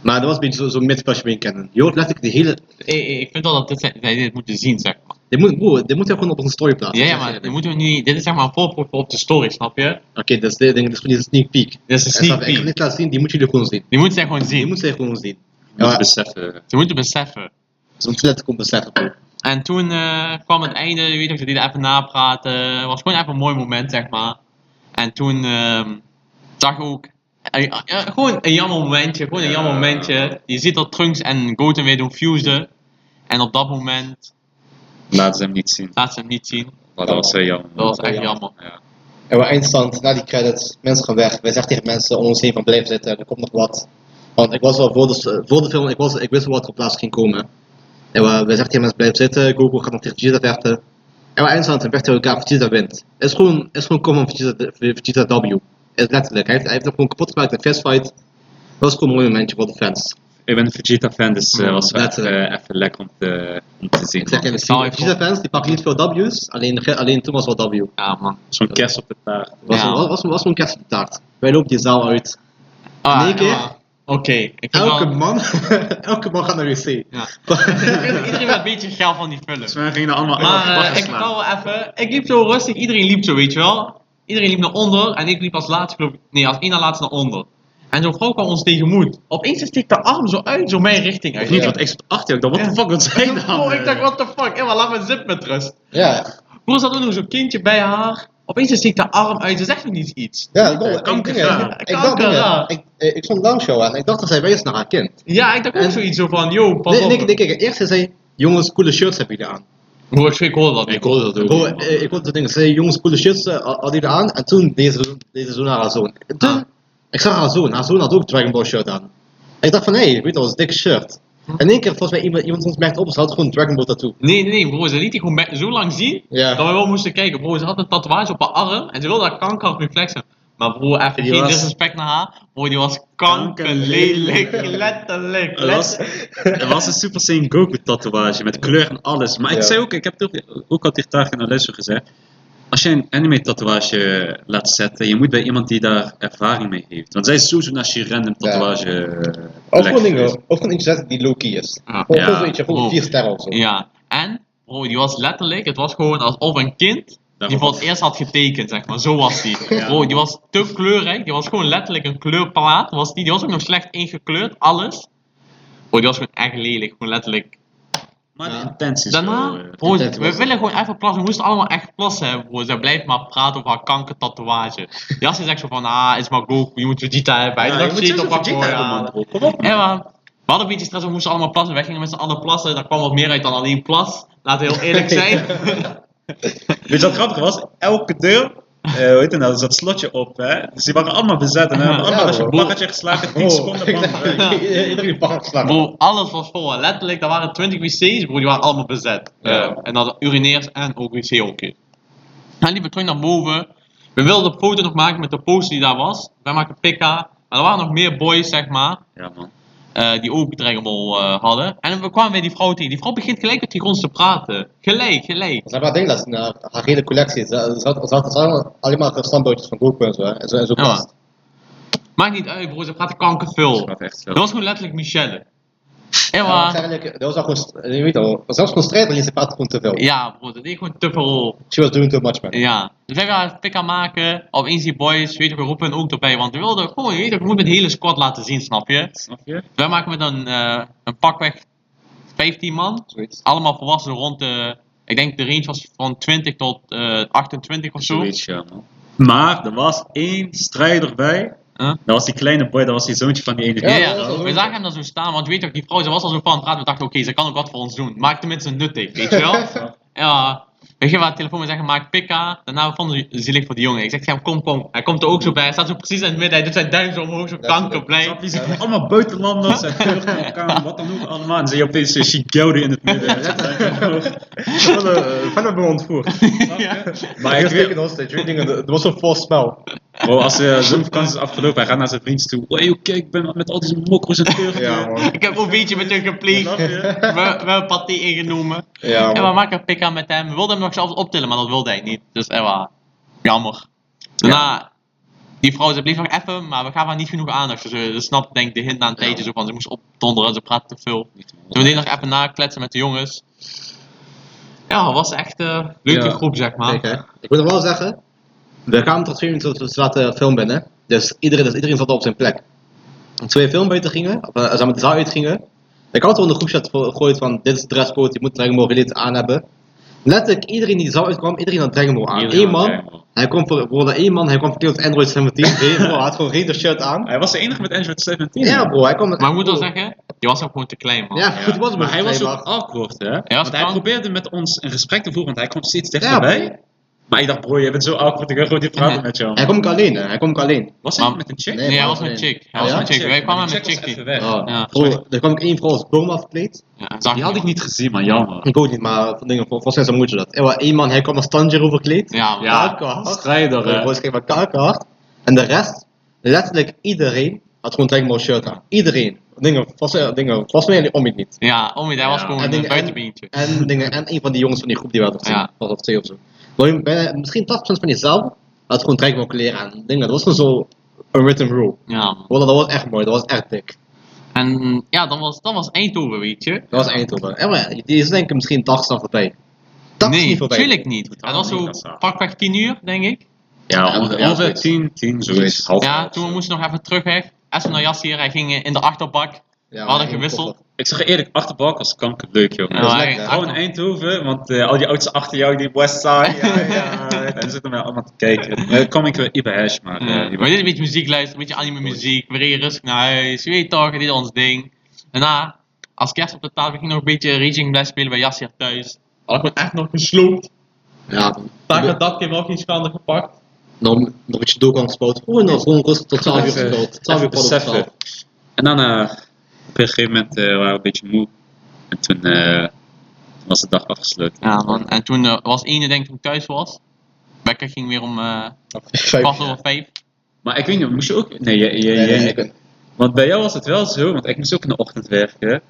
[SPEAKER 2] Maar dat was een beetje zo- zo'n mid-Special Bean kennen. Je hoort letterlijk de hele...
[SPEAKER 1] Ik, ik vind wel dat dit, zij dit moeten zien, zeg maar.
[SPEAKER 2] Dit moet, broer, dit moet je gewoon op onze story plaatsen.
[SPEAKER 1] Ja, ja,
[SPEAKER 2] zeg
[SPEAKER 1] maar
[SPEAKER 2] eerlijk.
[SPEAKER 1] dan moeten we niet, dit is zeg maar een voorproef op de story, snap je?
[SPEAKER 2] Oké, dat is dit, denk ik, dit is gewoon die sneak peek.
[SPEAKER 1] Dit is een
[SPEAKER 2] Ik
[SPEAKER 1] sneak
[SPEAKER 2] ga
[SPEAKER 1] peek.
[SPEAKER 2] dit laten zien, die moet jullie gewoon zien.
[SPEAKER 1] Die moeten zij gewoon
[SPEAKER 2] Die
[SPEAKER 1] zien.
[SPEAKER 2] moeten ze gewoon zien.
[SPEAKER 3] Je moet
[SPEAKER 2] Ja.
[SPEAKER 3] beseffen.
[SPEAKER 1] Ze moeten beseffen.
[SPEAKER 2] Zo'n flat komt dus beseffen. broer.
[SPEAKER 1] En toen eh, kwam het einde, je weet nog, ze deden even napraten. Het was gewoon even een mooi moment, zeg maar. En toen ehm, zag ik ook, eh, eh, eh, gewoon een jammer momentje, gewoon een
[SPEAKER 3] Ja.
[SPEAKER 1] jammer momentje. Je ziet dat Trunks en Goten weer doen fusen. En op dat moment
[SPEAKER 3] Laat ze hem niet zien.
[SPEAKER 1] laat ze hem niet zien.
[SPEAKER 3] Maar dat was heel jammer.
[SPEAKER 1] Dat was
[SPEAKER 2] Ja,
[SPEAKER 1] echt
[SPEAKER 2] jammer.
[SPEAKER 1] jammer.
[SPEAKER 3] Ja.
[SPEAKER 2] En we eindstand, na die credits, mensen gaan weg. Wij zeggen tegen mensen om ons heen van blijf zitten, er komt nog wat. Want ik was wel voor de, voor de film, ik, was, ik wist wel wat er op plaats ging komen. En we, wij zeggen tegen mensen blijf zitten, Goku gaat nog tegen Vegeta vechten. En we eindstand, we vechten tegen elkaar, Vegeta wint. Het is gewoon, het is gewoon kom van Vegeta, Vegeta W. Het is letterlijk, hij heeft, hij heeft hem gewoon kapot gemaakt met fistfight. Dat was gewoon een mooi momentje voor de fans.
[SPEAKER 3] Ik ben een Vegeta-fan, dus eh,
[SPEAKER 1] Mm,
[SPEAKER 3] was wel echt,
[SPEAKER 2] letterlijk.
[SPEAKER 3] eh, even lekker om te, om te zien.
[SPEAKER 2] Ik zeg
[SPEAKER 3] man.
[SPEAKER 2] even,
[SPEAKER 1] zou even-
[SPEAKER 2] Vegeta fans, die pakken niet veel W's, alleen, alleen toen was wel W.
[SPEAKER 1] Ja, man.
[SPEAKER 3] Zo'n kerst op de taart.
[SPEAKER 2] Was,
[SPEAKER 1] Ja.
[SPEAKER 2] was, was, was gewoon kerst op de taart. Wij lopen die zaal uit.
[SPEAKER 1] Ah,
[SPEAKER 2] In één keer?
[SPEAKER 1] ja. Oké, ik vind
[SPEAKER 2] Elke
[SPEAKER 1] wel...
[SPEAKER 2] man, [LAUGHS] elke man gaat naar de wc.
[SPEAKER 1] Ja. [LAUGHS] Iedereen werd een beetje geil van die film.
[SPEAKER 3] Dus we gingen er allemaal
[SPEAKER 1] Maar eh, ik
[SPEAKER 3] slaan.
[SPEAKER 1] vertel wel even. Ik liep zo rustig, iedereen liep zo, weet je wel. Iedereen liep naar onder en ik liep als laatste, geloof ik- nee, als één na laatste naar onder. En zo'n vrouw kwam ons tegemoet. Opeens steekt de arm zo uit, zo mijn richting uit.
[SPEAKER 3] Niet
[SPEAKER 2] Ja.
[SPEAKER 3] wat ik zat achter je, ik dacht, what the fuck, wat
[SPEAKER 1] Ik-
[SPEAKER 3] zijn
[SPEAKER 1] oh,
[SPEAKER 3] nou?
[SPEAKER 1] ik dacht, what the fuck, Emma, laat mijn zip met rust.
[SPEAKER 2] Ja,
[SPEAKER 1] Broer zat ook nog zo'n kindje bij haar. Opeens steekt de arm uit, ze zegt nog niet iets.
[SPEAKER 2] ja, bro, ik,
[SPEAKER 3] kanker,
[SPEAKER 2] dingen-
[SPEAKER 3] ja.
[SPEAKER 2] ik dacht
[SPEAKER 1] Kanker,
[SPEAKER 2] dingen.
[SPEAKER 1] ja.
[SPEAKER 2] Ik, eh, ik stond langs jou en ik dacht dat zij wijst naar haar kind.
[SPEAKER 1] Ja, ik dacht ook
[SPEAKER 2] En-
[SPEAKER 1] zoiets zo van, yo, pas
[SPEAKER 2] Nee,
[SPEAKER 1] op.
[SPEAKER 2] nee, nee, kijk, eerst zei zij, jongens, coole shirts hebben jullie aan.
[SPEAKER 1] Broer, ik schrik hoorde dat niet.
[SPEAKER 3] hoorde dat
[SPEAKER 2] Bro, eh, ik hoorde dat ding, ze zei, jongens, coole shirts eh, hadden jullie aan. En toen deed ze, deed ze zo naar haar zoon. En toen,
[SPEAKER 1] Ah.
[SPEAKER 2] ik zag haar zoon, haar zoon had ook een Dragon Ball shirt aan. En ik dacht van, hé, hey, weet je wel, dat is een dikke shirt. En in één keer, volgens mij, iemand, iemand ons merkte op, ze had gewoon een Dragon Ball tattoo.
[SPEAKER 1] Nee, nee, nee, broer, ze liet die gewoon bij- zo lang zien.
[SPEAKER 2] Ja.
[SPEAKER 1] Dat we wel moesten kijken, bro. Ze had een tatoeage op haar arm en ze wilde haar kankerreflex hebben. Maar bro, even
[SPEAKER 2] Die
[SPEAKER 1] geen
[SPEAKER 2] was-
[SPEAKER 1] disrespect naar haar. Bro, die was kankerlelijk. Letterlijk.
[SPEAKER 3] [LAUGHS] Het was,
[SPEAKER 1] letterlijk.
[SPEAKER 3] er was een Super Saiyan Goku tatoeage met kleur en alles. Maar ik
[SPEAKER 2] Ja.
[SPEAKER 3] zei ook, ik heb toch ook al tegen Tarek en Alessio gezegd. Als jij een anime tatoeage laat zetten, je moet bij iemand die daar ervaring mee heeft. Want zij is sowieso naar je random
[SPEAKER 2] Ja.
[SPEAKER 3] tatuage.
[SPEAKER 2] Of
[SPEAKER 3] plek
[SPEAKER 2] gewoon dingen,
[SPEAKER 3] eh, geweest.
[SPEAKER 2] of gewoon eentje zetten die low-key is.
[SPEAKER 1] Ah,
[SPEAKER 2] Of
[SPEAKER 3] ja.
[SPEAKER 2] gewoon zoietje, gewoon
[SPEAKER 1] Oh.
[SPEAKER 2] vier sterren of zo.
[SPEAKER 1] Ja, en bro, die was letterlijk, het was gewoon alsof een kind die
[SPEAKER 3] Daarom-
[SPEAKER 1] voor het eerst had getekend, zeg maar. Zo was die.
[SPEAKER 3] Ja.
[SPEAKER 1] Bro, die was te kleurrijk. Die was gewoon letterlijk een kleurplaat. Was die. die was ook nog slecht ingekleurd, alles. Bro, die was gewoon echt lelijk. Gewoon letterlijk.
[SPEAKER 3] Maar
[SPEAKER 2] Ja.
[SPEAKER 3] de intenties.
[SPEAKER 1] Daarna,
[SPEAKER 3] wel, eh,
[SPEAKER 1] bro,
[SPEAKER 2] dat
[SPEAKER 1] Dus we
[SPEAKER 2] was-
[SPEAKER 1] willen gewoon even plassen. We moesten allemaal echt plassen hebben, bro. Zij blijft maar praten over haar kankertatoeage. Jas is echt zo van, ah, is maar Goku, je moet Vegeta hebben. Hij
[SPEAKER 3] Ja,
[SPEAKER 1] dacht,
[SPEAKER 3] je moet
[SPEAKER 1] shit,
[SPEAKER 3] sowieso
[SPEAKER 1] op haar
[SPEAKER 3] Vegeta hebben,
[SPEAKER 1] voorraad.
[SPEAKER 3] man, bro. Kom op.
[SPEAKER 1] Ja, maar we hadden een beetje stress, we moesten allemaal plassen. Wij gingen met z'n allen plassen, daar kwam wat meer uit dan alleen plas. Laten we heel
[SPEAKER 3] [LAUGHS]
[SPEAKER 1] eerlijk zijn.
[SPEAKER 3] Weet je wat grappig was? Elke deur, eh, hoe heet het nou, er zat slotje op. Hè? Dus die waren allemaal bezet. En we hebben
[SPEAKER 1] Ja, Oh.
[SPEAKER 3] allemaal als je een
[SPEAKER 2] bro.
[SPEAKER 3] bakketje geslagen,
[SPEAKER 2] [LAUGHS]
[SPEAKER 3] 10 seconden bang.
[SPEAKER 1] Ja.
[SPEAKER 2] Oh. Iedereen pak geslagen.
[SPEAKER 1] bro, alles was vol. hè. Letterlijk, daar waren 20 wc's, bro, die waren allemaal bezet.
[SPEAKER 3] Ja.
[SPEAKER 1] Eh, en dat urineers en ook wc-hokjes. En liepen terug naar boven. We wilden een foto nog maken met de poster die daar was. Wij maken pika. Maar er waren nog meer boys, zeg maar.
[SPEAKER 3] Ja, man.
[SPEAKER 1] eh, die ook Dragon Ball eh, hadden. En we kwamen weer die vrouw tegen. Die vrouw begint gelijk met tegen ons te praten. Gelijk, gelijk.
[SPEAKER 2] Ze hebben haar ding laten zien, haar eh, haar hele collectie. Ze ze had- ze had ze had alleen maar standbootjes van Goku en zo. hè. En zo, en zo
[SPEAKER 1] Ja.
[SPEAKER 2] past.
[SPEAKER 1] Maakt niet uit, bro, ze praten kankerveel.
[SPEAKER 3] Dat gaat echt zo.
[SPEAKER 1] Dat was gewoon letterlijk Michelle.
[SPEAKER 2] Ja, maar
[SPEAKER 1] Ewa.
[SPEAKER 2] eigenlijk, dat was al gewoon, je weet al, zelfs gewoon strijd, alleen ze praat gewoon te veel.
[SPEAKER 1] Ja, bro, dat deed gewoon te veel.
[SPEAKER 2] She was doing too much, man.
[SPEAKER 1] Ja. Dus wij gaan pik aan maken. Opeens die boys, weet je, we roepen hun ook erbij. Want we wilden gewoon, je weet, toch, we moeten het hele squad laten zien, snap je?
[SPEAKER 3] Snap je?
[SPEAKER 1] Wij maken met een, eh, een pakweg 15 man.
[SPEAKER 2] Zoiets.
[SPEAKER 1] Allemaal volwassenen rond de. Ik denk de range was van 20 tot eh, 28 of zo.
[SPEAKER 3] Zoiets, ja, man. Maar er was één strijder bij.
[SPEAKER 1] Huh?
[SPEAKER 3] Dat was die kleine boy, dat was die zoontje van die ene.
[SPEAKER 1] Ja,
[SPEAKER 2] Ja,
[SPEAKER 1] ja,
[SPEAKER 2] dat was ook
[SPEAKER 1] we
[SPEAKER 2] zo.
[SPEAKER 1] zagen hem dan zo staan, want weet je ook, die vrouw, ze was al zo van aan het praten. We dachten, oké, ze kan ook wat voor ons doen. Maak tenminste nuttig, weet je wel? ja, we gingen haar telefoon en zeggen, maak pika. Daarna vonden ze zielig voor die jongen. Ik zeg tegen hem, kom, kom. Hij komt er ook zo bij, hij staat zo precies in het midden. Hij doet zijn duim zo omhoog, zo
[SPEAKER 2] Ja,
[SPEAKER 1] kanker, blij.
[SPEAKER 3] Snap je? Ze komen allemaal buitenlanders en Turken en elkaar, wat dan ook allemaal. En ze je opeens eh, Shigeru in het
[SPEAKER 1] [LAUGHS]
[SPEAKER 3] midden.
[SPEAKER 2] Verder hebben we ontvoerd.
[SPEAKER 3] Maar ik weet,
[SPEAKER 2] ons, dat jullie dingen, dat was een vol spel.
[SPEAKER 3] bro, als eh, zo'n vakantie is afgelopen, hij gaat naar zijn vriends toe. Hey, joh, kijk, ik ben met al die mokro's en Turken.
[SPEAKER 2] Ja, man.
[SPEAKER 1] [LAUGHS] Ik heb ook een beetje met hem gepleegd.
[SPEAKER 3] [LAUGHS] Snap
[SPEAKER 1] We,
[SPEAKER 3] je?
[SPEAKER 1] we hebben paté ingenomen.
[SPEAKER 2] Ja,
[SPEAKER 1] En we
[SPEAKER 2] man.
[SPEAKER 1] maken een pika met hem. We wilden hem nog zelfs optillen, maar dat wilde hij niet. Dus Ewa, jammer. Daarna, die vrouw, ze bleef nog even, maar we gaven haar niet genoeg aandacht. Dus ze, ze snapte denk ik de hint na een tijdje zo van, ze moest opdonderen, ze praatte te veel. Dus we deden nog even nakletsen met de jongens. Ja, het was echt eh, een leuke
[SPEAKER 3] Ja.
[SPEAKER 1] groep, zeg maar.
[SPEAKER 2] Kijk, hè. Ik moet nog wel zeggen, we kwamen tot twee minuten tot we zaten film binnen. Dus iedereen, dus iedereen zat al op zijn plek. En Toen we filmbuiten gingen, of eh, als we met de zaal uitgingen, ik had wel in de groepchat ge- gegooid van dit is de dresscode, je moet Dragon Ball related aan hebben. Letterlijk iedereen die de zaal uitkwam, iedereen had Dragon
[SPEAKER 1] Ah,
[SPEAKER 2] Ball aan. Eén man, hij kwam voor, voor de één man, hij kwam verkeerd op Android 17, Hey, bro, hij had gewoon Raider shirt aan.
[SPEAKER 3] Hij was de enige met Android 17.
[SPEAKER 2] Ja bro, hij kwam met...
[SPEAKER 1] Maar ik moet wel zeggen, die was ook gewoon te klein, man.
[SPEAKER 2] Ja, goed was het
[SPEAKER 3] maar hij was
[SPEAKER 2] hij
[SPEAKER 3] ook awkward, hè? want hij
[SPEAKER 1] bang.
[SPEAKER 3] probeerde met ons een gesprek te voeren, want hij kwam steeds
[SPEAKER 2] Ja,
[SPEAKER 3] dichterbij. maar ik dacht, bro, je bent zo awkward, ik wil gewoon niet praten
[SPEAKER 1] Ja.
[SPEAKER 3] met jou.
[SPEAKER 2] Hij kwam ook alleen, hè. hij kwam ook alleen.
[SPEAKER 3] Was hij
[SPEAKER 1] Maar-
[SPEAKER 3] met een chick?
[SPEAKER 1] Nee, hij
[SPEAKER 2] man,
[SPEAKER 1] was met
[SPEAKER 2] alleen.
[SPEAKER 1] chick. Hij
[SPEAKER 2] Oh,
[SPEAKER 1] was
[SPEAKER 2] ja?
[SPEAKER 1] met chick. Wij kwamen
[SPEAKER 3] die
[SPEAKER 1] met
[SPEAKER 3] chick
[SPEAKER 1] chick
[SPEAKER 3] was
[SPEAKER 1] die.
[SPEAKER 3] even weg.
[SPEAKER 2] Oh.
[SPEAKER 1] Ja.
[SPEAKER 2] Bro, er kwam ook één vrouw als Burma verkleed.
[SPEAKER 1] Ja, zag
[SPEAKER 3] Die
[SPEAKER 1] je
[SPEAKER 3] had ik
[SPEAKER 1] wel.
[SPEAKER 3] niet gezien, maar jammer.
[SPEAKER 2] Ik ook niet, maar van dingen, volgens mij zijn moeder dat. Er was één man, hij kwam als Tanjiro verkleed.
[SPEAKER 1] Ja, man.
[SPEAKER 3] Ja,
[SPEAKER 2] Kakerhard.
[SPEAKER 3] Strijder, hè?
[SPEAKER 2] Gewoon schrijf maar kakerhard. En de rest, letterlijk iedereen, had gewoon Dragon Ball shirt aan. Iedereen. Dingen, volgens mij, dingen, volgens mij om ik niet.
[SPEAKER 1] Ja, Omid, hij was
[SPEAKER 3] Ja.
[SPEAKER 1] gewoon
[SPEAKER 2] En
[SPEAKER 1] een
[SPEAKER 2] die-
[SPEAKER 1] buitenbeentje.
[SPEAKER 2] En dingen, en een van die jongens van die groep die we hadden gezien.
[SPEAKER 1] Ja.
[SPEAKER 2] Was of twee of zo. Maar je- bijna- misschien 80% van jezelf had gewoon Dragon Ball kleren aan. Dingen, dat was gewoon zo een written rule.
[SPEAKER 1] Ja, man.
[SPEAKER 2] Wallah, dat was echt mooi, dat was echt dik.
[SPEAKER 1] En ja, dan was, dan was Eindhoven, weet je.
[SPEAKER 2] Dat was Eindhoven. En maar, die is denk ik misschien 80 dan voorbij. 80 is
[SPEAKER 1] nee,
[SPEAKER 2] niet voorbij.
[SPEAKER 1] natuurlijk niet. Het
[SPEAKER 3] Totaal
[SPEAKER 1] was
[SPEAKER 3] niet,
[SPEAKER 1] zo
[SPEAKER 3] dat is waar.
[SPEAKER 1] pakweg 10 uur, denk ik.
[SPEAKER 3] Ja,
[SPEAKER 2] Ja,
[SPEAKER 3] ongeveer
[SPEAKER 2] ja,
[SPEAKER 3] ongeveer
[SPEAKER 2] zoiets.
[SPEAKER 3] 10, 10, zoiets.
[SPEAKER 2] Zoiets.
[SPEAKER 3] Half
[SPEAKER 1] Ja,
[SPEAKER 3] elf,
[SPEAKER 1] toen
[SPEAKER 3] zo.
[SPEAKER 1] we moesten nog even terug weg. Espen en Jassier, hij gingen in de achterbak.
[SPEAKER 2] Ja,
[SPEAKER 1] we hadden
[SPEAKER 2] maar-
[SPEAKER 1] gewisseld.
[SPEAKER 3] Ik zeg je eerlijk, achterbalk was kanker leuk, joh.
[SPEAKER 1] Ja,
[SPEAKER 2] dat is
[SPEAKER 1] wij-
[SPEAKER 2] lekker.
[SPEAKER 3] Gewoon in Eindhoven, want eh, al die oudsten achter jou, die Westside, ja, ja. [LAUGHS] En zitten mij allemaal te kijken. Dan kom ik weer Ibe Hash, maar...
[SPEAKER 1] Eh,
[SPEAKER 3] eh,
[SPEAKER 1] we deden een beetje muziek luisteren, een beetje anime muziek. We reden rustig naar huis, je weet toch, we deden ons ding. Daarna, als kerst op de tafel, we gingen nog een beetje Raging Blast spelen bij Jassier thuis. Had ik me echt nog gesloopt.
[SPEAKER 2] Ja,
[SPEAKER 1] Taak had dat keer wel geen schande gepakt.
[SPEAKER 2] nog, nog een beetje door kan gespeeld. Oh, en dan gewoon rustig tot 12 uur
[SPEAKER 3] Even-
[SPEAKER 2] gespeeld. 12
[SPEAKER 3] Even
[SPEAKER 2] uur pas op
[SPEAKER 3] beseffen. En dan eh, op een gegeven moment eh, waren we een beetje moe. En toen eh, was de dag afgesloten.
[SPEAKER 1] Ja man, en toen eh, was ene denk ik toen ik thuis was. Becker ging weer om eh, kwart over vijf.
[SPEAKER 3] Maar ik weet niet, moest je ook... Nee, jij, jij,
[SPEAKER 2] Nee, nee,
[SPEAKER 3] jij-
[SPEAKER 2] ik ben-
[SPEAKER 3] Want bij jou was het wel zo, want ik moest ook in de ochtend werken.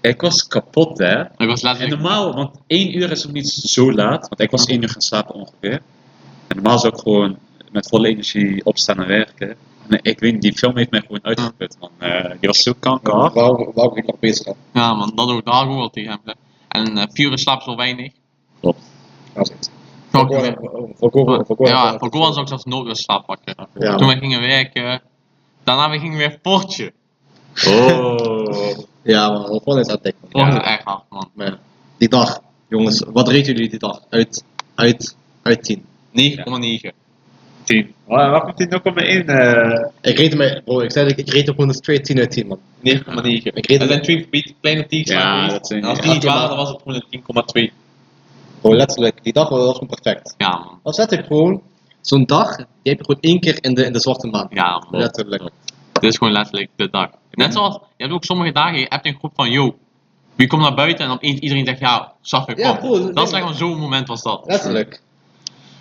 [SPEAKER 3] Ik was kapot, hè.
[SPEAKER 1] Ik was
[SPEAKER 3] En
[SPEAKER 1] letterlijk...
[SPEAKER 3] normaal, want één uur is nog niet zo laat. Want ik was één uur gaan slapen ongeveer. En normaal zou ik gewoon met volle energie opstaan en werken. En ik weet niet, die film heeft mij gewoon uitgeput. Man. Eh, die was zo kanker.
[SPEAKER 2] Waarom, waarom ik nog bezig ben?
[SPEAKER 1] Ja man, dat ook, daar gewoon wel tegen hem. En eh, vier uur slaap is wel weinig.
[SPEAKER 2] Dat is het.
[SPEAKER 1] Ook
[SPEAKER 2] Goal-
[SPEAKER 1] weer-
[SPEAKER 2] oh, Voor Goal- voor Goal-
[SPEAKER 1] ja, voor Gohan zou ik zelfs nooit een slaap pakken.
[SPEAKER 2] Ja,
[SPEAKER 1] Toen
[SPEAKER 2] man.
[SPEAKER 1] we gingen werken, daarna we gingen weer potje.
[SPEAKER 3] Oh.
[SPEAKER 2] Ja, man, dat vond ik dat dik. man.
[SPEAKER 1] Dat was
[SPEAKER 3] Ja.
[SPEAKER 1] echt hard, man.
[SPEAKER 2] Maar ja, die dag, jongens, wat reten jullie die dag? Uit, uit, uit 10.
[SPEAKER 1] 9,9.
[SPEAKER 3] 10.
[SPEAKER 2] Ah,
[SPEAKER 3] Waar waar komt die 0,1? eh
[SPEAKER 2] Ik reed hem, bro, ik zei dat ik, ik reed hem gewoon straight 10 uit 10, man.
[SPEAKER 1] 9,9.
[SPEAKER 2] Ik
[SPEAKER 1] Er
[SPEAKER 2] weet het
[SPEAKER 1] zijn
[SPEAKER 2] niet.
[SPEAKER 1] twee verbied- kleine teams.
[SPEAKER 3] Ja,
[SPEAKER 1] maar geweest.
[SPEAKER 3] dat zijn-
[SPEAKER 1] En als die
[SPEAKER 2] ja.
[SPEAKER 1] niet waren, dan was het gewoon een 10,2.
[SPEAKER 2] Bro, letterlijk, die dag was gewoon perfect.
[SPEAKER 1] Ja, man.
[SPEAKER 2] Dat zet ik gewoon, zo'n dag, die heb je gewoon één keer in de, in de zwarte maan.
[SPEAKER 1] Ja, man.
[SPEAKER 2] Letterlijk.
[SPEAKER 1] Dit is gewoon letterlijk de dag. Net zoals, je hebt ook sommige dagen, je hebt een groep van, yo, wie komt naar buiten? En opeens iedereen zegt, ja, Safir, kom.
[SPEAKER 2] Ja, cool.
[SPEAKER 1] dat is echt gewoon zo'n moment was dat.
[SPEAKER 2] Letterlijk.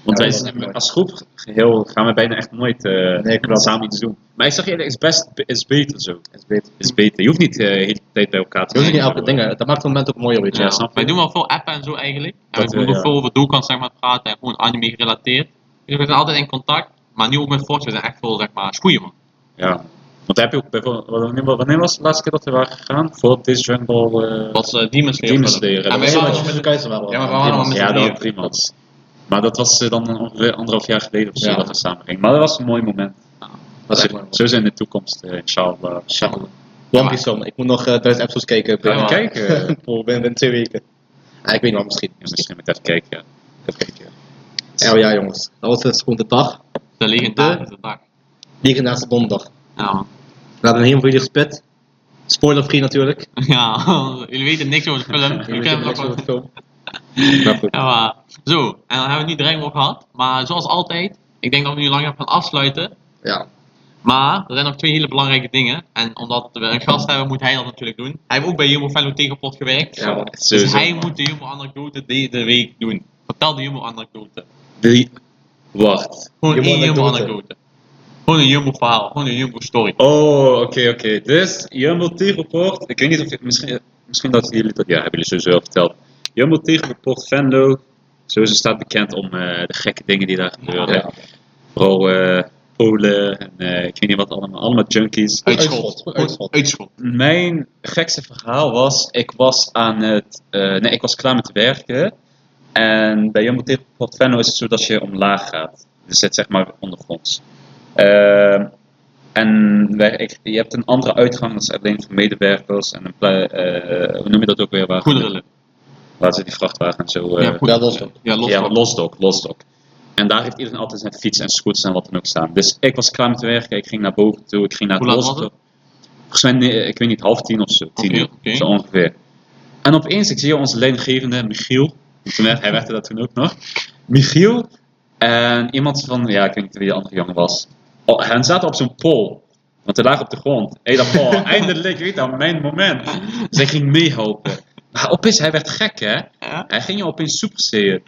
[SPEAKER 3] Want
[SPEAKER 2] Ja,
[SPEAKER 3] wij
[SPEAKER 2] dat
[SPEAKER 3] zijn
[SPEAKER 2] is mooi.
[SPEAKER 3] als groep geheel gaan we bijna echt nooit eh,
[SPEAKER 2] Nee, klopt.
[SPEAKER 3] samen iets doen. Maar ik zeg je, eerlijk, is best is beter zo.
[SPEAKER 2] Dat is beter.
[SPEAKER 3] Is beter. Je hoeft niet eh, de hele tijd bij elkaar te
[SPEAKER 2] Je hoeft niet
[SPEAKER 3] zijn.
[SPEAKER 2] elke dingen, dat maakt het moment ook mooier, weet
[SPEAKER 1] Dus
[SPEAKER 2] je.
[SPEAKER 1] Ja, eh,
[SPEAKER 3] snap je.
[SPEAKER 1] Wij doen wel veel appen en zo eigenlijk. En
[SPEAKER 3] Dat
[SPEAKER 1] we doen
[SPEAKER 3] wel,
[SPEAKER 1] ook
[SPEAKER 3] ja.
[SPEAKER 1] veel over doelkant zeg maar, praten en gewoon anime gerelateerd. Dus we zijn altijd in contact. Maar nu ook met Fortje, we zijn echt veel zeg maar, schoeien man.
[SPEAKER 3] Ja. Want daar heb je ook bijvoorbeeld, wanneer, wanneer was de laatste keer dat we waren gegaan? Voor dit Dragon Ball. eh,
[SPEAKER 1] Dat is uh, Demon Slayer.
[SPEAKER 3] Demon
[SPEAKER 1] film. En
[SPEAKER 3] Slayer, dat
[SPEAKER 1] we
[SPEAKER 3] was
[SPEAKER 2] Alleen
[SPEAKER 1] waren
[SPEAKER 2] maar
[SPEAKER 3] wel-
[SPEAKER 1] ook
[SPEAKER 2] je
[SPEAKER 1] met
[SPEAKER 2] met de keizer waren.
[SPEAKER 1] Ja, maar we waren wel met
[SPEAKER 3] ja,
[SPEAKER 1] z'n
[SPEAKER 3] dat
[SPEAKER 1] drieën.
[SPEAKER 3] was drie man. Maar dat was eh, dan ongeveer anderhalf jaar geleden of zo
[SPEAKER 2] Ja.
[SPEAKER 3] dat we samen gingen. Maar dat was een mooi moment.
[SPEAKER 2] Dat is echt
[SPEAKER 3] zo,
[SPEAKER 2] mooi, man.
[SPEAKER 3] zo zijn de toekomst, eh, inshallah.
[SPEAKER 2] Shaman. One Piece man. Ik moet nog eh, duizend episodes kijken.
[SPEAKER 1] Ja,
[SPEAKER 2] binnen-
[SPEAKER 3] man. Kijken. eh,
[SPEAKER 2] Bro, binnen, binnen twee weken. Ah, ik weet niet wel, misschien.
[SPEAKER 3] Ja, misschien met even kijken. Ja.
[SPEAKER 2] Even kijken. Ja, oh ja, jongens. Dat was dus gewoon de dag.
[SPEAKER 1] de legendarische dag.
[SPEAKER 2] Legendaarse donderdag.
[SPEAKER 1] Ja, man. [LAUGHS]
[SPEAKER 2] We hadden helemaal jullie gespit. Spoiler-free natuurlijk.
[SPEAKER 1] Ja, [LAUGHS] jullie weten niks over de film. Jullie kennen het
[SPEAKER 2] Niks
[SPEAKER 1] ook
[SPEAKER 2] over
[SPEAKER 1] wel.
[SPEAKER 2] de film. Maar goed.
[SPEAKER 1] Ja, maar- Zo, en dan hebben we het niet direct over gehad. Maar zoals altijd, ik denk dat we nu lang gaan afsluiten.
[SPEAKER 2] Ja.
[SPEAKER 1] Maar er zijn nog twee hele belangrijke dingen. En omdat we een gast hebben, moet hij dat natuurlijk doen. Hij heeft ook bij Jumbo Fellow Tegenpot gewerkt.
[SPEAKER 2] Ja, man.
[SPEAKER 1] Dus
[SPEAKER 3] Sowieso.
[SPEAKER 1] hij moet de Jumbo-anekdote deze week doen. Vertel de Jumbo-anekdote.
[SPEAKER 3] Drie. Wacht.
[SPEAKER 1] Gewoon een
[SPEAKER 2] Jumbo-anekdote.
[SPEAKER 1] Jumbo-anekdote. Gewoon een Jumbo-verhaal, gewoon een Jumbo-story.
[SPEAKER 3] Oh, oké, oké. Dus, Jumbo Tegelpoort. Ik weet niet of je- misschien, misschien dat jullie dat. Ja, hebben jullie sowieso wel verteld. Jumbo Tegelpoort Venlo. Sowieso staat bekend om eh, de gekke dingen die daar gebeuren.
[SPEAKER 2] Ja.
[SPEAKER 3] Vooral eh, Polen en eh, ik weet niet wat allemaal. Allemaal junkies.
[SPEAKER 2] Uitschot.
[SPEAKER 1] Gewoon
[SPEAKER 2] Uitschot.
[SPEAKER 1] Uitschot.
[SPEAKER 3] Mijn gekste verhaal was: ik was aan het. eh, nee, ik was klaar met werken. En bij Jumbo Tegelpoort Venlo is het zo dat je omlaag gaat. Dus het zeg maar ondergronds. Ehm, en wij- ik- je hebt een andere uitgang, dat is alleen voor medewerkers en een pla- eh, hoe noem je dat ook weer? Waar,
[SPEAKER 1] Goederen.
[SPEAKER 3] waar ze die vrachtwagen en zo. eh,
[SPEAKER 1] Ja,
[SPEAKER 2] Ja,
[SPEAKER 1] goederen.
[SPEAKER 2] dat was ook.
[SPEAKER 1] Ja, los.
[SPEAKER 3] ja, losdok, losdok. En daar heeft iedereen altijd zijn fiets en scooters en wat dan ook staan. Dus ik was klaar met werken, ik ging naar boven toe, ik ging naar
[SPEAKER 1] Hoe
[SPEAKER 3] het
[SPEAKER 1] laat was
[SPEAKER 3] losdok. Volgens mij, nee, ik weet niet, half tien of zo, tien
[SPEAKER 1] Oké,
[SPEAKER 3] uur,
[SPEAKER 1] oké.
[SPEAKER 3] zo ongeveer. En opeens, ik zie onze leidinggevende, Michiel, toen werd, hij werkte dat toen ook nog, Michiel en iemand van, ja, ik weet niet wie de andere jongen was. Oh, hen zaten op zo'n pol, want hij lag op de grond. Hé, dat
[SPEAKER 1] [LAUGHS]
[SPEAKER 3] pol, eindelijk, weet je, mijn moment. Dus ik ging meehelpen. Maar opeens, hij werd gek, hè.
[SPEAKER 1] Ja?
[SPEAKER 3] Hij ging je opeens superseer.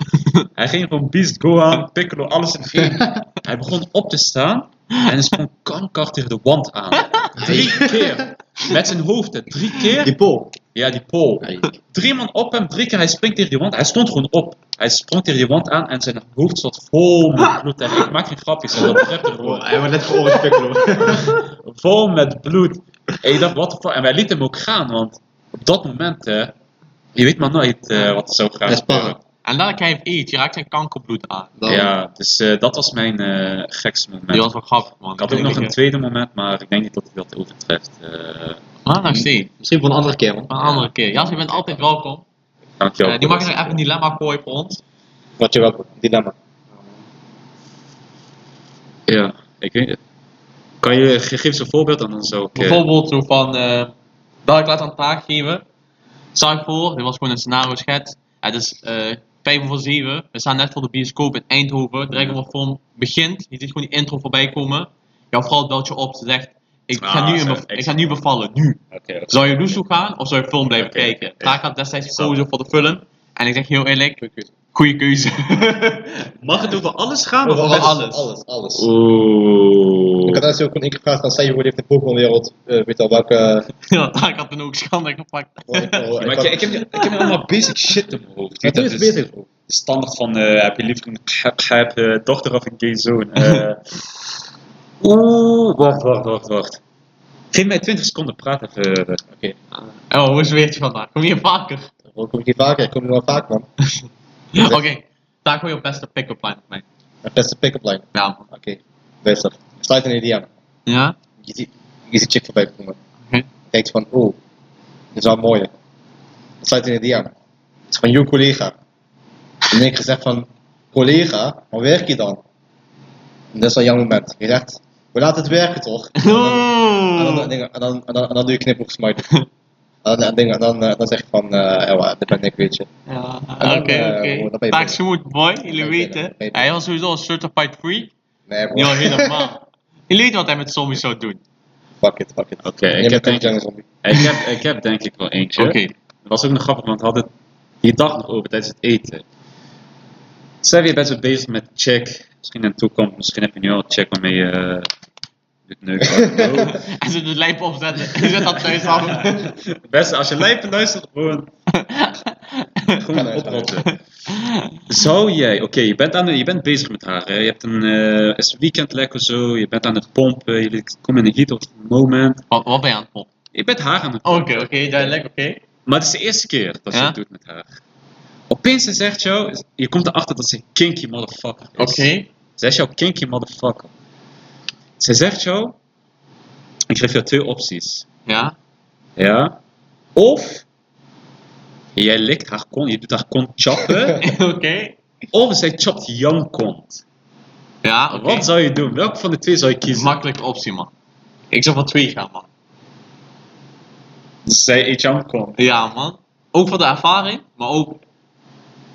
[SPEAKER 3] hij ging gewoon Beast, Gohan, Piccolo, alles in één. Hij begon op te staan en hij sprong kanker tegen de wand aan. Drie keer. Met zijn hoofd, hè. drie keer.
[SPEAKER 2] Die Paul.
[SPEAKER 3] Ja, die pol.
[SPEAKER 2] Ja,
[SPEAKER 3] Drie man op hem, drie keer. Hij springt tegen die wand. Hij stond gewoon op. Hij sprong tegen die wand aan en zijn hoofd zat vol met bloed. En ik maak geen grapjes, en dat begrijpt er gewoon.
[SPEAKER 2] Hij wordt net geoordeeld, Piccolo.
[SPEAKER 3] Vol met bloed. En je dacht, wat de fuck. En wij lieten hem ook gaan, want op dat moment, hè, je weet maar nooit eh, wat er zou gaan
[SPEAKER 2] Dat is
[SPEAKER 3] gebeuren.
[SPEAKER 1] En dan krijg je eet, je raakt zijn kankerbloed aan.
[SPEAKER 2] Dan-
[SPEAKER 3] Ja, dus eh, dat was mijn eh, gekste moment.
[SPEAKER 1] Die was wel grappig, man.
[SPEAKER 3] Ik had ook nog een
[SPEAKER 1] twee.
[SPEAKER 3] tweede moment, maar ik denk niet dat hij dat overtreft. Eh
[SPEAKER 1] Maar Ah, nog steeds.
[SPEAKER 2] Misschien voor een andere keer, man.
[SPEAKER 1] Een andere keer. Jas, je bent altijd welkom.
[SPEAKER 3] dankjewel.
[SPEAKER 1] Eh, nu mag je nog even een dilemma gooien voor ons.
[SPEAKER 2] Wat je wel, dilemma.
[SPEAKER 3] Ja, ik weet het. Kan je, ge- geef eens een voorbeeld en dan zou ik... eh,
[SPEAKER 1] Bijvoorbeeld zo van, eh dat ik laat aan taak geven. Stel ik voor, dit was gewoon een scenario schets. Het is eh 5 voor 7, we staan net voor de bioscoop in Eindhoven. Dragon Ball film begint, je ziet gewoon die intro voorbij komen. Jouw vrouw het beltje op, ze zegt, ik ga,
[SPEAKER 3] Ah,
[SPEAKER 1] nu, een
[SPEAKER 3] zo,
[SPEAKER 1] bev-
[SPEAKER 3] ik-
[SPEAKER 1] ik ga nu bevallen, nu.
[SPEAKER 3] Oké, dat is-
[SPEAKER 1] Zou je naartoe gaan of zou je film blijven
[SPEAKER 3] Oké,
[SPEAKER 1] kijken?
[SPEAKER 3] oké.
[SPEAKER 1] Taak had destijds gekozen voor de film. En ik zeg heel eerlijk, goede keuze. [LAUGHS]
[SPEAKER 3] Mag het over alles gaan?
[SPEAKER 1] Over
[SPEAKER 3] of-
[SPEAKER 1] alles.
[SPEAKER 2] Alles, alles. Ik
[SPEAKER 3] Oeh.
[SPEAKER 2] had daar ook een keer gevraagd aan Seijo, die heeft de Pokémon-wereld, eh, weet al welke...
[SPEAKER 1] ja, Taak had toen ook schande gepakt.
[SPEAKER 2] Oh, ik- oh,
[SPEAKER 3] [LAUGHS] Ja, maar ik, ik, heb, Dus- ik heb allemaal basic shit in mijn hoofd.
[SPEAKER 2] Het
[SPEAKER 3] Dat
[SPEAKER 2] is bezig, bro.
[SPEAKER 3] de standaard van eh, heb je liever een grijp- grijp, eh, dochter of een gay zoon? Eh, [LAUGHS] Oeh, wacht, wacht, wacht, wacht. Geef mij 20 seconden praten. even. eh,
[SPEAKER 1] Oh, hoe is het weertje vandaag? Kom hier vaker.
[SPEAKER 2] Bro, Kom ik hier vaker? Ik kom hier wel vaak, man.
[SPEAKER 1] Oké, Daar gooi je op beste pick-up line mee.
[SPEAKER 2] Mijn beste pick-up line.
[SPEAKER 1] Ja, man.
[SPEAKER 2] Oké, bezig. Sluit in Indiana.
[SPEAKER 1] Ja?
[SPEAKER 2] Je ziet, je ziet chick voorbij komen.
[SPEAKER 3] Hm.
[SPEAKER 1] Oké.
[SPEAKER 2] Denkt van, oeh, dit is wel mooi. Sluit in Indiana. Het is van jouw collega. En ik gezegd van, collega, waar werk je dan? En dat is wel een jammer moment. Je zegt, we laten het werken
[SPEAKER 3] [LAUGHS]
[SPEAKER 2] toch? En dan- En dan,
[SPEAKER 1] Oeh.
[SPEAKER 2] en dan, en dan, en dan, en dan doe je knipoog
[SPEAKER 3] [LAUGHS]
[SPEAKER 2] smijten. En dan, en dan, en dan, eh, dan zeg je van, eh ja, maar, dit ben ik, weet je.
[SPEAKER 1] Ja,
[SPEAKER 2] dan,
[SPEAKER 1] Oké,
[SPEAKER 2] eh, hoe-
[SPEAKER 1] oké.
[SPEAKER 2] dan ben je
[SPEAKER 1] Taak
[SPEAKER 2] binnen.
[SPEAKER 1] smooth boy, jullie
[SPEAKER 2] je
[SPEAKER 1] weten.
[SPEAKER 2] binnen, ben je
[SPEAKER 1] Hij was sowieso een certified freak.
[SPEAKER 2] Nee, bro.
[SPEAKER 1] Die al [LAUGHS] helemaal. Jullie weten wat hij met zombies zou doen.
[SPEAKER 2] fuck it, fuck it.
[SPEAKER 3] Oké,
[SPEAKER 2] Nee,
[SPEAKER 3] ik,
[SPEAKER 2] maar
[SPEAKER 3] heb
[SPEAKER 2] kan ik
[SPEAKER 3] denk-
[SPEAKER 2] jungle zombie.
[SPEAKER 3] ik, heb, ik heb denk ik wel eentje.
[SPEAKER 1] Oké.
[SPEAKER 3] Dat was ook nog grappig, want we hadden die dag nog over tijdens het eten. Zijn we best wel bezig met check. Misschien in de toekomst, misschien heb je nu al een check waarmee je eh, dit neukt.
[SPEAKER 1] [LAUGHS] En ze de lijp opzetten. Hij zet dat thuis af.
[SPEAKER 3] Beste, als je lijpen luistert, gewoon.
[SPEAKER 2] Kan
[SPEAKER 3] gewoon
[SPEAKER 2] uit, kan
[SPEAKER 3] oprotten. Zou jij, oké, je bent aan de- je bent bezig met haar, hè? je hebt een eh, is weekend lekker zo, je bent aan het pompen, je komt in een heat of moment.
[SPEAKER 1] [LAUGHS] Wat, wat ben je aan het pompen?
[SPEAKER 3] Je bent haar aan het
[SPEAKER 1] Oké, oké, duidelijk, oké.
[SPEAKER 3] Maar het is de eerste keer dat je
[SPEAKER 1] Ja?
[SPEAKER 3] het doet met haar. Opeens ze zegt jou, je komt erachter dat ze een kinky motherfucker is.
[SPEAKER 1] Oké.
[SPEAKER 3] Zij is jouw kinky motherfucker. Ze zegt jou, ik geef jou twee opties.
[SPEAKER 1] Ja.
[SPEAKER 3] Ja? Of, jij likt haar kont, je doet haar kont
[SPEAKER 1] [LAUGHS]
[SPEAKER 3] choppen.
[SPEAKER 1] [LAUGHS] oké.
[SPEAKER 3] of zij chopt jouw kont.
[SPEAKER 1] Ja, oké.
[SPEAKER 3] Wat zou je doen? Welke van de twee zou je kiezen?
[SPEAKER 1] Makkelijke optie, man. Ik zou van twee gaan, man.
[SPEAKER 3] zij eet jouw kont.
[SPEAKER 1] Ja, man. Ook voor de ervaring, maar ook...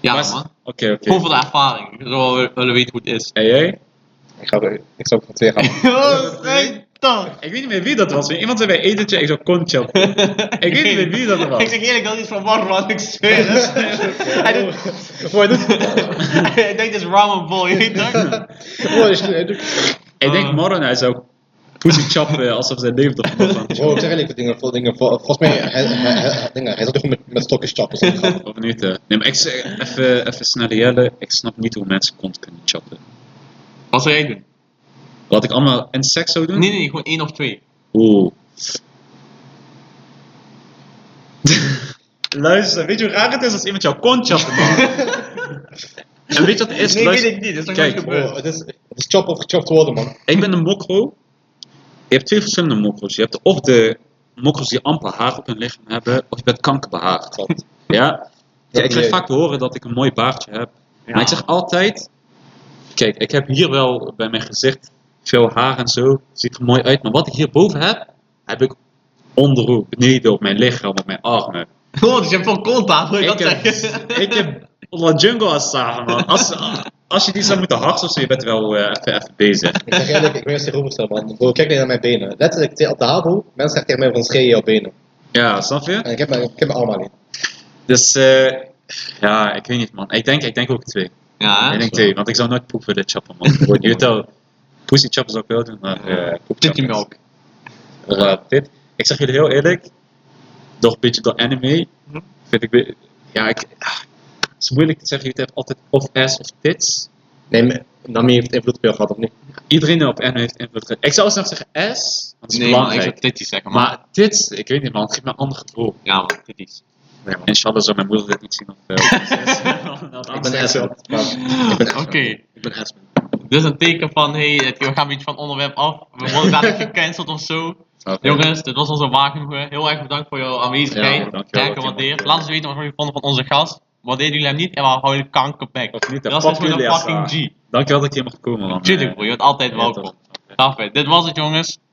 [SPEAKER 1] Ja,
[SPEAKER 3] Maar-
[SPEAKER 1] man.
[SPEAKER 3] Oké,
[SPEAKER 1] Gewoon
[SPEAKER 3] oké.
[SPEAKER 1] voor de ervaring. Ik zou wel willen weten hoe het is.
[SPEAKER 3] En jij?
[SPEAKER 2] Ik, ga, er- ik zou ook van twee gaan.
[SPEAKER 1] [LAUGHS] Oh, zeg toch.
[SPEAKER 3] Ik weet niet meer wie dat was. maar Iemand zei bij etentje, ik zou kont choppen. Ik weet niet meer wie dat
[SPEAKER 1] [LAUGHS]
[SPEAKER 3] was.
[SPEAKER 1] Ik zeg eerlijk, dat is iets van Warren, want ik zweer [LAUGHS] het. Hij doet... [LAUGHS]
[SPEAKER 2] Voor
[SPEAKER 1] Ik denk dat is Ramen Bol, je weet toch?
[SPEAKER 2] [LAUGHS]
[SPEAKER 3] Ik
[SPEAKER 1] Eh.
[SPEAKER 3] denk morgen hij zou pussy choppen alsof zijn leven toch nog aan
[SPEAKER 2] Bro, ik zeg eerlijk, dingen, veel dingen, vol- volgens mij, hij, hij, hij, dingen, hij zat gewoon met, met stokjes chappen. [LAUGHS] zo'n grap.
[SPEAKER 3] Of niet? hè? Nee, maar ik zeg even, even snel jellen. Ik snap niet hoe mensen kont kunnen choppen.
[SPEAKER 1] Wat zou jij doen?
[SPEAKER 3] Wat ik allemaal in seks zou doen?
[SPEAKER 1] Nee, nee, nee, gewoon één of twee. [LAUGHS]
[SPEAKER 3] Oeh. Luister, weet je hoe raar het is als iemand jouw kont choppen
[SPEAKER 1] [LAUGHS]
[SPEAKER 3] man? en weet je wat het is? Luister,
[SPEAKER 1] ik niet, dat is nog
[SPEAKER 3] Kijk,
[SPEAKER 1] nooit
[SPEAKER 2] Bro, het is, het is chop of gechopt worden, man.
[SPEAKER 3] ik ben een mokro. Je hebt twee verschillende mokro's. Je hebt of de mokro's die amper haar op hun lichaam hebben, of je bent kankerbehaard.
[SPEAKER 2] Want,
[SPEAKER 3] Ja.
[SPEAKER 2] Dat
[SPEAKER 3] ik krijg
[SPEAKER 2] niet.
[SPEAKER 3] vaak te horen dat ik een mooi baardje heb.
[SPEAKER 1] Ja.
[SPEAKER 3] Maar ik zeg altijd: Kijk, ik heb hier wel bij mijn gezicht veel haar en zo. Ziet er mooi uit. Maar wat ik hierboven heb, heb ik onderhoek, beneden op mijn lichaam, op mijn armen.
[SPEAKER 1] Oh, dus je hebt veel kont aan, wil je dat
[SPEAKER 3] ik, eh, heb, [LAUGHS]
[SPEAKER 1] zeggen?
[SPEAKER 3] ik heb La Jungle als samen, man. Als, als je die zou moeten harsen of zo, je bent wel eh, even, even bezig.
[SPEAKER 2] Ik zeg eerlijk, ik ben eens tegenovergesteld, man. Bro, kijk niet naar mijn benen. Letterlijk, te- op de havo, mensen zeggen tegen mij van scheer je jouw benen.
[SPEAKER 3] Ja, snap je?
[SPEAKER 2] En ik heb mijn, ik heb mijn allemaal niet.
[SPEAKER 3] Dus eh, ja, ik weet niet, man. Ik denk, ik denk ook twee.
[SPEAKER 1] Ja,
[SPEAKER 3] ik
[SPEAKER 1] hè?
[SPEAKER 3] denk twee, want ik zou nooit poepen dit chappen, man. Voor Utah, pussy chappen zou ik wel doen, maar eh, poep
[SPEAKER 1] Titty
[SPEAKER 3] chappen is-
[SPEAKER 1] milk.
[SPEAKER 3] Ja, dit. Ik zeg jullie heel eerlijk, nog een beetje door anime,
[SPEAKER 1] Mhm.
[SPEAKER 3] vind ik... be- Ja, ik... ah, het is moeilijk te zeggen, jullie hebben altijd of ass of tits.
[SPEAKER 2] Nee, maar Nami heeft invloed op jou gehad, of niet?
[SPEAKER 3] Iedereen op anime heeft invloed. ge- Ik zou zelf zeggen ass, want dat is
[SPEAKER 1] Nee, man, ik
[SPEAKER 3] belangrijk.
[SPEAKER 1] zou titty zeggen, man.
[SPEAKER 3] maar tits, ik weet niet man, het geeft me een ander gevoel.
[SPEAKER 1] Ja, man, titties.
[SPEAKER 3] Inshallah zou mijn moeder dit niet zien of...
[SPEAKER 1] [LAUGHS]
[SPEAKER 3] eh, [LAUGHS]
[SPEAKER 2] Ik ben ass, man. Ik ben ass,
[SPEAKER 1] Ah, Oké,
[SPEAKER 2] man. Ik ben ass, man.
[SPEAKER 1] dit is een teken van, hé, hey, het- we gaan iets van het onderwerp af. We worden dadelijk gecanceld of zo.
[SPEAKER 3] Snap je?
[SPEAKER 1] Jongens, dit was onze wagen. Eh, Heel erg bedankt voor jouw
[SPEAKER 3] Ja,
[SPEAKER 1] aanwezigheid.
[SPEAKER 3] dankjewel
[SPEAKER 1] Kijk,
[SPEAKER 3] dat je
[SPEAKER 1] gewaardeerd.
[SPEAKER 3] mag-
[SPEAKER 1] Laat ons weten wat jullie vonden van onze gast. Waardeerden jullie hem niet en we houden kankerback.
[SPEAKER 3] Of niet, hè?
[SPEAKER 1] Dat
[SPEAKER 3] Fuck
[SPEAKER 1] is gewoon
[SPEAKER 3] jullie
[SPEAKER 1] een
[SPEAKER 3] ass,
[SPEAKER 1] fucking
[SPEAKER 3] ah.
[SPEAKER 1] G.
[SPEAKER 3] Dankjewel dat ik hier mag komen man.
[SPEAKER 1] Tuurlijk,
[SPEAKER 3] Eh,
[SPEAKER 1] bro, je bent altijd
[SPEAKER 3] ja,
[SPEAKER 1] welkom.
[SPEAKER 3] toch.
[SPEAKER 1] Dag, vet. Dit was het, jongens.